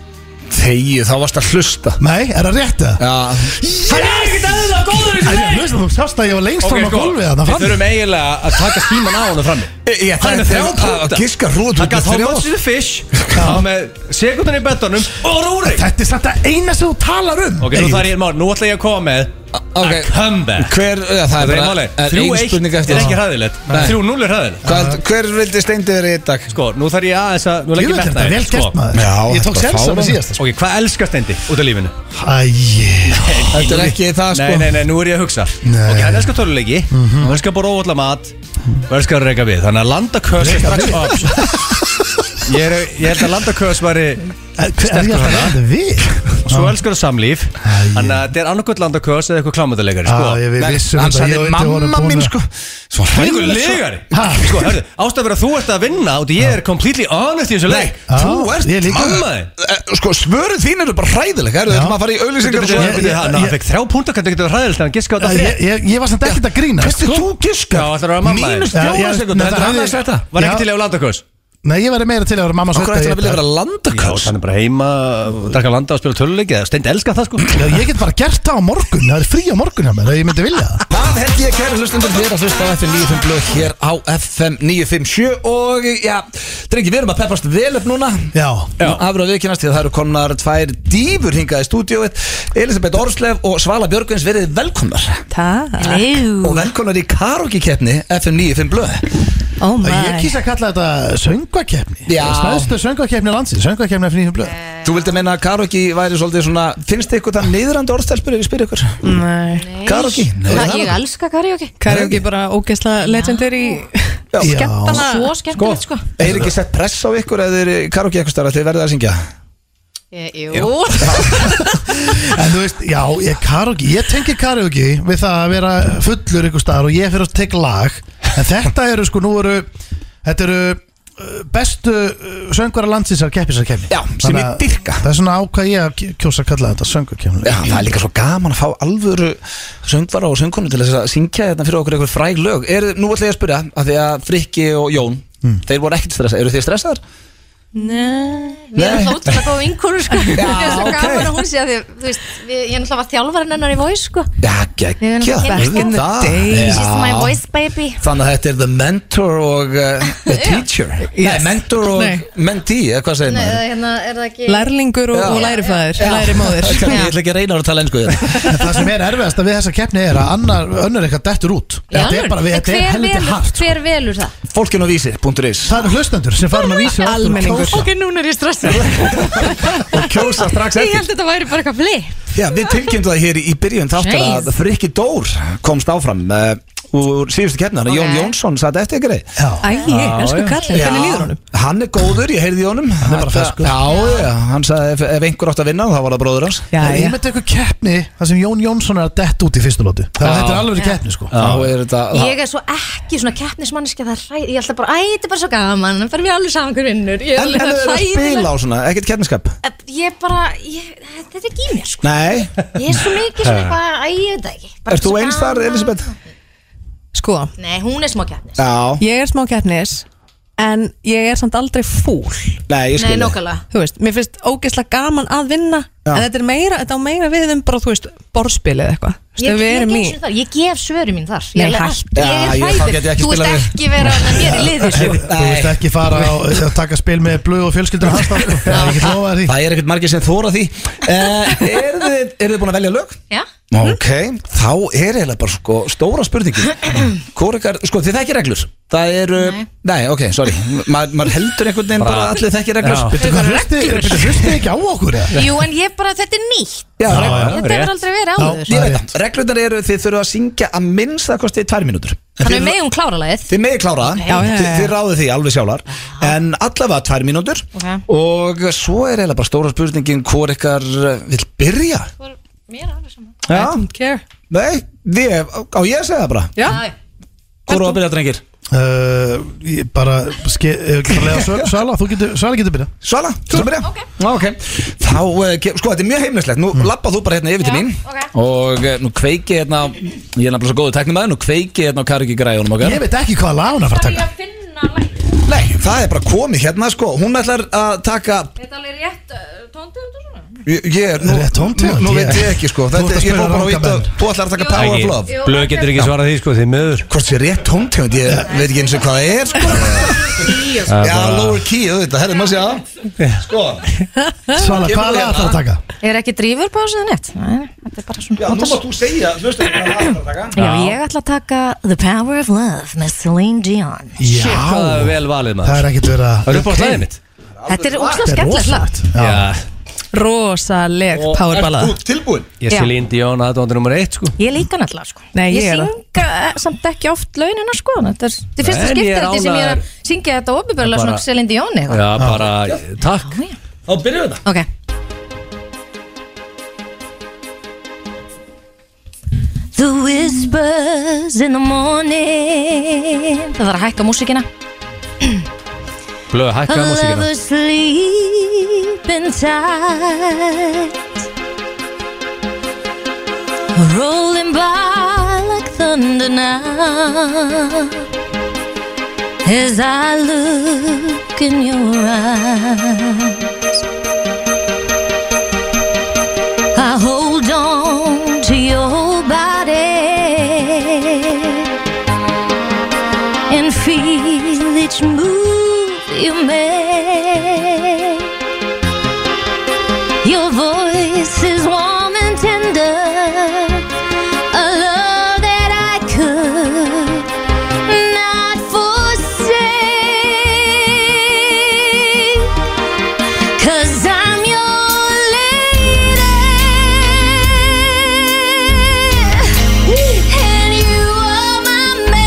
Speaker 1: Þegi, þá varst að hlusta
Speaker 3: Nei, er það rétt eða?
Speaker 1: Já,
Speaker 2: Það er ekkert eðla góður í
Speaker 3: Æ,
Speaker 2: þessu
Speaker 3: ég
Speaker 2: leik!
Speaker 3: veist að Þú sást að ég var lengst fram á
Speaker 2: sko,
Speaker 3: gólfið þarna
Speaker 2: Við
Speaker 3: fram
Speaker 2: þurfum eiginlega að taka stíman á honum frammi
Speaker 1: Ég-
Speaker 2: Hann er með þrjá punkta.
Speaker 1: Giska hrúð
Speaker 2: Hann gaf how much is the fish Hann var með sekundin í betunum og rúrik
Speaker 3: Þetta er samt að eina sem þú talar um
Speaker 2: Ok, nú
Speaker 3: Egill.
Speaker 2: þarf ég mál, nú ætla ég að koma með
Speaker 1: ok.
Speaker 2: að comeback
Speaker 1: Hver, já, það er
Speaker 2: Það er
Speaker 1: bara
Speaker 2: máli,
Speaker 1: er ein
Speaker 2: 3-1
Speaker 1: spurning
Speaker 2: er
Speaker 1: eftir
Speaker 2: ekki hræðilegt 3-0 er hræðilegt
Speaker 1: Hvað, Hver vildi steindi verið í dag?
Speaker 2: Sko, nú þarf ég aðeins að, nú legg
Speaker 3: Jú,
Speaker 2: ég
Speaker 3: þetta
Speaker 2: metna
Speaker 3: er vel gert maður
Speaker 1: Já,
Speaker 3: Ég tók
Speaker 1: þetta er
Speaker 3: sér
Speaker 1: fáránlegt.
Speaker 3: með sko. síðast
Speaker 2: Ok, hvað elskar stendi út af lífinu?
Speaker 3: Æj
Speaker 1: Þetta er ekki það sko
Speaker 2: Nei, nei, nei, nú er ég að hugsa
Speaker 3: Nei. Mhm.
Speaker 2: Ok, hann elskar töluleiki, hann elskar bara óvallar mat og elskar að reyka við, þannig að landa kös er strax ops Ég, er, ég held að landa kös væri
Speaker 3: Er ég alltaf
Speaker 2: hana.
Speaker 3: reyndi við?
Speaker 2: og
Speaker 3: Ah.
Speaker 2: svo elskar að samlíf þannig að þetta er annarkvæmt landa kös eða eitthvað klámöndalegari sko.
Speaker 3: Já, Ah, ég við vissum
Speaker 1: Hann
Speaker 3: þetta, ég
Speaker 1: sagði
Speaker 3: og Eddi vorum
Speaker 1: mamma
Speaker 3: búin
Speaker 1: mín
Speaker 3: að-
Speaker 1: sko Svo
Speaker 2: Það er einhver
Speaker 1: hræðilegt, sko.
Speaker 2: legari
Speaker 3: Ha? Ah.
Speaker 2: Sko, hörðu, ástæður fyrir að þú ert að vinna og ég er completely honest í þessu leik
Speaker 3: Já,
Speaker 1: Þú ert
Speaker 3: Ég líka
Speaker 2: Mamma þið
Speaker 1: Eh, Sko svöruð þín eru bara hræðileg Erðu
Speaker 3: Já.
Speaker 1: þetta maður að fara í
Speaker 2: Bíddu,
Speaker 1: auðlýsingar og
Speaker 2: bíddu,
Speaker 1: svo
Speaker 2: bíddu, bíddu,
Speaker 3: ég-
Speaker 2: hann-
Speaker 3: ég- Ah,
Speaker 2: Hann fekk þrjá púnta, hvernig getur það hræðilegt hann giska á þetta
Speaker 3: Ég-
Speaker 2: þrjá
Speaker 3: Ég ég var samt ekkert að sko. grína
Speaker 1: Hvernig þú giska?
Speaker 2: Já, ætlarðu að vera mamma þín?
Speaker 1: Mínus
Speaker 3: Já,
Speaker 1: fjóra
Speaker 3: ég-
Speaker 1: sekundur
Speaker 3: nei,
Speaker 1: Þetta er
Speaker 3: það-
Speaker 1: hann að setja
Speaker 2: Var ekki
Speaker 3: Já.
Speaker 2: til í að landa kös
Speaker 3: Nei, ég væri meira til að vera mamma
Speaker 1: Okkur
Speaker 3: sveitta
Speaker 1: ætti
Speaker 3: í
Speaker 1: hann að vilja
Speaker 3: þetta.
Speaker 1: vera
Speaker 2: Já,
Speaker 1: landaköls
Speaker 2: hann er bara heima, drakka landa og spila töluleiki eða Steint elskar það sko
Speaker 3: Já, Ég get bara gert það á morgun Það er frí á morgun hjá mér ef Ég myndi vilja það
Speaker 1: Það held ég kæri hlustundur þér að hlusta á FM 95 blöð hér á FM 957 og já, drengi, við erum að peppast vel upp núna
Speaker 3: Já,
Speaker 2: Já.
Speaker 1: afur að viðkynast því að það eru komnar tvær dýfur hingað í stúdíóið Elisabeth Orslef og Svala Björgvins verið velkomnar
Speaker 6: Takk
Speaker 5: Mm.
Speaker 1: og velkomnar í karaoke-keppni FM 95 blöð
Speaker 6: Oh
Speaker 3: Ég
Speaker 6: my
Speaker 3: kýsa að kalla þetta söngvakefni
Speaker 1: Já.
Speaker 3: Stæðstu söngvakefni landsins Söngvakefni af nýjum blöð
Speaker 1: Þú vildi meina að karaoke væri svolítið svona finnst ykkur það niðrandi orðstælspur ef ég spyr ykkur
Speaker 6: Nei
Speaker 1: Karaoke? Nei,
Speaker 5: Það,
Speaker 1: það
Speaker 5: ég elska karaoke
Speaker 6: Karaoke bara ógeðslega legendary
Speaker 1: Já.
Speaker 6: Skemmtana
Speaker 5: Svo skemmtilegt sko,
Speaker 1: Er ekki sett press á ykkur eða þeir karaoke eitthvað starf að þið verðið að syngja?
Speaker 5: Ég, Jú,
Speaker 3: En þú veist, já, ég karaoke Ég tengi karaoke við það að vera fullur ykkur staðar og ég fyrir að teka lag En þetta eru sko, nú eru Þetta eru uh, bestu uh, söngvara landsins að keppi sér kemni
Speaker 1: Já, sem ég dyrka.
Speaker 3: Það er svona ákvað ég að kjósa að kalla þetta söngvakefni
Speaker 1: Já, það er líka svo gaman að fá alvöru söngvara og söngkonu til þess að syngja hérna fyrir okkur eitthvað fræg lög. Er, nú ætla ég að spyrja, af því að Frikki og Jón, þeir voru ekkert stressaðir. Eru þið stressaðar?
Speaker 6: Nei
Speaker 5: við erum
Speaker 1: Nei.
Speaker 5: alltaf ótrúlega góð vinkonur sko Ég er svo
Speaker 1: ok.
Speaker 5: gaman að hún sé að því, þú veist, við, ég er alltaf að þjálfarinn hennar í voice sko
Speaker 1: Já,
Speaker 5: Við erum
Speaker 1: geggja.
Speaker 5: alltaf
Speaker 1: Back
Speaker 5: kynntust.
Speaker 1: in the
Speaker 5: She's my
Speaker 1: day.
Speaker 5: voice baby
Speaker 1: Þannig að þetta er the mentor og uh, the teacher. Nei, mentor og
Speaker 6: Nei.
Speaker 1: mentee, eða hvað segir
Speaker 5: Nei,
Speaker 1: maður?
Speaker 5: eða hérna, er það ekki
Speaker 6: Lærlingur og,
Speaker 1: Já.
Speaker 6: og lærifæður Læri móður
Speaker 1: Ég ætla ekki að reyna að tala ennsku þetta.
Speaker 3: En það sem er erfiðast að við þessa keppni er að annar, önnur eitthvað dettur út Þetta er bara, við- þetta er
Speaker 5: En hver
Speaker 3: helviti
Speaker 5: velur-
Speaker 3: hart sko.
Speaker 5: Hver velur það?
Speaker 1: Fólkin og vísi.is
Speaker 3: Það eru hlustendur sem farin að vísa
Speaker 6: Almenningur.
Speaker 5: Ok, núna er ég stressað
Speaker 1: og kjósa strax
Speaker 5: Ég
Speaker 1: eftir.
Speaker 5: held að þetta væri bara eitthvað flip
Speaker 1: Já, við tilkynntum það hér í í byrjun þáttur að
Speaker 5: Jeez.
Speaker 1: Frikki Dór komst áfram uh, úr síðustu keppnar og Jón
Speaker 5: Ok.
Speaker 1: Jónsson satt eftir ykkur eða?
Speaker 3: Já,
Speaker 6: Æ, elsku kallin, hvernig líður honum?
Speaker 1: Hann er góður, ég heyrði í honum Hann
Speaker 3: er bara ferskur.
Speaker 1: Já, já, hann sagði ef, ef einhver átt að vinna þá var það bróður hans
Speaker 6: Já,
Speaker 3: Það er
Speaker 6: já
Speaker 3: einmitt eitthvað keppni þar sem Jón Jónsson er að dett út í fyrstu lótu Það þetta er alveg keppni sko
Speaker 1: Þá er þetta
Speaker 5: Ég er svo ekki svona keppnismanniski Það er hræð, ég er alltaf bara, æ, þetta er bara svo gaman Það fyrir mér alveg saman hver vinnur Ég er
Speaker 1: En
Speaker 5: alveg-
Speaker 1: en
Speaker 5: það
Speaker 1: þau eru
Speaker 5: er
Speaker 1: að spila
Speaker 5: hræðilegt.
Speaker 1: á svona, ekkert keppniskap
Speaker 5: Ég bara, ég, þetta er ekki í mér sko
Speaker 1: Nei,
Speaker 5: Ég er svo mikið svona eitthvað, æ, ég veit það ekki Bara
Speaker 1: ert þú
Speaker 5: svo
Speaker 1: eins þar
Speaker 5: gaman.
Speaker 1: Elisabeth?
Speaker 6: Sko,
Speaker 5: Nei, hún er smá keppnis
Speaker 1: Já,
Speaker 6: ég er smá keppnis En ég er samt aldrei fúl
Speaker 1: nei, ég
Speaker 5: Nei,
Speaker 1: skil
Speaker 5: nokkulega
Speaker 6: Þú veist, mér finnst ógeðslega gaman að vinna
Speaker 1: Já.
Speaker 6: En þetta er meira, þetta á meira við um bara, þú veist, borðspil eða eitthvað Þú veist,
Speaker 5: Ég,
Speaker 6: ef við
Speaker 5: ég,
Speaker 6: erum í
Speaker 5: ég, ég, ég gef svöru mín þar Ég
Speaker 6: Nei,
Speaker 5: er alveg-
Speaker 6: hættu.
Speaker 1: Já, ég-
Speaker 5: Ég
Speaker 1: þá get
Speaker 5: er
Speaker 1: ég
Speaker 5: hræður
Speaker 1: ekki
Speaker 5: Þú
Speaker 1: spilað við.
Speaker 5: veist ekki vera með mér í liði sko
Speaker 3: Þú veist
Speaker 1: Nei,
Speaker 3: ekki fara á, að taka spil með blöð og fjölskyldur hans það, sko. Það er ekki lofað því
Speaker 1: það er ekkert margir sem þóra því uh, Eru þið, er þið búin að velja lög?
Speaker 5: Já,
Speaker 1: Ok, þá er eiginlega bara sko stóra spurningin Hvor ykkar, sko þið þekkir reglur Það eru, nei, ok, sorry Ma, Maður heldur einhvern veginn bara að allir þekkir reglur
Speaker 2: Já.
Speaker 3: Bittu hvað hlusti, bittu hlusti ekki á okkur eða?
Speaker 5: jú, en ég bara, þetta er nýtt
Speaker 1: Já,
Speaker 3: Já,
Speaker 1: já,
Speaker 3: já.
Speaker 5: Þetta
Speaker 2: rétt.
Speaker 5: hefur aldrei verið
Speaker 3: Já.
Speaker 5: áður
Speaker 1: Ég veit það, reglurnar eru þið þurfa að syngja að minnsta kosti tvær mínútur
Speaker 7: Þannig
Speaker 1: þið-
Speaker 7: við megum klára lagið
Speaker 1: Þið megið klára það,
Speaker 6: Já, já, já,
Speaker 1: Þið-
Speaker 6: já.
Speaker 1: þið ráðið því alveg sjálfar En allavega tvær mínútur
Speaker 7: Ok.
Speaker 1: Og svo er eiginlega bara stóra spurningin Hvor ykkar eh, vill byrja
Speaker 7: Mér er alveg saman
Speaker 6: I
Speaker 1: Já,
Speaker 6: don't care
Speaker 1: nei, þið, á ég að segja það bara
Speaker 6: Já,
Speaker 1: Hvor á að byrja drengir?
Speaker 3: uh, ég bara, ske, ef ekki bara leiða Svala, Svala, þú getur, Svala getur byrjað
Speaker 1: Svala, þú byrja
Speaker 7: Ok.
Speaker 1: okay. Þá, eh, ge- sko, þetta er mjög heimlislegt Nú mm. lappa þú bara hérna yfir til
Speaker 7: Já,
Speaker 1: mín
Speaker 7: ok.
Speaker 1: Og eh, nú kveiki hérna á- Ég er nefnilega svo góðu teknumæður Nú kveiki hérna á Kariki græjunum okkar
Speaker 3: Ég veit ekki hvaða lag hún er að fara að taka
Speaker 7: að finna lagið
Speaker 1: Nei, það er bara komið hérna, sko Hún ætlar að taka
Speaker 7: Þetta er alveg rétt uh, tóndið og svona
Speaker 1: Ég, ég er, nú,
Speaker 3: Rétt tóntegund,
Speaker 1: nú, nú
Speaker 3: ég-
Speaker 1: veit ég ekki sko
Speaker 3: Þú
Speaker 1: Þetta,
Speaker 3: ert að
Speaker 1: Ég
Speaker 3: spila
Speaker 1: fór bara að
Speaker 3: ranga
Speaker 1: vita
Speaker 3: menn.
Speaker 1: Þú ætlar að taka
Speaker 7: Jú.
Speaker 1: Power of
Speaker 7: Ægi.
Speaker 1: Love
Speaker 7: Jú.
Speaker 2: Blöð getur ekki svarað því sko, þið miður
Speaker 1: Hvort sé rétt tóntegund, ég veit ekki eins og hvað það er sko.
Speaker 2: Það er
Speaker 1: Já,
Speaker 2: bara-
Speaker 1: lower key, auðvitað, herri, maður sé að Sko,
Speaker 3: Svala,
Speaker 1: Kemur
Speaker 3: hvaða lag
Speaker 1: hérna.
Speaker 3: það að taka?
Speaker 7: Er ekki drífur på þessu nett? Nei, þetta er bara svona
Speaker 1: já, nú mátt þú segja Hlustu, hvað það er að taka
Speaker 7: Já, ég ætla að taka The Power of Love með Celine Dion
Speaker 2: Shit, hvað það er
Speaker 3: Já,
Speaker 2: vel valið
Speaker 3: það
Speaker 2: maður
Speaker 3: er ekkert verið að
Speaker 2: Það er upp á slæðið mitt
Speaker 7: Þetta er ógslag
Speaker 3: Þetta er
Speaker 7: skemmtilegt lag
Speaker 3: rosalegt. Já.
Speaker 6: rosalegt powerballað
Speaker 1: þú tilbúin?
Speaker 2: Ég
Speaker 7: Já.
Speaker 2: sé Lín Díón aðdóndir nummer eitt sko
Speaker 7: Ég líka náttúrulega sko
Speaker 6: Nei, ég
Speaker 7: Ég
Speaker 6: er það.
Speaker 7: synga eh, samt ekki oft launina sko Þetta er þetta er fyrsta
Speaker 2: En ég
Speaker 7: skipti
Speaker 2: er
Speaker 7: þetta sem ég er að
Speaker 2: ánægður.
Speaker 7: syngja þetta
Speaker 2: Bara-
Speaker 7: opinbörlega svona Celine Dion eða
Speaker 2: Já, bara, takk
Speaker 7: Já, já.
Speaker 2: Þá byrjum við það
Speaker 7: Ok The whispers in the morning Það þarf að hækka músikina
Speaker 2: Blöð, hækkaði músíkina
Speaker 7: Another sleep inside Rolling by like thunder now As I look in your eyes I hold on to your body and feel each move you make. Your voice is warm and tender, a love that I could not forsake. Cause I'm your lady And you are my man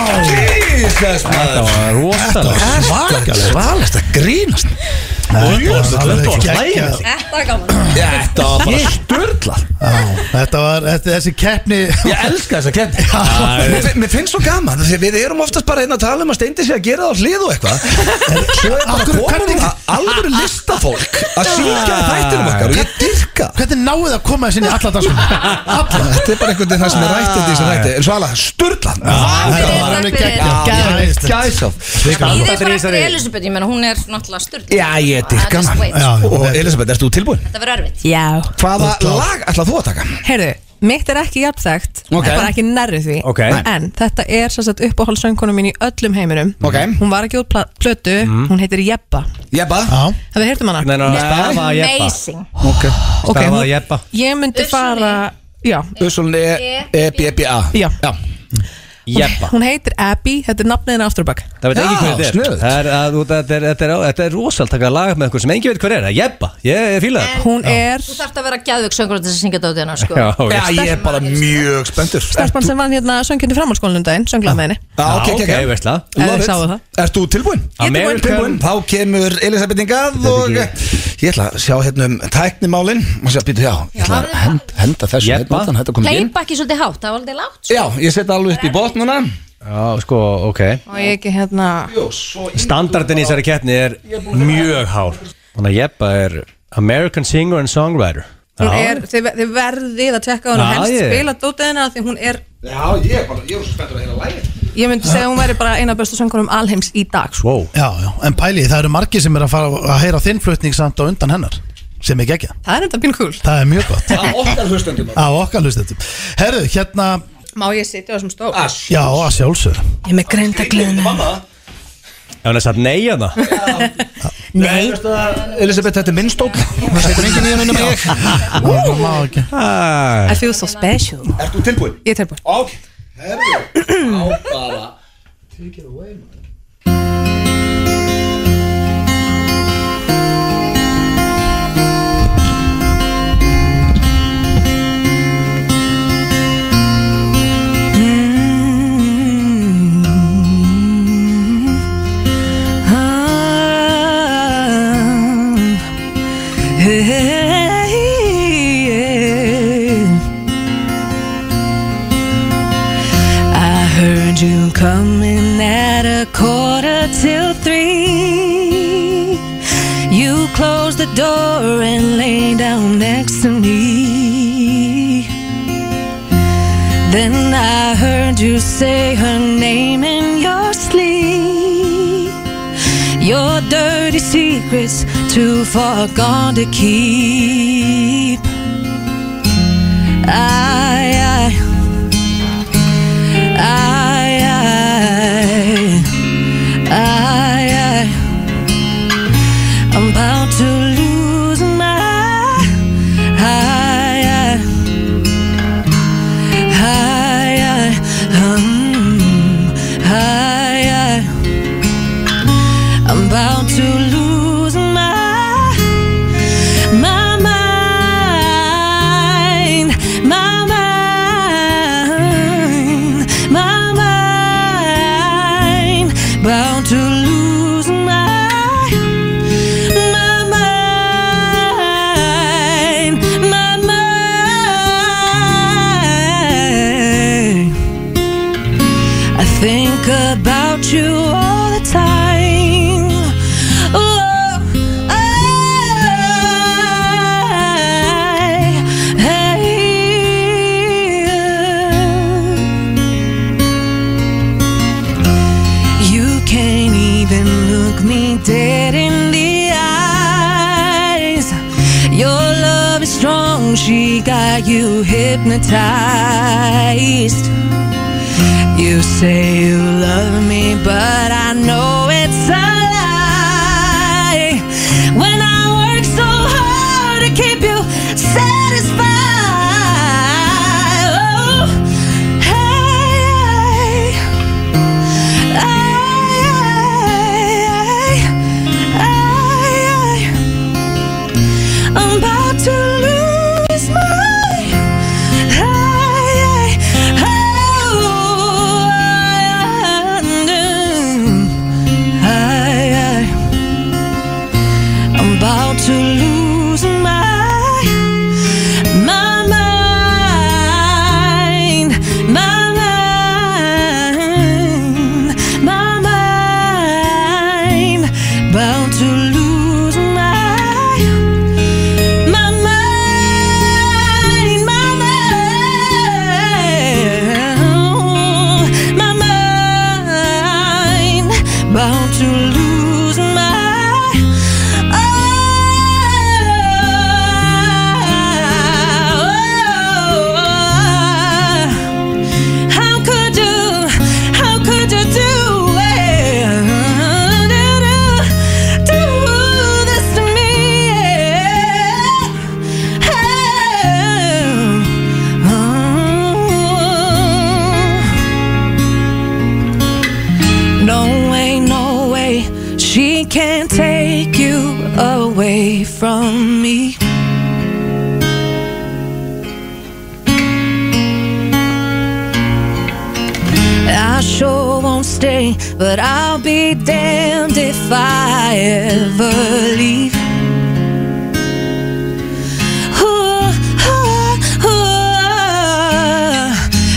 Speaker 2: Íslensk maður Þetta var rosalega
Speaker 1: Þetta var svalast að grínast Þetta var
Speaker 3: alveg
Speaker 1: hlægilegt.
Speaker 3: geggjað.
Speaker 6: Þetta er gaman
Speaker 1: Þetta var bara störtlað
Speaker 3: Já, Þetta var, þetta- þessi keppni
Speaker 1: Ég elska þessa keppni Mér fin- Mér finnst svo gaman því að Við erum oftast bara einn að tala um að steindi sig að gera það á hlið og eitthvað En Svo er bara
Speaker 3: Akkur-
Speaker 1: komin
Speaker 3: hvernig-
Speaker 1: að alvöru listafólk Að syngja í þættinum okkar og ég dyrka
Speaker 3: Hvernig náðu það að koma þessinni alla danskunum? Alla
Speaker 1: Þetta er bara einhvern veginn það sem er rætt Þetta í þessu rætti En svo alveg störtlað
Speaker 3: Þetta var alveg geggjað Gæðislegt.
Speaker 1: Gæsaf
Speaker 2: Þetta
Speaker 8: Íðið fara
Speaker 2: er í
Speaker 8: eftir
Speaker 2: þessari-
Speaker 8: Elisabeth, ég menna hún er náttúrulega styrla
Speaker 1: Já, ég dyrka hana
Speaker 3: Já, já,
Speaker 1: Og
Speaker 3: þetta-
Speaker 1: Elisabeth, ertu tilbúin?
Speaker 8: Þetta verður erfitt
Speaker 6: Já
Speaker 1: Hvaða
Speaker 3: Þú ert klár.
Speaker 1: lag ætlað þú að taka?
Speaker 6: Heyrðu, mitt er ekki jafnþægt
Speaker 1: Ok.
Speaker 6: okay. bara ekki nærri því
Speaker 2: Ok.
Speaker 6: en þetta er sem sagt uppáhaldsöngkona mín í öllum heiminum
Speaker 1: Ok.
Speaker 6: hún var ekki út pla- plötu, hún heitir Jeppa
Speaker 1: Jebba
Speaker 3: Já,
Speaker 6: hafið þið heyrt um hana?
Speaker 2: Mhm. Nei, nei, nei, stafa að jeppa
Speaker 8: Amazing
Speaker 6: Ok,
Speaker 2: Stafa
Speaker 6: hún-
Speaker 2: að jeppa
Speaker 6: ég myndi
Speaker 8: Ursula.
Speaker 6: fara já,
Speaker 1: Usulun E, E-B-B-A
Speaker 6: Já.
Speaker 2: Jeppa
Speaker 6: hún heitir Abby, þetta er nafnið henni afturbak
Speaker 2: Það veit
Speaker 1: Já,
Speaker 2: ekki hvað þetta er
Speaker 1: sniðugt.
Speaker 2: Það er að þú- Þetta er- þetta er á- þetta er rosalt Takk að laga með einhver sem engin veit hvað er Það er Jeppa Ég ég fíla það
Speaker 6: hún er
Speaker 8: Þú þarft að vera gæðvögg söngur til þess að syngja dótið hennar sko
Speaker 2: Já, ok.
Speaker 1: Já, ég er bara mjög spenntur
Speaker 6: starfsmann sem vann hérna söngkjöndi framhaldsskólanum daginn sönglaði með henni
Speaker 1: Já, ok,
Speaker 2: Já,
Speaker 1: ok,
Speaker 2: ok, veistla.
Speaker 6: Ef
Speaker 1: Love
Speaker 6: þið
Speaker 1: it.
Speaker 6: sáu það.
Speaker 1: Ert þú tilbúinn?
Speaker 2: Ég er tilbúinn.
Speaker 1: tilbúinn Þá kemur Elisabeth Ingað
Speaker 2: er
Speaker 1: og
Speaker 2: ekki-
Speaker 1: ég ætla að sjá hérna um tæknimálin og sjá, býtu, já, ég ætla að
Speaker 8: hafðu
Speaker 1: hend, henda þessu
Speaker 2: Jeppa.
Speaker 1: hérna utan, þetta kom ekki inn
Speaker 8: Playback er svolítið hátt, það var aldrei lágt sko.
Speaker 1: Já, ég setja alveg upp í botnuna
Speaker 2: Já, sko, ok
Speaker 6: og ég ekki hérna
Speaker 2: Standardin í þessari keppni er mjög hár Þannig að Jeppa er American Singer and Songwriter
Speaker 6: hún
Speaker 2: Já.
Speaker 6: er, þið, þið verðið að tjekka á hún
Speaker 2: Já,
Speaker 6: og helst
Speaker 2: ég-
Speaker 6: spila dótið hennar því hún er
Speaker 1: Já, ég er bara, ég er svo spenntur að hérna lægir
Speaker 6: ég myndi segja að hún væri bara eina bestu söngunum alheims í dag sko.
Speaker 2: Wow
Speaker 3: já, já, en pæli, það eru margir sem er að fara að heyra þinn flutning samt á undan hennar sem er geggjað,
Speaker 6: það er enda pínu kúl
Speaker 3: það er mjög gott
Speaker 1: Það er okkar hlustendum
Speaker 3: á okkar hlustendum Herðu, hérna,
Speaker 6: má ég sitja á þessum stól?
Speaker 1: Ah,
Speaker 3: já, að sjálfsög
Speaker 6: Ah. ég er með greinda glöðna
Speaker 2: Já, hann er satt nei að það
Speaker 1: Nei Elisabeth, þetta er minn stók Það setur enginn í hann unum ég
Speaker 3: Þetta
Speaker 6: I feel so special
Speaker 1: Ert þú tilbúinn?
Speaker 6: Ég er tilbúin
Speaker 1: Ok, herðu Á bara
Speaker 6: Mm. Ah. I heard you coming at a quarter till three. You closed the door and lay down next to me. Then I heard you say her name in your sleep. Your dirty secrets too far gone to keep. I, I, I, I, I, I I'm about to lose my. I, I, Hi, I, um, hi, I. I'm about to lose my, my mind, my mind, my mind. About to lose my, my mind, my mind. I think about you all the time. Oh, I, You can't even look me dead in the eyes. Your love is strong, she got you hypnotized. You say you love me, but I know it's a lie. When I work so hard to keep you satisfied. Oh, hey, I, I, I, I, I'm about to lose my I, I, oh, I, I,
Speaker 7: to lose my my mind, my mind, my mind, bound to lose my my mind, my mind, my mind, bound to lose my oh. How could you, how could you do it? Do, do, do this to me? Oh, No way, no way, she can't take you away from me. I sure won't stay, but I'll be damned if I ever leave. Ooh, ooh,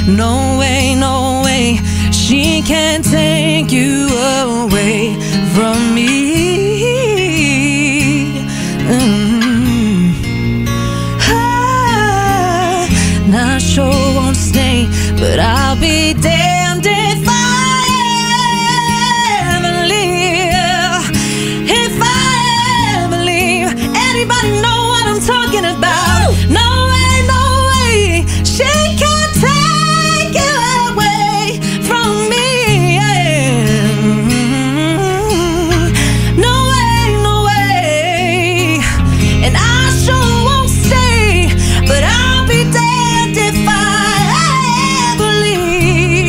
Speaker 7: ooh. No way, no way, she can't take you away from me. Mm. Ah, Not sure won't stay, but I'll be damned if I ever leave. If I ever leave, anybody know what I'm talking about? No way, no way, she can take you away from me. Mm. No way, no way, and I sure won't stay, but I'll be damned if I ever leave.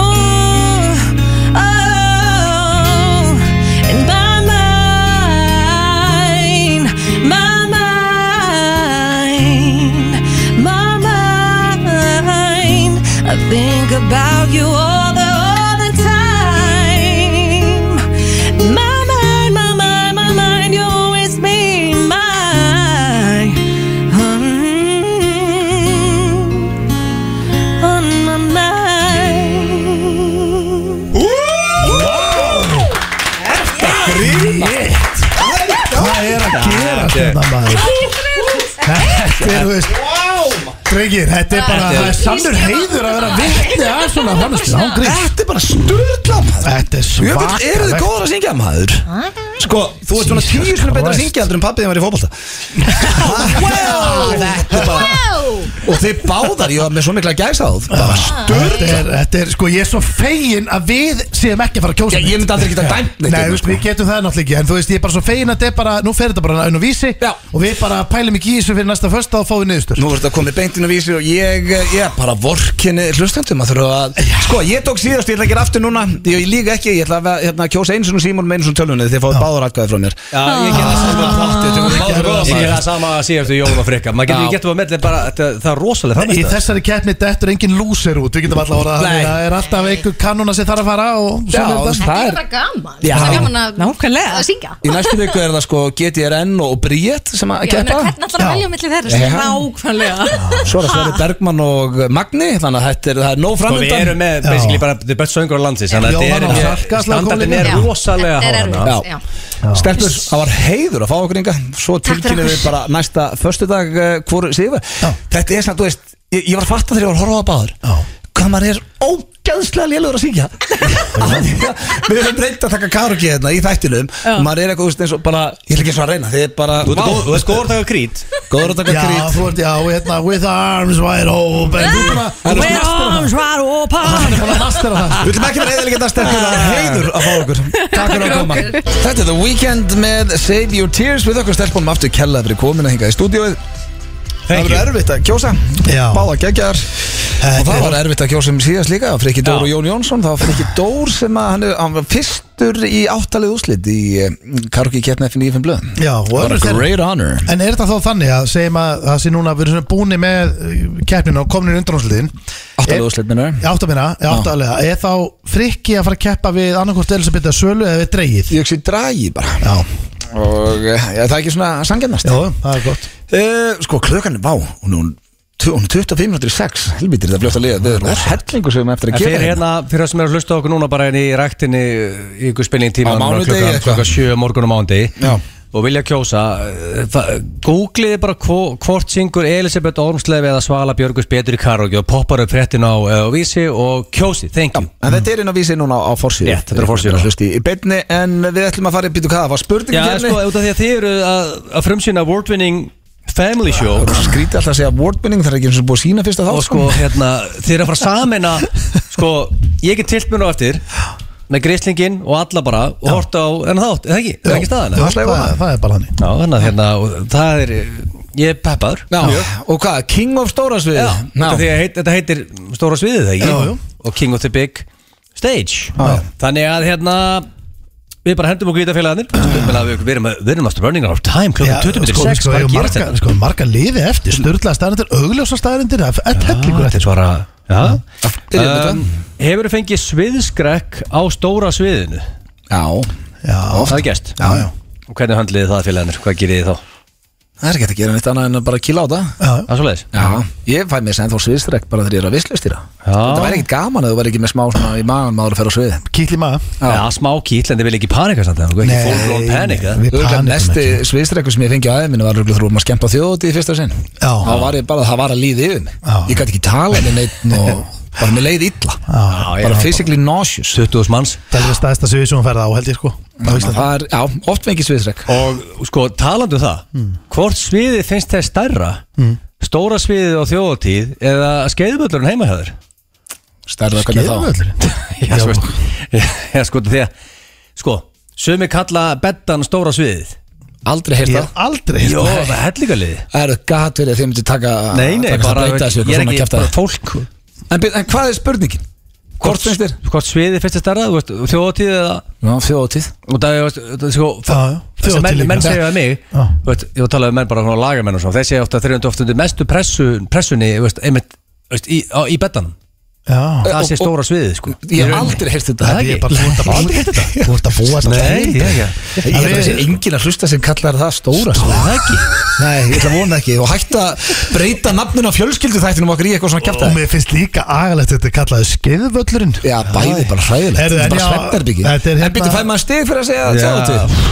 Speaker 7: Oh, oh, and my mind, my mind, my mind, I think about you all the, all the time. My mind, my mind, my mind, you always be mine. Mm, on my mind.
Speaker 1: Grínast
Speaker 3: Hvað er að gera þetta maður? Þetta er, þú veist Drengir, þetta er bara, það er sannur heiður að vera vitni að svona framherslu Án gríns
Speaker 1: Þetta er bara sturla maður
Speaker 3: Þetta er
Speaker 1: Jöfull, eru þið
Speaker 3: svakalegt
Speaker 1: góður að syngja maður? Sko, þú ert svona
Speaker 3: Jesus
Speaker 1: tíu svona betra að
Speaker 3: Christ.
Speaker 1: syngja heldur en pappið þið var í fótbolta Wow Þetta er bara Og þið báðar, ég var með svo mikla gæsáð Bara
Speaker 3: Þetta
Speaker 1: sturla
Speaker 3: er, þetta er, sko, ég er svo fegin að við séum ekki að fara að kjósa
Speaker 1: Ég ég myndi aldrei geta dæmt neitt
Speaker 3: Nei, þú
Speaker 1: hérna,
Speaker 3: veist,
Speaker 1: sko.
Speaker 3: við getum það náttúrulega ekki En þú veist, ég er bara svo fegin að þetta er bara Nú fer þetta bara einu vísi
Speaker 1: Já.
Speaker 3: Og við bara pælum ekki í þessu fyrir næsta fösta og fáum við niðurstur
Speaker 1: Nú verður þetta komið beintinn og vísir og ég, eh, ég bara vorkinni hlustendum að þurfa að Sko, ég tók síðast, ég ætla að gera aftur núna Ég, ég líka ekki, ég ætla að hérna, kjósa eins og Simon með eins og tölvunni Þið fáið báður atkvæði frá mér
Speaker 2: Já, ég gerði það sama pottið Ah. Ég gerði það sama síðastu jól og frikka Maður getur,
Speaker 1: Já.
Speaker 2: ég getur að melli bara, þetta- það er Sko, rosalega
Speaker 3: Í
Speaker 2: framist
Speaker 3: þessari keppni dettur engin lúser út Við getum alltaf orðað
Speaker 1: Nei.
Speaker 3: þannig að Það er alltaf einhver kanuna sem þarf að fara og
Speaker 1: Já,
Speaker 3: svona er þetta.
Speaker 1: það
Speaker 6: Þetta er
Speaker 1: er
Speaker 6: bara gaman
Speaker 1: Já.
Speaker 6: Það er gaman að
Speaker 7: Nákvæmlega.
Speaker 6: að syngja
Speaker 1: Í næstu viku er það sko GTRN og Bríett sem að
Speaker 6: Já, en
Speaker 1: keppa
Speaker 6: Hvernig ætlar að velja millir þeirra
Speaker 1: Já.
Speaker 6: Nákvæmlega
Speaker 1: Svo er það Sverri Bergmann og Magni Þannig að þetta er, það er nóg
Speaker 2: Og Sko, við erum
Speaker 1: framöndan
Speaker 2: með, basically, bara the best söngur á landsins Þannig að
Speaker 3: Jóhann og
Speaker 2: þetta er,
Speaker 3: Salka,
Speaker 2: standardin
Speaker 3: Salka
Speaker 2: er
Speaker 6: komin.
Speaker 2: rosalega
Speaker 6: Þetta er
Speaker 2: háðan
Speaker 6: erfitt.
Speaker 1: Já.
Speaker 6: Já.
Speaker 1: Stelpur, það var heiður að fá okkur ynga Svo
Speaker 6: Takk fyrir
Speaker 1: tilkynum við
Speaker 6: okkur.
Speaker 1: bara næsta Föstudag uh, hvort sigur
Speaker 3: Já.
Speaker 1: Þetta er svona, þú veist, ég, ég var að fatta þegar ég var að horfa á báður
Speaker 3: Já.
Speaker 1: Hvað maður er ógæðslega lélugur að syngja Af því að Við höfum reynd að taka karaoke hérna í þættinum Og maður er eitthvað, þú veist, eins og bara Ég er ekki svo að reyna, þið er bara
Speaker 2: Þú ert
Speaker 1: Vá,
Speaker 2: góð- þú ert góður takkar krít
Speaker 1: Góður að taka
Speaker 3: Já,
Speaker 1: krít
Speaker 3: þú ert, já, hérna, with arms wide
Speaker 1: Ah!
Speaker 3: open Þú er bara, þú er
Speaker 7: With arms wide open
Speaker 3: bara að mastera það
Speaker 1: Við viljum ekki vera eðalega þetta stelpur Það er heiður að fá okkur Takk fyrir að koma Þetta er The Weeknd með Save Your Tears Við okkur stelpunum aftur kella fyrir komin að hinga í stúdíóið Það
Speaker 2: Thank
Speaker 1: verður
Speaker 2: you.
Speaker 1: erfitt að kjósa
Speaker 3: Já.
Speaker 1: Báða geggjar Og það var erfitt að kjósa um síðast líka Friki Dór
Speaker 2: Já.
Speaker 1: og Jón Jónsson Það var Friki Dór sem að hann, er, hann var fyrstur í áttalið úslit Í eh, Karuki Kjertna F95 blöð
Speaker 3: Já, og
Speaker 1: What a
Speaker 3: önnur þeirra-
Speaker 1: great honor
Speaker 3: En uh, er þetta þá þannig að segjum að það sé núna við erum svona búni með eh, keppnina og komnir undanúsliðin
Speaker 9: Áttalegu úrslit minnur
Speaker 3: Í áttaminna, í áttalega Er þá frikki að fara að keppa við annarkvort Elisabeth Sölu eða við dreigið?
Speaker 1: Ég hugsi dragi bara
Speaker 3: Já,
Speaker 1: Og eh, já, það er ekki svona sangjannast
Speaker 3: já, það er gott
Speaker 1: Eh, Sko klukkan, vá, hún er tv- hún er 25 minútur í 6 Helvítir þetta fljótt að liða Við erum hellingu sem við eftir
Speaker 2: En
Speaker 1: að
Speaker 2: fyrir
Speaker 1: gera
Speaker 2: hérna, fyrir það sem er að hlusta á okkur núna bara inn í ræktinni í ykkur spilning tíma
Speaker 1: Á mánudegi eitthvað.
Speaker 2: klukka sjö morgun á mánudegi
Speaker 1: Já.
Speaker 2: og vilja kjósa eh, það- googliði bara hvo- hvort syngur Elisabeth Ormslefi eða Svala Björgus betur í karaoke og poppar upp fréttin á, eh, á vísi og kjósi, thank you
Speaker 1: En þetta er inn á vísi núna á forsíðu
Speaker 2: Rétt, þetta er á forsíðu.
Speaker 1: Hlusti í beinni En við ætlum að fara í býtu hvað Það var spurning
Speaker 2: Já, sko,
Speaker 3: hérna-
Speaker 2: út af því að þið eru að, að frumsýna award-winning family show
Speaker 1: Skríti alltaf að segja awardbinning Það er ekki eins og búið að sína fyrsta
Speaker 2: og
Speaker 1: þátt
Speaker 2: sko, hérna, þið eru að fara samin að sko, ég get tilt mér á eftir með grislingin og alla bara og horta á en þátt, eða ekki, það er ekki staðan
Speaker 3: Já,
Speaker 2: eða?
Speaker 1: alltaf í
Speaker 3: það,
Speaker 1: vana.
Speaker 3: það er bara þannig
Speaker 2: Já, þannig að hérna, og það er ég er peppaður
Speaker 1: Já, og hvað, King of Stóra sviði
Speaker 2: Já, út af því að heit, þetta heitir stóra sviðið það ekki
Speaker 3: Já, já.
Speaker 2: og King of the Big Stage þannig að hérna við bara hendum okkur í þetta félagarnir Ég meina, við, við erum, við erum að burning our time klokkan 20 minnir 6
Speaker 3: sko,
Speaker 2: hvað
Speaker 3: sko,
Speaker 2: gerist hérna?
Speaker 3: marga,
Speaker 2: þetta?
Speaker 3: sko, marga liði eftir Sturla staðarindir, augljósa staðarindir Það er hellingur
Speaker 2: þetta
Speaker 3: eftir
Speaker 2: er svara já.
Speaker 1: byrjum þetta.
Speaker 2: Um, hefur fengið sviðskrekk á stóra sviðinu
Speaker 1: Já,
Speaker 3: Já,
Speaker 2: það er gæst
Speaker 3: já, já,
Speaker 2: og hvernig höndliði það félagarnir, hvað gerði þið þá
Speaker 1: það er ekki hægt að gera neitt annað en að bara kýla á það
Speaker 3: já
Speaker 2: það er svoleiðis
Speaker 1: Já, ég fæ mér sem þó sviðstrekk bara þegar ég er að visslustýra
Speaker 2: Já.
Speaker 1: Þetta væri ekkit gaman að þú væri ekki með smá svona í magan maður að ferra á sviði
Speaker 3: Kýtli maður
Speaker 2: Já, smá kýll, en þið vil ekki panika samt það, ekki full blown panic eða?
Speaker 3: Við
Speaker 1: Örugglega
Speaker 3: panikum
Speaker 1: Næsti
Speaker 3: ekki
Speaker 1: sviðstrekku sem ég fengi aðeins minni var örugglega þegar við vorum að skemmta þjóðutíð í fyrsta sinn
Speaker 3: Já.
Speaker 1: Þá var ég bara að það var að líða yfir mig
Speaker 3: Já.
Speaker 1: Ég gæti ekki tala með neitt og bara mér leið illa
Speaker 3: Já,
Speaker 2: já,
Speaker 1: Bara
Speaker 2: já.
Speaker 1: physically nauseous
Speaker 2: 20.000 manns
Speaker 3: Það er staðista svið sem hún ferða á held ég sko á Íslandi.
Speaker 1: Það er, já, oft fengi sviðstrekk
Speaker 2: og sko talandi um það hvort sviðið finnst þess stærra stóra sviðið á þjóðatíð eða skeiðböllurinn heima hjá þér
Speaker 1: Stærða hvernig þá
Speaker 3: Skeiðvöllurinn.
Speaker 2: já,
Speaker 3: Já.
Speaker 2: sko, já, sko því að sko, sumi kalla beddan stóra sviðið
Speaker 1: Aldrei
Speaker 3: Ég
Speaker 1: heyrst
Speaker 3: er
Speaker 1: það
Speaker 3: aldrei
Speaker 2: Jó,
Speaker 3: Nei.
Speaker 2: það er hellingalið
Speaker 1: Það eru gat verið að þið myndir taka
Speaker 2: Nei, nei,
Speaker 1: taka
Speaker 2: bara,
Speaker 1: að breyta þessu
Speaker 2: ég
Speaker 1: eitthvað
Speaker 2: er
Speaker 1: svona
Speaker 2: ekki
Speaker 1: kjaftaði.
Speaker 2: bara fólk
Speaker 1: En, byrju, en hvað er spurningin? Hvort finnst þér?
Speaker 2: Hvort sviðið finnst þess stærra, þú veist, þjóðatíð eða
Speaker 1: Já, þjóðatíð
Speaker 2: og það er, veist, það er sko
Speaker 3: Já,
Speaker 2: það
Speaker 3: já.
Speaker 2: sem menn,
Speaker 3: Þjóðatíð
Speaker 2: menn
Speaker 3: líka.
Speaker 2: segja við mig
Speaker 3: Já.
Speaker 2: þú veist, ég var að tala um menn bara svona lagamenn og svona þeir segja ofta að þeir eru ofta undir mestu pressu, pressunni þú veist, einmitt, þú veist, í, á, í beddanum
Speaker 3: Já
Speaker 2: það
Speaker 1: Og-
Speaker 2: sé
Speaker 1: og-
Speaker 2: stóra sviðið sko
Speaker 1: Ég hef aldrei heyrst þetta
Speaker 2: Það
Speaker 3: Ég er bara þú ert að
Speaker 2: Aldrei
Speaker 3: búa
Speaker 2: heyrt þetta?
Speaker 3: Þú ert að búa þetta
Speaker 2: Nei,
Speaker 3: til.
Speaker 2: ég ekki
Speaker 1: Ég held að þessi engin að hlusta sem kallar það stóra stóra
Speaker 2: Það ekki
Speaker 1: Nei, ég ætla að vona ekki og hætta að breyta nafninu á fjölskyldu þættinum okkar í eitthvað svona
Speaker 3: Og
Speaker 1: kjæftæði
Speaker 3: mér finnst líka agalegt þetta er kallaði skeiðvöllurinn
Speaker 1: Já, bæði bara hræðilegt,
Speaker 3: Heyrðu,
Speaker 1: þetta er bara
Speaker 3: en já,
Speaker 1: svefnherbyggi
Speaker 3: þetta er
Speaker 1: En
Speaker 3: hérna-
Speaker 1: byrju, fær maður stig fyrir að segja
Speaker 2: Já.
Speaker 1: þjóðatíð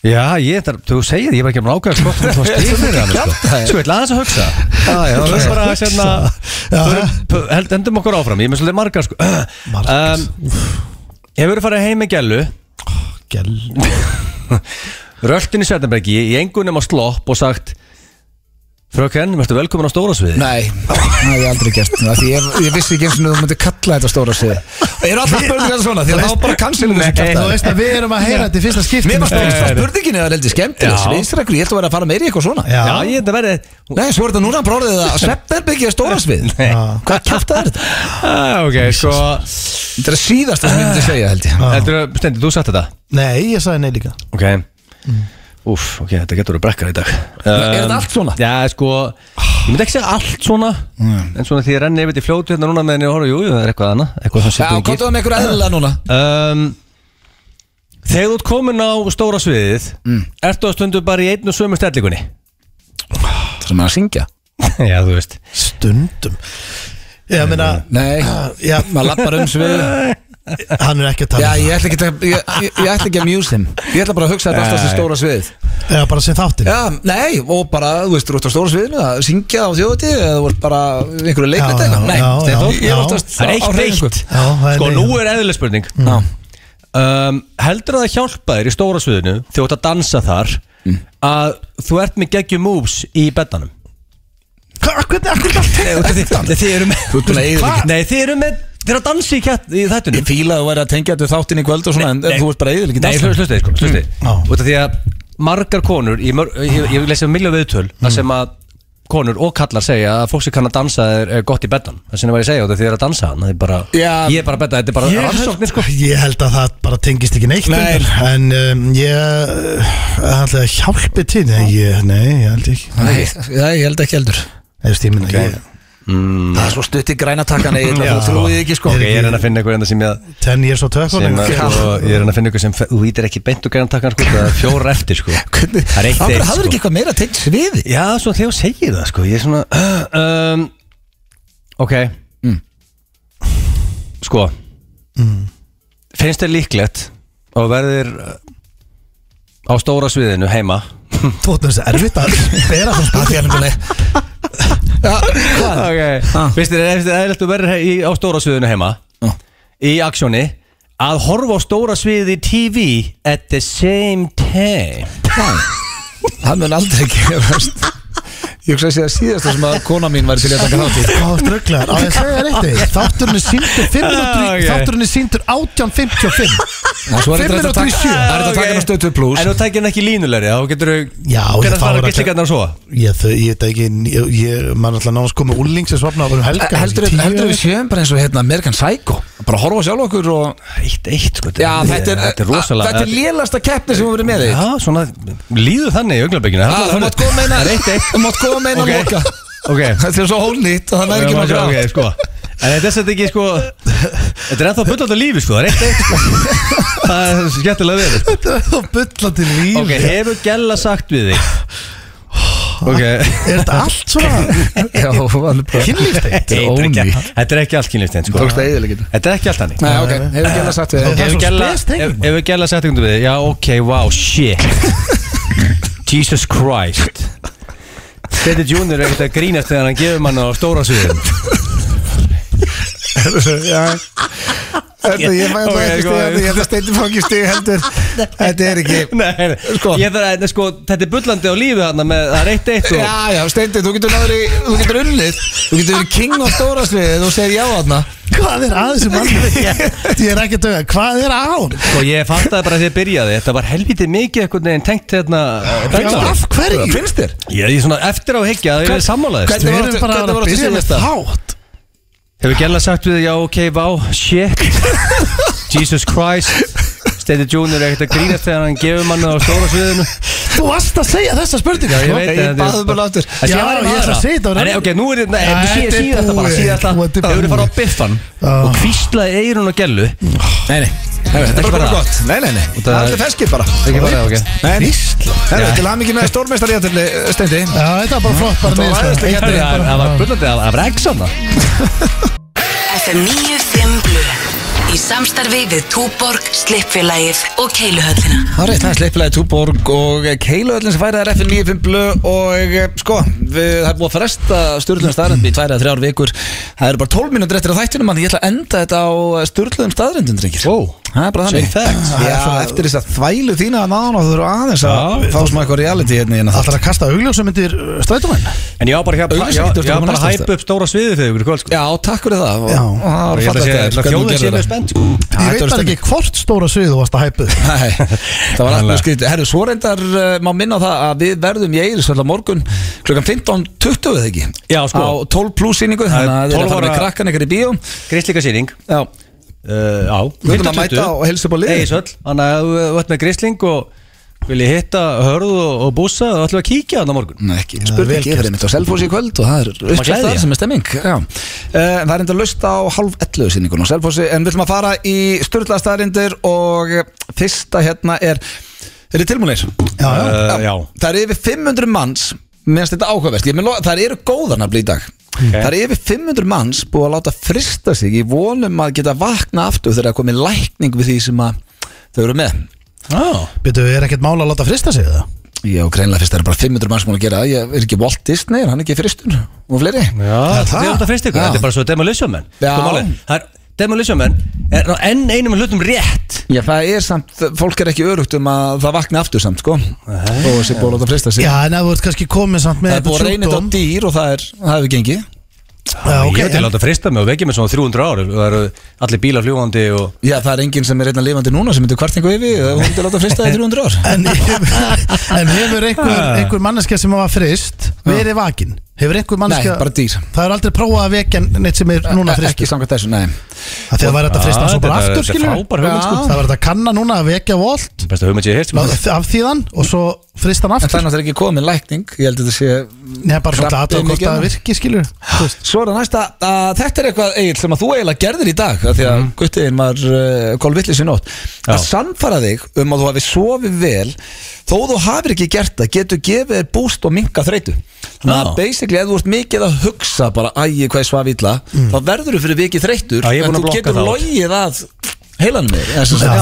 Speaker 2: Já, ég þarf, þú segir, ég var ekki að ákveða sko, þú varst stíð fyrir hann sko.
Speaker 1: Kjaftaði.
Speaker 2: Sko, ég ætla aðeins að hugsa Já, já, það er bara að sérna
Speaker 3: Já.
Speaker 2: förum- p- held- Hendum okkur áfram, ég er með svolítið margar sko
Speaker 3: Margar.
Speaker 2: um, Hefur farið heim með gælu
Speaker 3: Gel-
Speaker 2: Röltin í Svetanbergi í engunum á slopp og sagt Fröken, verður velkomin á stóra sviði
Speaker 1: Nei, það hef ég aldrei gert af Því ég, ég vissi ekki eins og þú myndir kalla þetta stóra sviði Eru alltaf spurningar þetta svona? Því að það var bara kansilum þessu
Speaker 3: Þú
Speaker 1: kjæftæði
Speaker 3: veist að við erum að heyra þetta í fyrsta skipti
Speaker 1: Mér var
Speaker 2: Nei, nei.
Speaker 1: spurningin eða heldur skemmtileg
Speaker 2: Já.
Speaker 1: Sviðstrekkur, ég held að vera að fara meiri eitthvað svona
Speaker 3: Já.
Speaker 2: Já, ég held að verði
Speaker 1: Nei, svo er þetta núna bara orðið að svefnherbyggi er stóra svið Hvað kjæftæði er þetta?
Speaker 2: ah, Ok, sko
Speaker 1: Þetta er síðast sem ég myndi segja held ég
Speaker 2: Heldur að, Stendi, þú satt þetta
Speaker 3: Nei, ég sagði nei líka
Speaker 2: Ok Úf, ok, þetta getur að brekka í dag
Speaker 1: Er þetta allt svona?
Speaker 2: Já, sko, ég myndi ekki segja allt svona En svona því ég renni yfir til fljótu hérna núna meðan ég horf Jú, jú, það er eitthvað annað Eitthvað sem
Speaker 1: Já,
Speaker 2: setjum í gýr
Speaker 1: kontaðu með einhverja eðla núna
Speaker 2: um, Þegar þú ert komin á stóra sviðið Ertu að stundu bara í einu og sömu stellingunni?
Speaker 1: Það sem er að syngja
Speaker 2: Já, þú veist
Speaker 3: Stundum Ég meina
Speaker 1: Nei,
Speaker 3: Ah, Já,
Speaker 1: maður lappar um svið
Speaker 3: hann er ekki
Speaker 1: Já,
Speaker 3: að tala um
Speaker 1: ég ætla ekki að ég, ég, ég ætla ekki að mjús þeim Ég ætla bara að hugsa þetta alltaf sem stóra svið
Speaker 3: það. Já, bara sem þáttin
Speaker 1: Já, nei, og bara, þú veist, þú ert á stóra sviðinu að syngja á þjóðutíð eða þú ert bara í einhverju leikvætt
Speaker 3: Já,
Speaker 1: eitthvað
Speaker 3: já,
Speaker 1: Nei,
Speaker 3: já,
Speaker 1: Stefán, ég
Speaker 3: já,
Speaker 1: er
Speaker 3: já.
Speaker 1: oftast
Speaker 2: Það
Speaker 1: á
Speaker 2: er eitt
Speaker 1: hreyfingu.
Speaker 2: eitt
Speaker 3: Já, það er
Speaker 2: Sko,
Speaker 3: nei.
Speaker 2: nú er eðlileg spurning
Speaker 1: Já.
Speaker 2: um, Heldur að það hjálpa þér í stóra sviðinu Þegar þú ert að dansa þar Að þú ert með geggjum moves í beddanum
Speaker 3: Hva- Hvernig er þetta
Speaker 1: Eh,
Speaker 2: Nei, út
Speaker 1: Þú
Speaker 2: af því- Nei, Þið eru með
Speaker 1: ert búin að eyða
Speaker 2: Hva?
Speaker 1: ekki-
Speaker 2: Nei, þið eru með Þið eru að dansa í, kjatt, í þættunum
Speaker 1: Ég fíla að þú væri að tengja þetta við þáttinn í kvöld og svona en, en þú ert bara Mm. eðil ekki
Speaker 2: Nei, hlustu, hlustu, sko, hlustu
Speaker 3: Já.
Speaker 2: Út af því að margar konur Ég, mör, ég, ég lesi um miljóð viðtöl
Speaker 1: Mm.
Speaker 2: Það sem að konur og kallar segja að fólk sem kann að dansa er, er gott í beddan Það sem var ég að segja út af því þið eru að dansa hann Það er bara,
Speaker 1: Já.
Speaker 2: ég er bara að bedda, þetta er bara rannsóknir sko
Speaker 3: Ég held að það bara tengist ekki neitt
Speaker 1: Nei.
Speaker 3: undir. En um, ég Það held að hjálpi til Nei, ég, nei, ég held ekki
Speaker 1: Nei, ég held ekki heldur
Speaker 3: Nei, þú veist, ég minna okay. ég,
Speaker 1: Það er svo stutt í grænatakkan eða
Speaker 3: Já.
Speaker 1: þú trúið ekki sko
Speaker 2: Ok, ég er henni að finna eitthvað enda sem ég að
Speaker 3: Ten years of tökum
Speaker 2: sem að, sko, ég er henni að finna eitthvað sem fe- þú ítir ekki beint og gæðan takkan sko, það er fjóra eftir sko
Speaker 1: Hvernig-
Speaker 2: Það er eitt
Speaker 1: Af hverju
Speaker 2: eitt,
Speaker 1: hafðirðu
Speaker 2: sko.
Speaker 1: ekki eitthvað meira tengt sviði
Speaker 2: Já, svo þegar þú segir það sko, ég er svona um, Ok Sko Finnst þér líklegt og verðir uh, á stóra sviðinu heima
Speaker 3: Þú ætlum þessi erfitt að bera svona
Speaker 1: Það er nefnilega Já, hvað?
Speaker 2: Ok Finnst þér finnst þér eðlilegt að verðir he- í- á stóra sviðinu heima
Speaker 1: Já.
Speaker 2: í aksjóni að horfa á stóra sviðið í TV at the same time
Speaker 1: Það mun aldrei gerast Ég hugsa að sé að síðasta sem að kona mín var til að taka þátt í
Speaker 3: Hvað strögglar, á ég að segja þér eitt Þátturinn er síndur 5 minútur
Speaker 2: Ah,
Speaker 3: í
Speaker 2: ok.
Speaker 3: Þátturinn er síndur 18.55
Speaker 1: Ná, svo er þetta að
Speaker 3: Fimm mínútur í
Speaker 1: taka-
Speaker 3: sjö.
Speaker 1: það er þetta að taka hann á stötu pluss
Speaker 2: Ah, En þú tækir hann ekki línulegri þá getur þú
Speaker 3: Já, ég
Speaker 2: Hvernig
Speaker 3: þá er
Speaker 2: fara
Speaker 3: að-
Speaker 2: gillingarnar að sofa?
Speaker 3: Ég þau, ég veit ekki Ég, ég- maður alltaf náðast komið úling sem svapna á um helga
Speaker 1: Heldur
Speaker 3: þessi tíu-
Speaker 1: við sjöum bara eins og hérna American Psycho Bara horfa á sjálf okkur og
Speaker 2: Eitt, eitt sko
Speaker 1: Já, þetta er,
Speaker 2: þetta er rosalega
Speaker 1: Þetta er lélasta keppni sem við verið með þig
Speaker 2: Já, svona líður þannig í
Speaker 1: Já,
Speaker 2: augnabekinu
Speaker 1: Ah, þú mátt koma eina
Speaker 2: Það er eitt eitt
Speaker 1: Þú mátt koma með eina
Speaker 2: Ok.
Speaker 1: loka
Speaker 2: Ok.
Speaker 1: Þetta er svo hólnýtt og það næði ekki
Speaker 2: Ok,
Speaker 1: nokkuð
Speaker 2: ok, sko En þetta er þetta ekki sko Þetta er ennþá bullandi lífi sko, það er eitt eitt sko Það er skemmtilega við sko.
Speaker 3: Þetta er þá bulla til líf
Speaker 2: Ok, hefur Gjalla sagt við þig Ok
Speaker 3: Er þetta allt svona
Speaker 1: Já, Þetta er
Speaker 2: Þetta
Speaker 3: kynlífstengt?
Speaker 2: er ekki-
Speaker 1: ónýtt.
Speaker 2: Þetta er ekki allt kynliftin sko
Speaker 1: Tókst það eyðileggjandi.
Speaker 2: Þetta er ekki allt hannig
Speaker 1: Nei, ok, hefur gæla sagt við
Speaker 3: Það er
Speaker 2: Hefur
Speaker 3: svo
Speaker 2: Gjalla
Speaker 3: spes tenging,
Speaker 2: hef-
Speaker 3: maður.
Speaker 2: Hefur Gjalla sagt einhvern við þig Já, ok, wow, shit Jesus Christ Þetta Junior er ekkert að grínast þegar hann gefur mann á stóra sviðum
Speaker 1: Þetta, ég fæði
Speaker 2: Ok,
Speaker 1: það ekki
Speaker 2: sko.
Speaker 1: stig Ég held að steindi fá ekki stig heldur Þetta er ekki
Speaker 2: Nei, nei,
Speaker 1: Sko.
Speaker 2: Ég þarf að, sko, þetta er bullandi á lífi þarna með, það er eitt eitt og
Speaker 1: Já, já, steindi, þú getur náður í Þú getur unnið Þú getur verið king á stóra sviðið Þú segir já aðna
Speaker 3: Hvað er að þessu manni? Ég er ekki að döga, hvað er að hún?
Speaker 2: Sko, ég fattaði bara þegar ég byrjaði, þetta var helvítið mikið einhvern veginn tengt hérna
Speaker 3: Já,
Speaker 2: Bengla
Speaker 3: af hverju?
Speaker 1: Finnst þér?
Speaker 2: Ég er svona eftir á higgja að ég er sammálaðist
Speaker 1: Hvernig
Speaker 3: Við
Speaker 1: var
Speaker 3: erum
Speaker 1: þetta-
Speaker 3: bara
Speaker 1: hvernig
Speaker 3: að
Speaker 1: var þetta
Speaker 3: byrja með
Speaker 1: síðasta?
Speaker 3: þátt
Speaker 2: Hefur gæla sagt við þig, já, ok, vá, shit Jesus Christ Steindi Junior er ekkert að grínast þegar hann gefur manna á stóra sviðinu
Speaker 3: Þú varst að segja þessa spurningu
Speaker 2: Já, ég veit
Speaker 1: Ég
Speaker 2: þetta er-
Speaker 1: baði bara aftur
Speaker 2: Það sé
Speaker 3: Já,
Speaker 2: aðra
Speaker 3: ég ætla að
Speaker 2: aðra.
Speaker 3: segja þetta, var-
Speaker 2: Nei, Ok, nú er þetta
Speaker 3: Já, þetta er
Speaker 2: Síðast þetta bara,
Speaker 3: búið.
Speaker 2: síðast
Speaker 3: Þetta
Speaker 2: þetta
Speaker 3: er
Speaker 2: Þau eru fara á
Speaker 3: búið.
Speaker 2: biffan
Speaker 3: Já.
Speaker 2: og hvíslaði eirun og gellu
Speaker 1: Nei, nei, þetta er
Speaker 2: ekki
Speaker 1: bara
Speaker 2: bara
Speaker 1: gott Nei, nei, nei, það er allir feskir bara
Speaker 2: Ekki bara, ok
Speaker 1: Nei,
Speaker 3: Ísla
Speaker 1: það er til að mikið með stórmeistar í aðtöfli, Steindi
Speaker 3: Já, þetta var bara flott bara
Speaker 1: Þetta var
Speaker 3: niðurstaða.
Speaker 1: æðisleg
Speaker 2: Herri, Það það var bullandi, það var regsam það
Speaker 5: FM 95 Blu Í samstarfi við Túborg, Slippfélagið og Keiluhöllina
Speaker 1: Það er rétt, það er sleipilega Túborg og Keiluöllin sem færið er FN 95 blö og eh, sko, við, það er búið að fresta Sturluðum staðrönd í tvær eða þrjár vikur Það eru bara 12 mínútur eftir að þættinum en ég ætla að enda þetta á eh, Sturluðum staðröndin, drengir
Speaker 2: Ó,
Speaker 1: Það er bara
Speaker 2: Same facts.
Speaker 1: Já, eftir þess að þvælu þína að náðan og þú þurfa aðeins að
Speaker 2: Já.
Speaker 1: fá smá eitthvað reality hérna hérna
Speaker 3: Ætlar að kasta augljósum uh, myndir strætumenn
Speaker 2: En ég á bara ekki að-
Speaker 1: Auglýsing
Speaker 2: ég á-
Speaker 1: getur
Speaker 2: ég á
Speaker 1: komið
Speaker 2: bara að
Speaker 1: næsta
Speaker 2: hæpa upp stóra sviði þegar ykkur í kvöld sko.
Speaker 1: Já, takk fyrir það og,
Speaker 3: Já.
Speaker 1: og það var
Speaker 2: Ég ætla að
Speaker 1: fallegt
Speaker 2: segja,
Speaker 1: aðeins
Speaker 2: ætla að
Speaker 1: hvernig þú
Speaker 2: þjóðin sé
Speaker 1: gerðir
Speaker 2: mjög
Speaker 1: það.
Speaker 2: spennt
Speaker 1: Já,
Speaker 3: Ég
Speaker 1: þetta
Speaker 3: veit
Speaker 1: var
Speaker 3: bara ekki hvort stóra sviðu varst að hæpu
Speaker 1: sko. Nei, það var allt mjög
Speaker 2: Þannig.
Speaker 1: skrítið Herru, svo reyndar uh, má minna á það að við verðum í Eirisvöld á morgun klukkan 15.20 eða ekki
Speaker 2: Já, sko.
Speaker 1: Á 12 pluss síningu,
Speaker 2: Það er
Speaker 1: þannig að þið er að
Speaker 2: 12
Speaker 1: fara með
Speaker 2: ára-
Speaker 1: krakkan ykkur í bíó
Speaker 2: Gríslíka sýning
Speaker 1: Já,
Speaker 2: Uh, Já,
Speaker 1: Við ætlum að mæta og heilsa upp á liðið.
Speaker 2: Eisöll, þannig að ef þú vart með grísling og vil ég hitta hörðu og, og bússa og ætlum við að kíkja þannig morgun
Speaker 1: Nei, ekki,
Speaker 3: vel
Speaker 1: spurning, ég
Speaker 3: gert.
Speaker 1: verði mitt á Selfossi í kvöld og það er
Speaker 2: gleðja.
Speaker 1: uppslæð þar sem er stemming Já, uh, það er enda löst á halv 11 síningun á Selfossi En við ætlum að fara í styrla staðarindir og eh, fyrsta hérna er Er þið tilmúinir?
Speaker 2: Uh, Já,
Speaker 1: Það eru yfir 500 manns meðan þetta áhugaverst, ég meina það eru góðan að í dag Það eru yfir 500 manns búið að láta frista sig í vonum að geta vakna aftur þegar það er komið lækning við því sem að þau eru með
Speaker 2: já
Speaker 3: Býtu, er ekkert mála að láta frista sig það?
Speaker 1: Já, greinlega fyrst það eru bara 500 manns búin að gera það ég er ekki Walt Disney, er hann ekki fristun og fleiri
Speaker 2: Já,
Speaker 3: það?
Speaker 2: þetta er alltaf fyrst ykkur,
Speaker 1: Já.
Speaker 2: þetta er bara svo demolition Sko menn
Speaker 1: Já.
Speaker 2: Demolition menn er ná enn einum hlutum rétt
Speaker 1: Já, það er samt, fólk er ekki örugt um að það vakna aftur samt, sko og sem búið að láta frista sig
Speaker 3: Já, en þú ert kannski komið samt með
Speaker 1: Það er búið að reyna þetta á dýr og það er, það hefur gengið
Speaker 3: Já, ok,
Speaker 2: Ég veit að
Speaker 3: en-
Speaker 2: láta frista mig og vekja mig svona 300 ár og það eru allir bílar fljúandi og
Speaker 1: Já, það er enginn sem er einna lifandi núna sem myndi kvartningu yfir, hún myndi láta frista í 300 ár
Speaker 3: En, en hefur einhver, einhver manneska sem var frist verið vakin? Hefur einhver mannskja
Speaker 1: Nei, bara dýr.
Speaker 3: Það er aldrei prófað að vekja neitt sem er núna
Speaker 1: Ekki
Speaker 3: fristur
Speaker 1: samkvæmt þessu, nei
Speaker 3: Það þegar væri þetta fristur hann svo bara
Speaker 2: þetta er-
Speaker 3: aftur
Speaker 2: þetta er
Speaker 3: skilur
Speaker 2: frábær hugmynd, sko.
Speaker 3: Það var þetta að kanna núna að vekja volt
Speaker 2: Besta hugmynd sem ég sko. heist
Speaker 3: af þvíðan og svo frista hann
Speaker 1: En það
Speaker 3: aftur
Speaker 1: er náttúrulega ekki komið lækning Ég held að þetta sé
Speaker 3: Nei, bara svolítið
Speaker 1: Krabbi
Speaker 3: aðtöða hvort
Speaker 1: mikið
Speaker 3: það
Speaker 1: annað.
Speaker 3: virki skilur
Speaker 1: Svo er það næsta að þetta er eitthvað Egil sem að þú eiginlega gerðir í dag af Því að mm. guttiðin var uh, kolvillis í nótt
Speaker 2: Mhm. Já.
Speaker 1: Að sannfara þig um að þú hafi sofið vel Þó þú hafir ekki gert það Getur gefið þér búst og minka þreytu Þannig að
Speaker 2: Já.
Speaker 1: basically ef þú ert mikið að hugsa Bara ægi hvað ég svaf illa Þá verður þú fyrir vikið þreyttur En
Speaker 2: Mm. Já, ég er búin að
Speaker 1: þú
Speaker 2: blokka
Speaker 1: getur
Speaker 2: það út.
Speaker 1: logið að heilanum þér eða sem
Speaker 3: Já,
Speaker 1: sagt-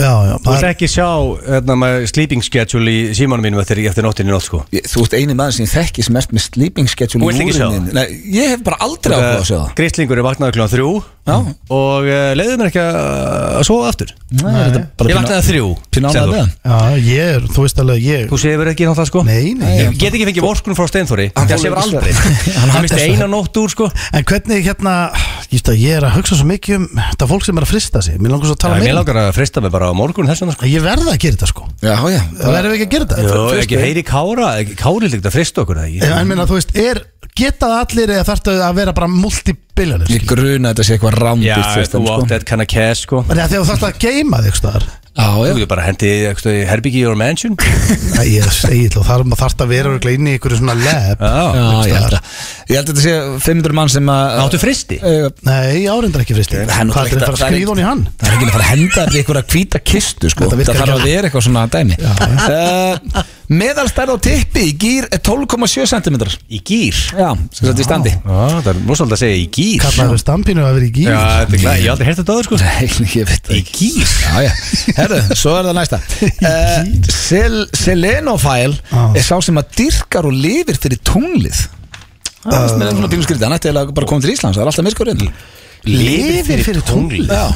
Speaker 3: já, já
Speaker 2: Þú
Speaker 3: það
Speaker 2: ert
Speaker 3: er-
Speaker 2: ekki sjá hérna, með sleeping schedule í símanum mínum eftir, eftir nóttinni í nótt sko
Speaker 1: Ég- Þú ert eini maður sem ég þekki sem ert með sleeping schedule
Speaker 2: Þú vilt ekki sjá það?
Speaker 1: Nei, ég hef bara aldrei áhuga á að sjá það
Speaker 2: Grislingur Eh, er vaknaður kljóðan þrjú
Speaker 1: Já.
Speaker 2: og uh, leiðið mér ekki að sofa aftur
Speaker 1: Nei, er þetta bara
Speaker 2: Ég
Speaker 1: pínu-
Speaker 2: vaknaði að þrjú
Speaker 1: Pínu
Speaker 2: sagði
Speaker 1: ánægð
Speaker 2: þú.
Speaker 1: með hann
Speaker 3: Já, ég er, þú veist alveg ég
Speaker 2: Þú sefur ekki náttúrulega sko
Speaker 3: Nei, nei
Speaker 2: Ég get ekki fengið vorkunum frá Steinþóri
Speaker 1: Hann
Speaker 2: Það
Speaker 1: fór
Speaker 2: sefur
Speaker 1: ekki
Speaker 2: aldrei
Speaker 1: svefn.
Speaker 2: Hann misti eina nótt úr sko
Speaker 3: En hvernig hérna, ég, að ég er að hugsa svo mikið um þetta fólk sem er að frista sig Mér langar svo að
Speaker 2: Já,
Speaker 3: tala
Speaker 2: Mér
Speaker 3: meira um
Speaker 2: langar að frista mig bara á morgun þess vegna sko
Speaker 3: það. Ég verða að gera þetta sko
Speaker 1: Já, já
Speaker 3: Það verðum við ekki að gera þetta
Speaker 2: Jó,
Speaker 1: frista
Speaker 2: ekki
Speaker 1: mig.
Speaker 2: heyri Kára, ekki- Kári líkt að frista okkur það
Speaker 3: En
Speaker 2: ekki
Speaker 3: en meina, þú veist, er, geta það allir eða þarftu að vera bara multibiljanir
Speaker 1: Ég gruna að þetta sé eitthvað
Speaker 2: Já,
Speaker 1: rándir
Speaker 2: þú átt þetta kann að cash sko
Speaker 3: Þegar þú þarftu að geima þig staðar
Speaker 1: Já,
Speaker 2: Þú
Speaker 1: já
Speaker 2: getur bara hendið eitthvað í herbyggi í your mansion
Speaker 3: Æ, ég segi þú, þarf þarftu að vera örugglega inni í einhverju svona lab
Speaker 2: Já,
Speaker 1: Já, ég held að Ég held að þetta sé 500 mann sem að
Speaker 2: áttu fristi
Speaker 1: Eh,
Speaker 3: Nei, ég áreindar ekki fristi
Speaker 1: það er
Speaker 3: Hvað
Speaker 1: náttúrulega
Speaker 3: er þetta að
Speaker 1: það er-
Speaker 3: skrýða hún í hann?
Speaker 1: Það er ekki að fara að henda þetta í einhverja hvíta kistu sko.
Speaker 3: Þetta
Speaker 1: Það
Speaker 3: virkar
Speaker 1: þarf að
Speaker 3: ekki.
Speaker 1: vera eitthvað svona dæmi uh, Meðalstærð á tippi í gýr er 12,7 cm
Speaker 2: Í gýr
Speaker 1: Já, sem sagt í standi
Speaker 2: Já, það er músald að segja í gýr
Speaker 3: Kallaður við stampinu að vera í gíl
Speaker 2: Já, þetta er glæð, ég hef aldrei hérta þetta áður sko
Speaker 1: Nei, ég veit það
Speaker 2: Í gýr
Speaker 1: Já, já, herru, svo er það næsta uh, Sel Selenofile
Speaker 3: Já.
Speaker 1: er sá sem að dyrkar og lifir fyrir tunglið Það
Speaker 3: Ah.
Speaker 1: er með einhvern pínu skrítið, hann ætti eiginlega bara að koma til Íslands það er alltaf myrkurinn
Speaker 3: Lifir fyrir tunglið
Speaker 1: Já,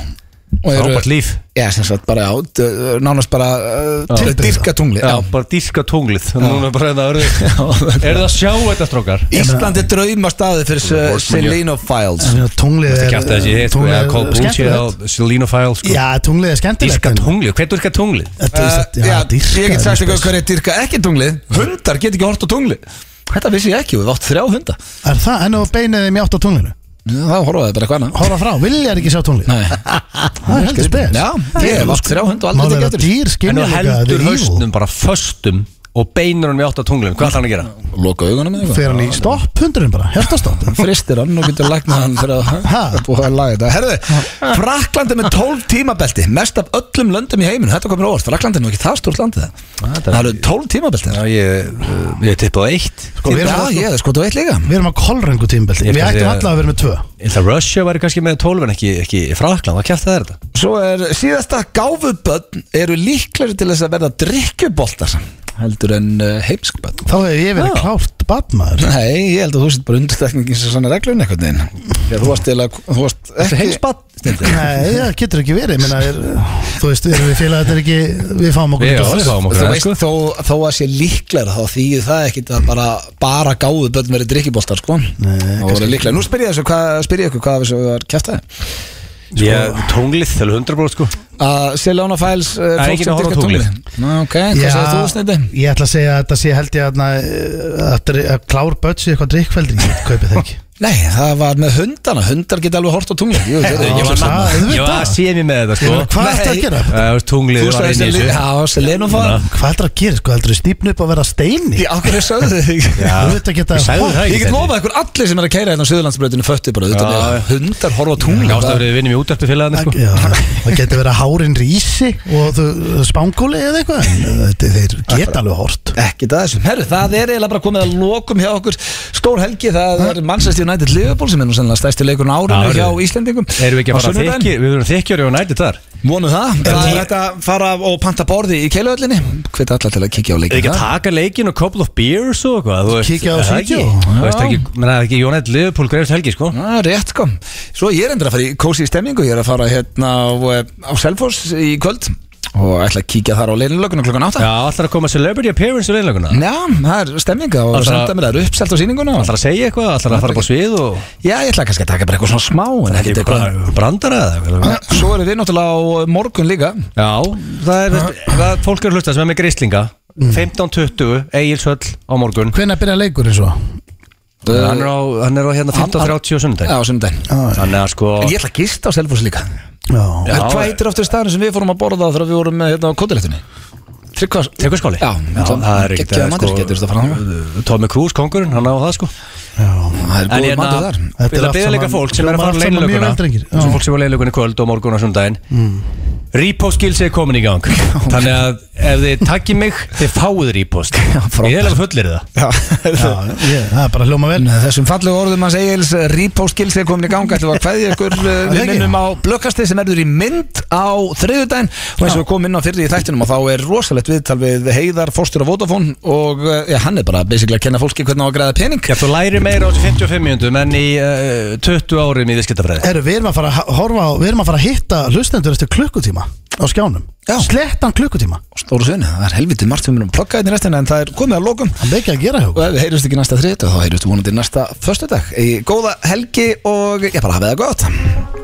Speaker 1: og eru
Speaker 2: Frábært líf
Speaker 1: Já, sem sagt bara, já, d- nánast bara uh, til dyrka tunglið
Speaker 2: Já,
Speaker 1: já.
Speaker 2: bara dýrka tunglið Núna bara þetta örðu Er það að sjá þetta strókar?
Speaker 1: Ísland er draumastæði fyrir se- Selenofiles
Speaker 3: Ég meina, Tunglið
Speaker 2: Þetta
Speaker 3: er
Speaker 2: kjátt að þessi hitt sko, eða Call Bullshit á Selino File sko
Speaker 3: Já, tunglið er skemmtilegt
Speaker 2: Dýrka
Speaker 3: en-
Speaker 2: tunglið, hvernig dýrka tunglið?
Speaker 3: Þetta er sko.
Speaker 1: Uh,
Speaker 3: satt-
Speaker 1: já,
Speaker 3: Já, dýrka
Speaker 1: ég get
Speaker 3: er
Speaker 1: sagt
Speaker 3: mjög
Speaker 1: eitthvað
Speaker 3: spes.
Speaker 1: hverju dyrka ekki tunglið Hundar get ekki hort á tunglið Þetta vissi ég ekki, við átt þrjá hunda
Speaker 3: Er það, en þú beinið þeim í átt á tunglinu
Speaker 1: Það horfaði bara hvað annað
Speaker 3: Hóra frá, viljar ekki sjá tunglið
Speaker 1: Nei.
Speaker 3: Það er sko- heldur spes
Speaker 1: Já, ég hef átt þrjá hund og aldrei
Speaker 3: Málega
Speaker 1: tekið
Speaker 3: að
Speaker 1: eftir
Speaker 3: dýr
Speaker 2: En
Speaker 3: skynja
Speaker 2: þú heldur haustnum bara föstum Og beinur hann við átt á tunglinu, hvað ætlar hann að gera?
Speaker 1: þessu. Loka augunum eða
Speaker 3: Fyrir hann í stopp hundurinn bara, hértastopp
Speaker 1: eitthvað Fristir hann og getur læknað hann þegar
Speaker 3: Ha?
Speaker 1: það er búið að laga þetta Herðu, Fraklandi með 12 tímabelti Mest af öllum löndum í heiminu Þetta komir óvart, Fraklandi er nú ekki það stórt landið
Speaker 2: þetta er-
Speaker 1: Það eru 12 tímabelti
Speaker 2: Já, ég, uh, ég tippa á eitt
Speaker 3: við erum
Speaker 1: Já,
Speaker 3: að-
Speaker 1: ég, sko, þú veit líka
Speaker 3: Við erum að kolröngu tímbelti
Speaker 2: Ég
Speaker 3: Við
Speaker 2: ætla að
Speaker 3: ættum
Speaker 2: segja-
Speaker 3: alla að vera með tvö
Speaker 2: Ég held að Russia væri kannski með 12 en ekki, ekki Frakland, hvað kjátt það er þetta?
Speaker 1: Svo er síðasta gáfuböld Eru líklegri til þess að verða drikkjuboltar Heldur en uh, heimskböld
Speaker 3: Þá hefur ég verið klárt badmaður
Speaker 1: Nei, ég held að þú sitt bara undirstekningin sem svona reglun einhvern veginn Þegar Þú varst eiginlega- þú varst
Speaker 2: Þetta er
Speaker 1: ekki
Speaker 2: heimsbad
Speaker 3: Nei, það getur ekki verið Minna, er, Þú veist, erum við félagarnir ekki Við fáum okkur
Speaker 2: Við
Speaker 3: ekki
Speaker 2: alveg
Speaker 3: að-
Speaker 2: fáum okkur
Speaker 1: Þú
Speaker 2: aðeins,
Speaker 1: veist,
Speaker 2: sko.
Speaker 1: þó, þó að sé líklega þá þýðir það ekkit að bara, bara gáðu börn verið drikkiboltar, sko Nei, Það voru líklega, nú spyr ég þessu, hvað, spyr ég ykkur hvað af þessu var kjæftæði
Speaker 2: Ég, tónglið, alveg 100% sko
Speaker 1: Að Seljóna Fæls uh,
Speaker 2: Nei, ekki að horfa á tunglið.
Speaker 1: Ná, ok, hvað
Speaker 3: Já,
Speaker 1: segir þú, Snændi?
Speaker 3: Ég ætla að segja að þetta sé held ég að, að, að, að klár bötsi eitthvað drikkveldri Ég kaupi það ekki
Speaker 1: Nei, það var með hundana, hundar geta alveg hort á tunglið Jú, heyrðu,
Speaker 3: Já,
Speaker 1: ég
Speaker 2: var
Speaker 1: var
Speaker 3: það-
Speaker 2: saman-
Speaker 3: auðvitað.
Speaker 2: Ég var að sé mér með þetta
Speaker 3: Ég
Speaker 2: sko
Speaker 3: meina, Hvað
Speaker 1: Nei.
Speaker 3: ertu að gera?
Speaker 2: Það var tunglið
Speaker 1: Þú
Speaker 2: var inn í
Speaker 1: sagði
Speaker 2: þessu
Speaker 1: Seljóna Já, Seljóna Fæls
Speaker 3: Hvað heldur að gera? Sko, heldur að stýpna upp að vera að steini?
Speaker 1: Í okkur er sögðu þig
Speaker 2: Já.
Speaker 3: Þú veit að geta-
Speaker 2: Ég sagði það
Speaker 1: Ég
Speaker 2: ekki
Speaker 1: get lofað ykkur allir sem er að keira hérna á Suðurlandsbreytinu fötti bara, þetta
Speaker 2: Já,
Speaker 1: með hundar horfa á
Speaker 2: Ég
Speaker 1: tunglið
Speaker 2: ást að verið vinnum í útverfi félagana sko
Speaker 3: Já, það getur verið að hárin rísi og þú spangóli eða eitthvað en eh, þetta- þeir geta alveg hort
Speaker 1: Ekki það þessum, herru, það er eiginlega bara komið að lokum hjá okkur Stór helgi, það er Manchester United Liverpool sem er nú sennilega stærsti leikurinn á árinu
Speaker 2: Já,
Speaker 1: hjá
Speaker 2: heyrðu.
Speaker 1: Íslendingum
Speaker 2: Erum við
Speaker 1: Á
Speaker 2: ekki að fara
Speaker 1: sunnudaginn.
Speaker 2: þykjur, við verum þykjur og nætið þar
Speaker 1: Vonu það, það
Speaker 2: tí-
Speaker 1: er hægt að fara og panta borði í keiluöllinni Hveit alla til að kikja á
Speaker 2: Eða ekki
Speaker 1: leikin
Speaker 2: að taka leikin og couple of beers og eitthvað þú veist,
Speaker 3: Kíkja á
Speaker 2: er það
Speaker 3: vídeó.
Speaker 2: ekki? Þú veist ekki, menn það er ekki Jónætt Liverpool greifst helgi sko
Speaker 1: Já, rétt kom Svo ég er endur að fara í kósi í stemmingu Ég er að fara hérna á, eh, á Selfoss í kvöld Og ætla að kíkja þar á leilinlökunum klukkan
Speaker 2: Já,
Speaker 1: 8
Speaker 2: allar að koma celebrity appearance í leilaguna
Speaker 1: Já, það er stemminga og
Speaker 2: Ætlar-
Speaker 1: senda mér það er uppselt á síninguna
Speaker 2: Allar að segja eitthvað, allar að fara bara svið og
Speaker 1: Já, ég ætla kannski að taka bara eitthvað svona smá En ekkert eitthvað
Speaker 2: Bara brandara eða eitthvað
Speaker 1: Svo erum við náttúrulega á morgun líka
Speaker 2: Já, það er, veist, það, fólk er að hlusta sem er með grislinga 15.20, Egilshöll á morgun
Speaker 3: Hvenær byrja leikur eins og?
Speaker 2: Hann er á, hann er á hérna 15.30 og
Speaker 1: Eh,
Speaker 2: sundag
Speaker 1: Já, sunnudaginn
Speaker 2: Þannig að sko
Speaker 1: Ég ætla að gista á Selfoss líka
Speaker 3: Já.
Speaker 1: En Hvað heitir aftur staðinu sem við fórum að borða á þegar við vorum með hérna á kótilettunni? Tryggvas
Speaker 2: Tryggvaskóli
Speaker 1: Já,
Speaker 2: það er ekkert eh, sko- uh,
Speaker 1: Gekkjaða matur, getur þetta að fara þangað.
Speaker 2: Tommy Cruise, kongurinn, hann á það sko
Speaker 1: Það er
Speaker 2: En
Speaker 1: góð
Speaker 2: hérna,
Speaker 1: matur þar
Speaker 3: Þetta er
Speaker 2: við að
Speaker 3: allt
Speaker 2: beða
Speaker 3: saman-
Speaker 2: líka fólk sem er að
Speaker 3: hljómar
Speaker 2: fara
Speaker 3: allt saman mjög
Speaker 2: leiluguna
Speaker 3: vel, drengir. Já. Mm.
Speaker 2: Svo fólk sem var leiluguna í kvöld og morgun og sundaginn Repost-skilsið er komin í gang Þannig að ef þið takkir mig, þið fáið repost
Speaker 1: frábært.
Speaker 2: Ég er alveg fullir það
Speaker 1: Já,
Speaker 3: Já, ég, það er bara hljóma vel
Speaker 1: Með Þessum fallegu orðum hans Egil's Repost-skilsi er komin í ganga Þetta var hverði ykkur eh,
Speaker 3: það
Speaker 1: Við
Speaker 3: ekki?
Speaker 1: minnum á blökkasti sem erður í mynd á þriðudaginn og eins og við komum inn á fyrri í þættinum og þá er rosalegt viðtal við Heiðar Fórstur á Vodafone og eh, já, hann er bara basically að kenna fólki hvernig á að græða pening
Speaker 2: Já, þú læri meira á þessu 55 mínútum en í uh, 20 árum í viðskiptafræði
Speaker 3: Herru, við erum að fara að horfa á, við erum að fara að hitta hlustendur eftir klukkutíma á skjánum
Speaker 1: Já.
Speaker 3: Slettan klukkutíma
Speaker 1: Stóru sveinu, það er helviti margt sem við erum að plugga þetta í restina en það er komið að lokum
Speaker 3: Það er ekki að gera hjá
Speaker 1: og
Speaker 3: okkur.
Speaker 1: ef við heyrjumst ekki næsta þriðut þá heyrjumst við vonandi næsta föstudag í góða helgi og ég bara hafið það gott